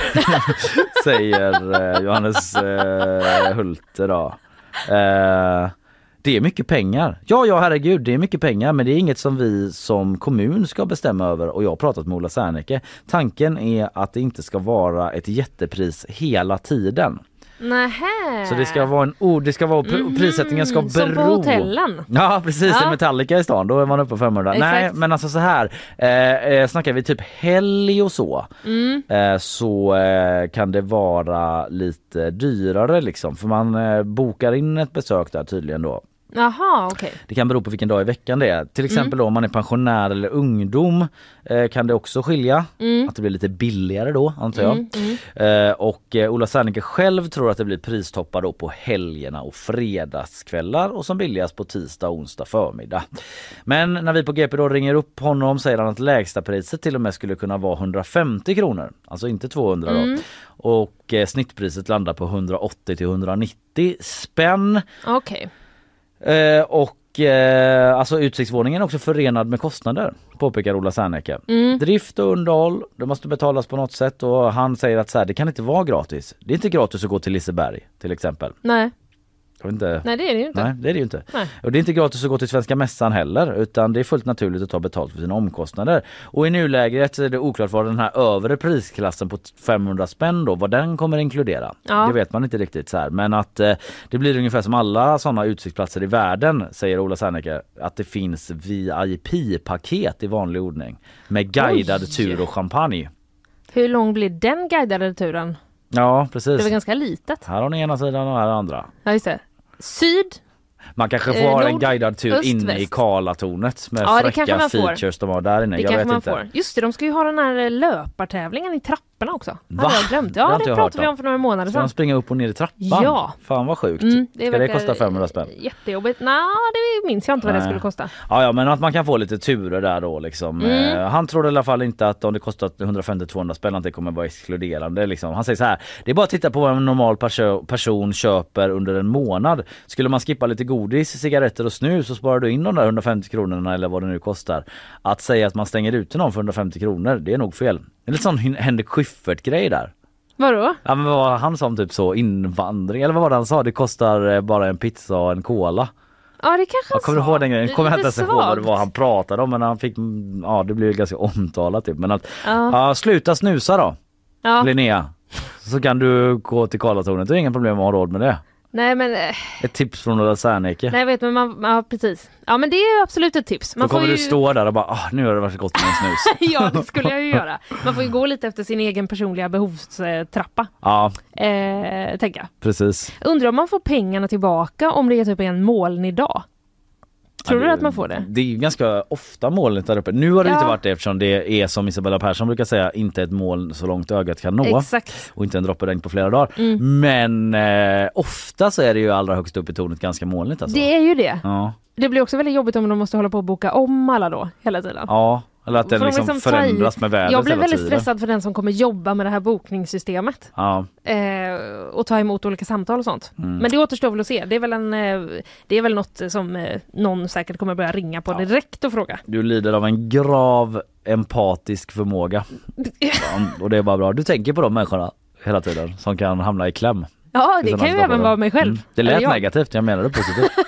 [SPEAKER 2] säger eh, Johannes eh, Hulte då. Eh, det är mycket pengar. Ja, ja, herregud, det är mycket pengar, men det är inget som vi som kommun ska bestämma över och jag har pratat med Ola Serneke. Tanken är att det inte ska vara ett jättepris hela tiden.
[SPEAKER 3] Nähä.
[SPEAKER 2] Så det ska vara en ord, det ska vara, prissättningen ska
[SPEAKER 3] Mhm, Som på
[SPEAKER 2] bero-
[SPEAKER 3] hotellen.
[SPEAKER 2] Ja precis,
[SPEAKER 3] Ja.
[SPEAKER 2] i Metallica i stan då är man uppe på 500.
[SPEAKER 3] Exakt.
[SPEAKER 2] Nej men alltså så här, eh, eh, snackar vi typ helg och så
[SPEAKER 3] Mm.
[SPEAKER 2] eh, så eh, kan det vara lite dyrare liksom för man eh, bokar in ett besök där tydligen då.
[SPEAKER 3] Jaha okej.
[SPEAKER 2] Det kan bero på vilken dag i veckan det är. Till exempel då om man är pensionär eller ungdom eh, kan det också skilja. Att det blir lite billigare då antar jag. Eh, och eh, Ola Serneke själv tror att det blir pristoppar då på helgerna och fredagskvällar och som billigast på tisdag och onsdag förmiddag. Men när vi på GP då ringer upp honom säger han att lägsta priset till och med skulle kunna vara 150 kronor. Alltså inte 200 då. Och eh, snittpriset landar på 180 till 190 spänn.
[SPEAKER 3] Okej.
[SPEAKER 2] Eh, och och eh, alltså utsiktsvåningen är också förenad med kostnader påpekar Ola Serneke.
[SPEAKER 3] Mm.
[SPEAKER 2] Drift och underhåll, det måste betalas på något sätt och han säger att så här, det kan inte vara gratis. Det är inte gratis att gå till Liseberg till exempel.
[SPEAKER 3] Nej,
[SPEAKER 2] Jag vet inte.
[SPEAKER 3] nej det är det ju inte.
[SPEAKER 2] Nej, det är det ju inte.
[SPEAKER 3] Nej.
[SPEAKER 2] Och det är inte gratis att gå till Svenska Mässan heller utan det är fullt naturligt att ta betalt för sina omkostnader. Och i nuläget är det oklart vad den här övre prisklassen på 500 spänn då, vad den kommer inkludera.
[SPEAKER 3] Ja.
[SPEAKER 2] Det vet man inte riktigt så här. Men att eh, det blir ungefär som alla sådana utsiktsplatser i världen säger Ola Serneke att det finns VIP-paket i vanlig ordning med guidad
[SPEAKER 3] Oj.
[SPEAKER 2] tur och champagne.
[SPEAKER 3] Hur lång blir den guidade turen?
[SPEAKER 2] Ja
[SPEAKER 3] Det
[SPEAKER 2] precis.
[SPEAKER 3] var ganska litet.
[SPEAKER 2] Här har ni ena sidan och här har andra.
[SPEAKER 3] Ja, just det. Syd.
[SPEAKER 2] Man kanske får
[SPEAKER 3] Eh,
[SPEAKER 2] ha en
[SPEAKER 3] nord,
[SPEAKER 2] guidad tur
[SPEAKER 3] öst,
[SPEAKER 2] inne i
[SPEAKER 3] väst.
[SPEAKER 2] Karlatornet med
[SPEAKER 3] Ja, det kanske
[SPEAKER 2] fräcka
[SPEAKER 3] man får.
[SPEAKER 2] features de har där inne.
[SPEAKER 3] Det
[SPEAKER 2] jag
[SPEAKER 3] kanske
[SPEAKER 2] vet
[SPEAKER 3] man
[SPEAKER 2] inte.
[SPEAKER 3] får. Just det, de ska ju ha den här eh, löpartävlingen i trapporna också.
[SPEAKER 2] Va?
[SPEAKER 3] Hade jag glömt.
[SPEAKER 2] Det har
[SPEAKER 3] Ja,
[SPEAKER 2] inte
[SPEAKER 3] det
[SPEAKER 2] jag hört
[SPEAKER 3] pratade vi
[SPEAKER 2] om.
[SPEAKER 3] om för några månader
[SPEAKER 2] Ska de
[SPEAKER 3] sedan.
[SPEAKER 2] springa upp och ner i trappan?
[SPEAKER 3] Ja.
[SPEAKER 2] Fan vad sjukt.
[SPEAKER 3] Mm, det
[SPEAKER 2] Ska det
[SPEAKER 3] verkar-
[SPEAKER 2] kosta 500 spänn?
[SPEAKER 3] Jättejobbigt. Nej, det minns jag inte vad det
[SPEAKER 2] Nej.
[SPEAKER 3] skulle kosta.
[SPEAKER 2] Ja, ja men att man kan få lite turer där då liksom.
[SPEAKER 3] Mm.
[SPEAKER 2] Eh, Han tror i alla fall inte att om det kostar 150-200 spänn att det kommer vara exkluderande liksom. Han säger så här. Det är bara att titta på vad en normal perso- person köper under en månad. Skulle man skippa lite godis, cigaretter och snus så sparar du in de där 150 kronorna eller vad det nu kostar. Att säga att man stänger ute någon för 150 kronor det är nog fel. Det är lite sån Hen- Henrik Schyffert grej där.
[SPEAKER 3] Vadå?
[SPEAKER 2] Ja men vad var han som typ så invandring eller vad var det han sa? Det kostar eh, bara en pizza och en cola.
[SPEAKER 3] Ja, det kanske han
[SPEAKER 2] Jag kommer
[SPEAKER 3] sa.
[SPEAKER 2] ihåg den grejen,
[SPEAKER 3] Det är
[SPEAKER 2] jag kommer
[SPEAKER 3] lite
[SPEAKER 2] inte ens ihåg vad det
[SPEAKER 3] svagt.
[SPEAKER 2] var han pratade om men han fick, mm, ja det blev ganska omtalat typ. Men att,
[SPEAKER 3] Ja.
[SPEAKER 2] ja sluta snusa då
[SPEAKER 3] Ja.
[SPEAKER 2] Linnea. Så kan du gå till Karlatornet, det är inga problem att ha råd med det.
[SPEAKER 3] Nej, men, eh,
[SPEAKER 2] Ett tips från Ola Serneke.
[SPEAKER 3] nej, vet, men man, ja, precis. Ja, men det är absolut ett tips.
[SPEAKER 2] Då
[SPEAKER 3] Man
[SPEAKER 2] kommer
[SPEAKER 3] får ju...
[SPEAKER 2] du stå där och bara, ah, nu har det varit gott med en snus.
[SPEAKER 3] ja, det skulle jag ju göra. Man får ju gå lite efter sin egen personliga behovstrappa,
[SPEAKER 2] ja
[SPEAKER 3] eh, tänker jag.
[SPEAKER 2] precis.
[SPEAKER 3] Undrar om man får pengarna tillbaka om det är typ en molnig dag? Tror
[SPEAKER 2] Ja,
[SPEAKER 3] du att man får det?
[SPEAKER 2] Det är ju ganska ofta molnigt där uppe. Nu har det
[SPEAKER 3] Ja.
[SPEAKER 2] inte varit det eftersom det är som Isabella Persson brukar säga, inte ett moln så långt ögat kan nå.
[SPEAKER 3] Exakt.
[SPEAKER 2] och inte en droppe regn på flera dagar.
[SPEAKER 3] Mm.
[SPEAKER 2] Men eh, ofta så är det ju allra högst upp i tornet ganska molnigt alltså.
[SPEAKER 3] Det är ju det.
[SPEAKER 2] Ja,
[SPEAKER 3] Det blir också väldigt jobbigt om de måste hålla på och boka om alla då hela tiden.
[SPEAKER 2] ja. Eller att den
[SPEAKER 3] Får de
[SPEAKER 2] liksom,
[SPEAKER 3] liksom ta i-
[SPEAKER 2] förändras med vädret
[SPEAKER 3] Jag blir
[SPEAKER 2] hela
[SPEAKER 3] väldigt
[SPEAKER 2] tiden.
[SPEAKER 3] stressad för den som kommer jobba med det här bokningssystemet
[SPEAKER 2] Ja.
[SPEAKER 3] eh, och ta emot olika samtal och sånt.
[SPEAKER 2] Mm.
[SPEAKER 3] Men det återstår väl att se. Det är väl, en, eh, det är väl något som eh, någon säkert kommer börja ringa på direkt och fråga.
[SPEAKER 2] Du lider av en grav empatisk förmåga. Ja, och det är bara bra. Du tänker på de människorna hela tiden som kan hamna i kläm.
[SPEAKER 3] Ja, det
[SPEAKER 2] Utan
[SPEAKER 3] kan
[SPEAKER 2] att
[SPEAKER 3] ju
[SPEAKER 2] stoppa
[SPEAKER 3] även
[SPEAKER 2] dem.
[SPEAKER 3] vara mig själv.
[SPEAKER 2] Mm. Det lät
[SPEAKER 3] Eller jag.
[SPEAKER 2] negativt, jag menade positivt.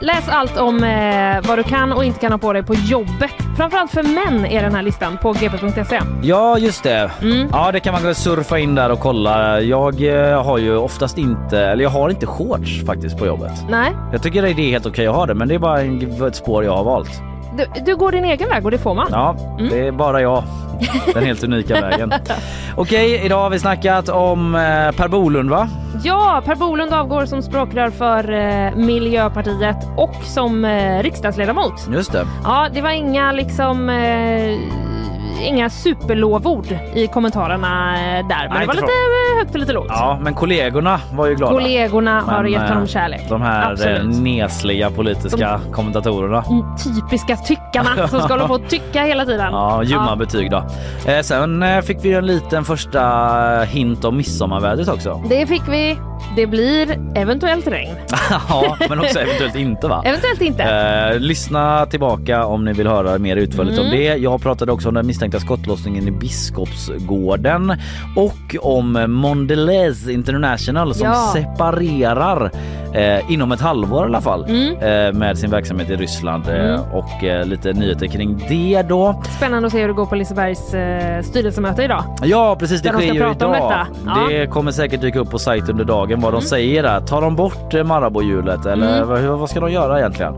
[SPEAKER 3] Läs allt om eh, vad du kan och inte kan ha på dig på jobbet. Framförallt för män är den här listan på gp.se.
[SPEAKER 2] Ja, just det.
[SPEAKER 3] Mm.
[SPEAKER 2] Ja, det kan man gå och surfa in där och kolla. Jag eh, har ju oftast inte, eller jag har inte shorts faktiskt på jobbet.
[SPEAKER 3] Nej,
[SPEAKER 2] Jag tycker det är helt okej att ha det men det är bara en- ett spår jag har valt.
[SPEAKER 3] du, du går din egen väg och det får man.
[SPEAKER 2] Ja, det är bara jag. Den helt unika vägen. Okej, idag har vi snackat om eh, Per Bolund va?
[SPEAKER 3] Ja, Per Bolund avgår som språkrör för eh, Miljöpartiet och som eh, riksdagsledamot.
[SPEAKER 2] Just det.
[SPEAKER 3] Ja, det var inga liksom eh, inga superlovord i kommentarerna eh, där. Men
[SPEAKER 2] Nej,
[SPEAKER 3] det var
[SPEAKER 2] inte
[SPEAKER 3] lite eh, högt och lite lågt.
[SPEAKER 2] Ja, men kollegorna var ju glada.
[SPEAKER 3] Kollegorna har
[SPEAKER 2] Men,
[SPEAKER 3] gett honom
[SPEAKER 2] eh,
[SPEAKER 3] kärlek.
[SPEAKER 2] De här
[SPEAKER 3] Absolut. Mm.
[SPEAKER 2] eh, nesliga politiska kommentatorerna.
[SPEAKER 3] De typiska tyckarna som ska hålla på och tycka hela tiden.
[SPEAKER 2] Ja, ljumma betyg då. Eh, sen eh, fick vi ju en liten första hint om midsommarvädret också.
[SPEAKER 3] Det fick vi. Det blir eventuellt regn.
[SPEAKER 2] ja, men också eventuellt inte va?
[SPEAKER 3] Eventuellt inte.
[SPEAKER 2] Eh, lyssna tillbaka om ni vill höra mer utförligt
[SPEAKER 3] Mm.
[SPEAKER 2] om det. Jag pratade också om den misstänkta skottlossningen i Biskopsgården och om Mondelez International som
[SPEAKER 3] Ja.
[SPEAKER 2] separerar eh, inom ett halvår i alla fall
[SPEAKER 3] Mm.
[SPEAKER 2] eh, med sin verksamhet i Ryssland eh, och eh, lite nyheter kring det då.
[SPEAKER 3] Spännande att se hur det går på Lisebergs eh, styrelsemöte idag.
[SPEAKER 2] Ja precis det
[SPEAKER 3] Där de
[SPEAKER 2] sker
[SPEAKER 3] ska
[SPEAKER 2] ju
[SPEAKER 3] prata om
[SPEAKER 2] idag.
[SPEAKER 3] detta. Ja. Mm.
[SPEAKER 2] Det kommer säkert dyka upp på sajt under lagen vad de säger där. Tar de bort eh, Marabou-hjulet eller vad, hur- vad ska de göra egentligen?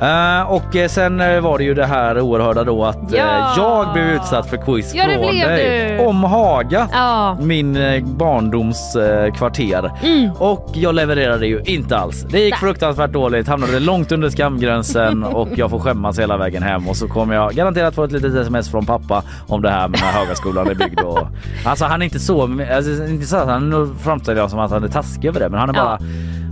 [SPEAKER 2] Eh, och eh, sen eh, var det ju det här oerhörda då att eh,
[SPEAKER 3] Ja.
[SPEAKER 2] jag blev utsatt för quiz
[SPEAKER 3] Ja, det
[SPEAKER 2] från
[SPEAKER 3] blev
[SPEAKER 2] dig.
[SPEAKER 3] du.
[SPEAKER 2] Om Haga.
[SPEAKER 3] Ja.
[SPEAKER 2] Min eh, barndoms eh, kvarter.
[SPEAKER 3] Mm.
[SPEAKER 2] Och jag levererade ju inte alls. Det gick fruktansvärt dåligt, hamnade långt under skamgränsen och jag får skämmas hela vägen hem. Och så kommer jag garanterat få ett litet sms från pappa om det här med när Högaskolan är byggd. Och... Alltså han är inte så, alltså, inte så att han nu framställer jag som att han är taskig över det men han är
[SPEAKER 3] Ja.
[SPEAKER 2] bara,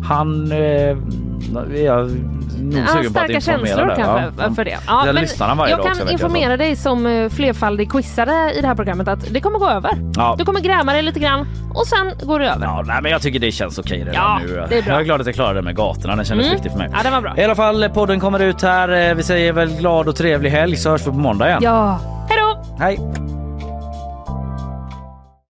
[SPEAKER 2] han eh, är jag nog
[SPEAKER 3] Ja,
[SPEAKER 2] sugen på att
[SPEAKER 3] starka
[SPEAKER 2] informera
[SPEAKER 3] känslor
[SPEAKER 2] där.
[SPEAKER 3] kanske
[SPEAKER 2] Ja. Mm.
[SPEAKER 3] för det. Ja,
[SPEAKER 2] Jag lyssnar han varje
[SPEAKER 3] jag
[SPEAKER 2] dag
[SPEAKER 3] kan
[SPEAKER 2] också, vet jag, så.
[SPEAKER 3] informera dig som eh, flerfaldig quizare i det här programmet att det kommer gå över.
[SPEAKER 2] Ja.
[SPEAKER 3] Du kommer gräma dig lite grann och sen går det över.
[SPEAKER 2] Ja, nej, men jag tycker det känns okej redan
[SPEAKER 3] Ja,
[SPEAKER 2] nu.
[SPEAKER 3] det är bra.
[SPEAKER 2] Jag är glad att jag klarade det med gatorna, den kändes
[SPEAKER 3] Mm.
[SPEAKER 2] viktig för mig.
[SPEAKER 3] Ja, den var bra.
[SPEAKER 2] I alla fall, podden kommer ut här. Eh, Vi säger väl glad och trevlig helg så hörs vi på måndag igen.
[SPEAKER 3] Ja. Hej då!
[SPEAKER 2] Hej!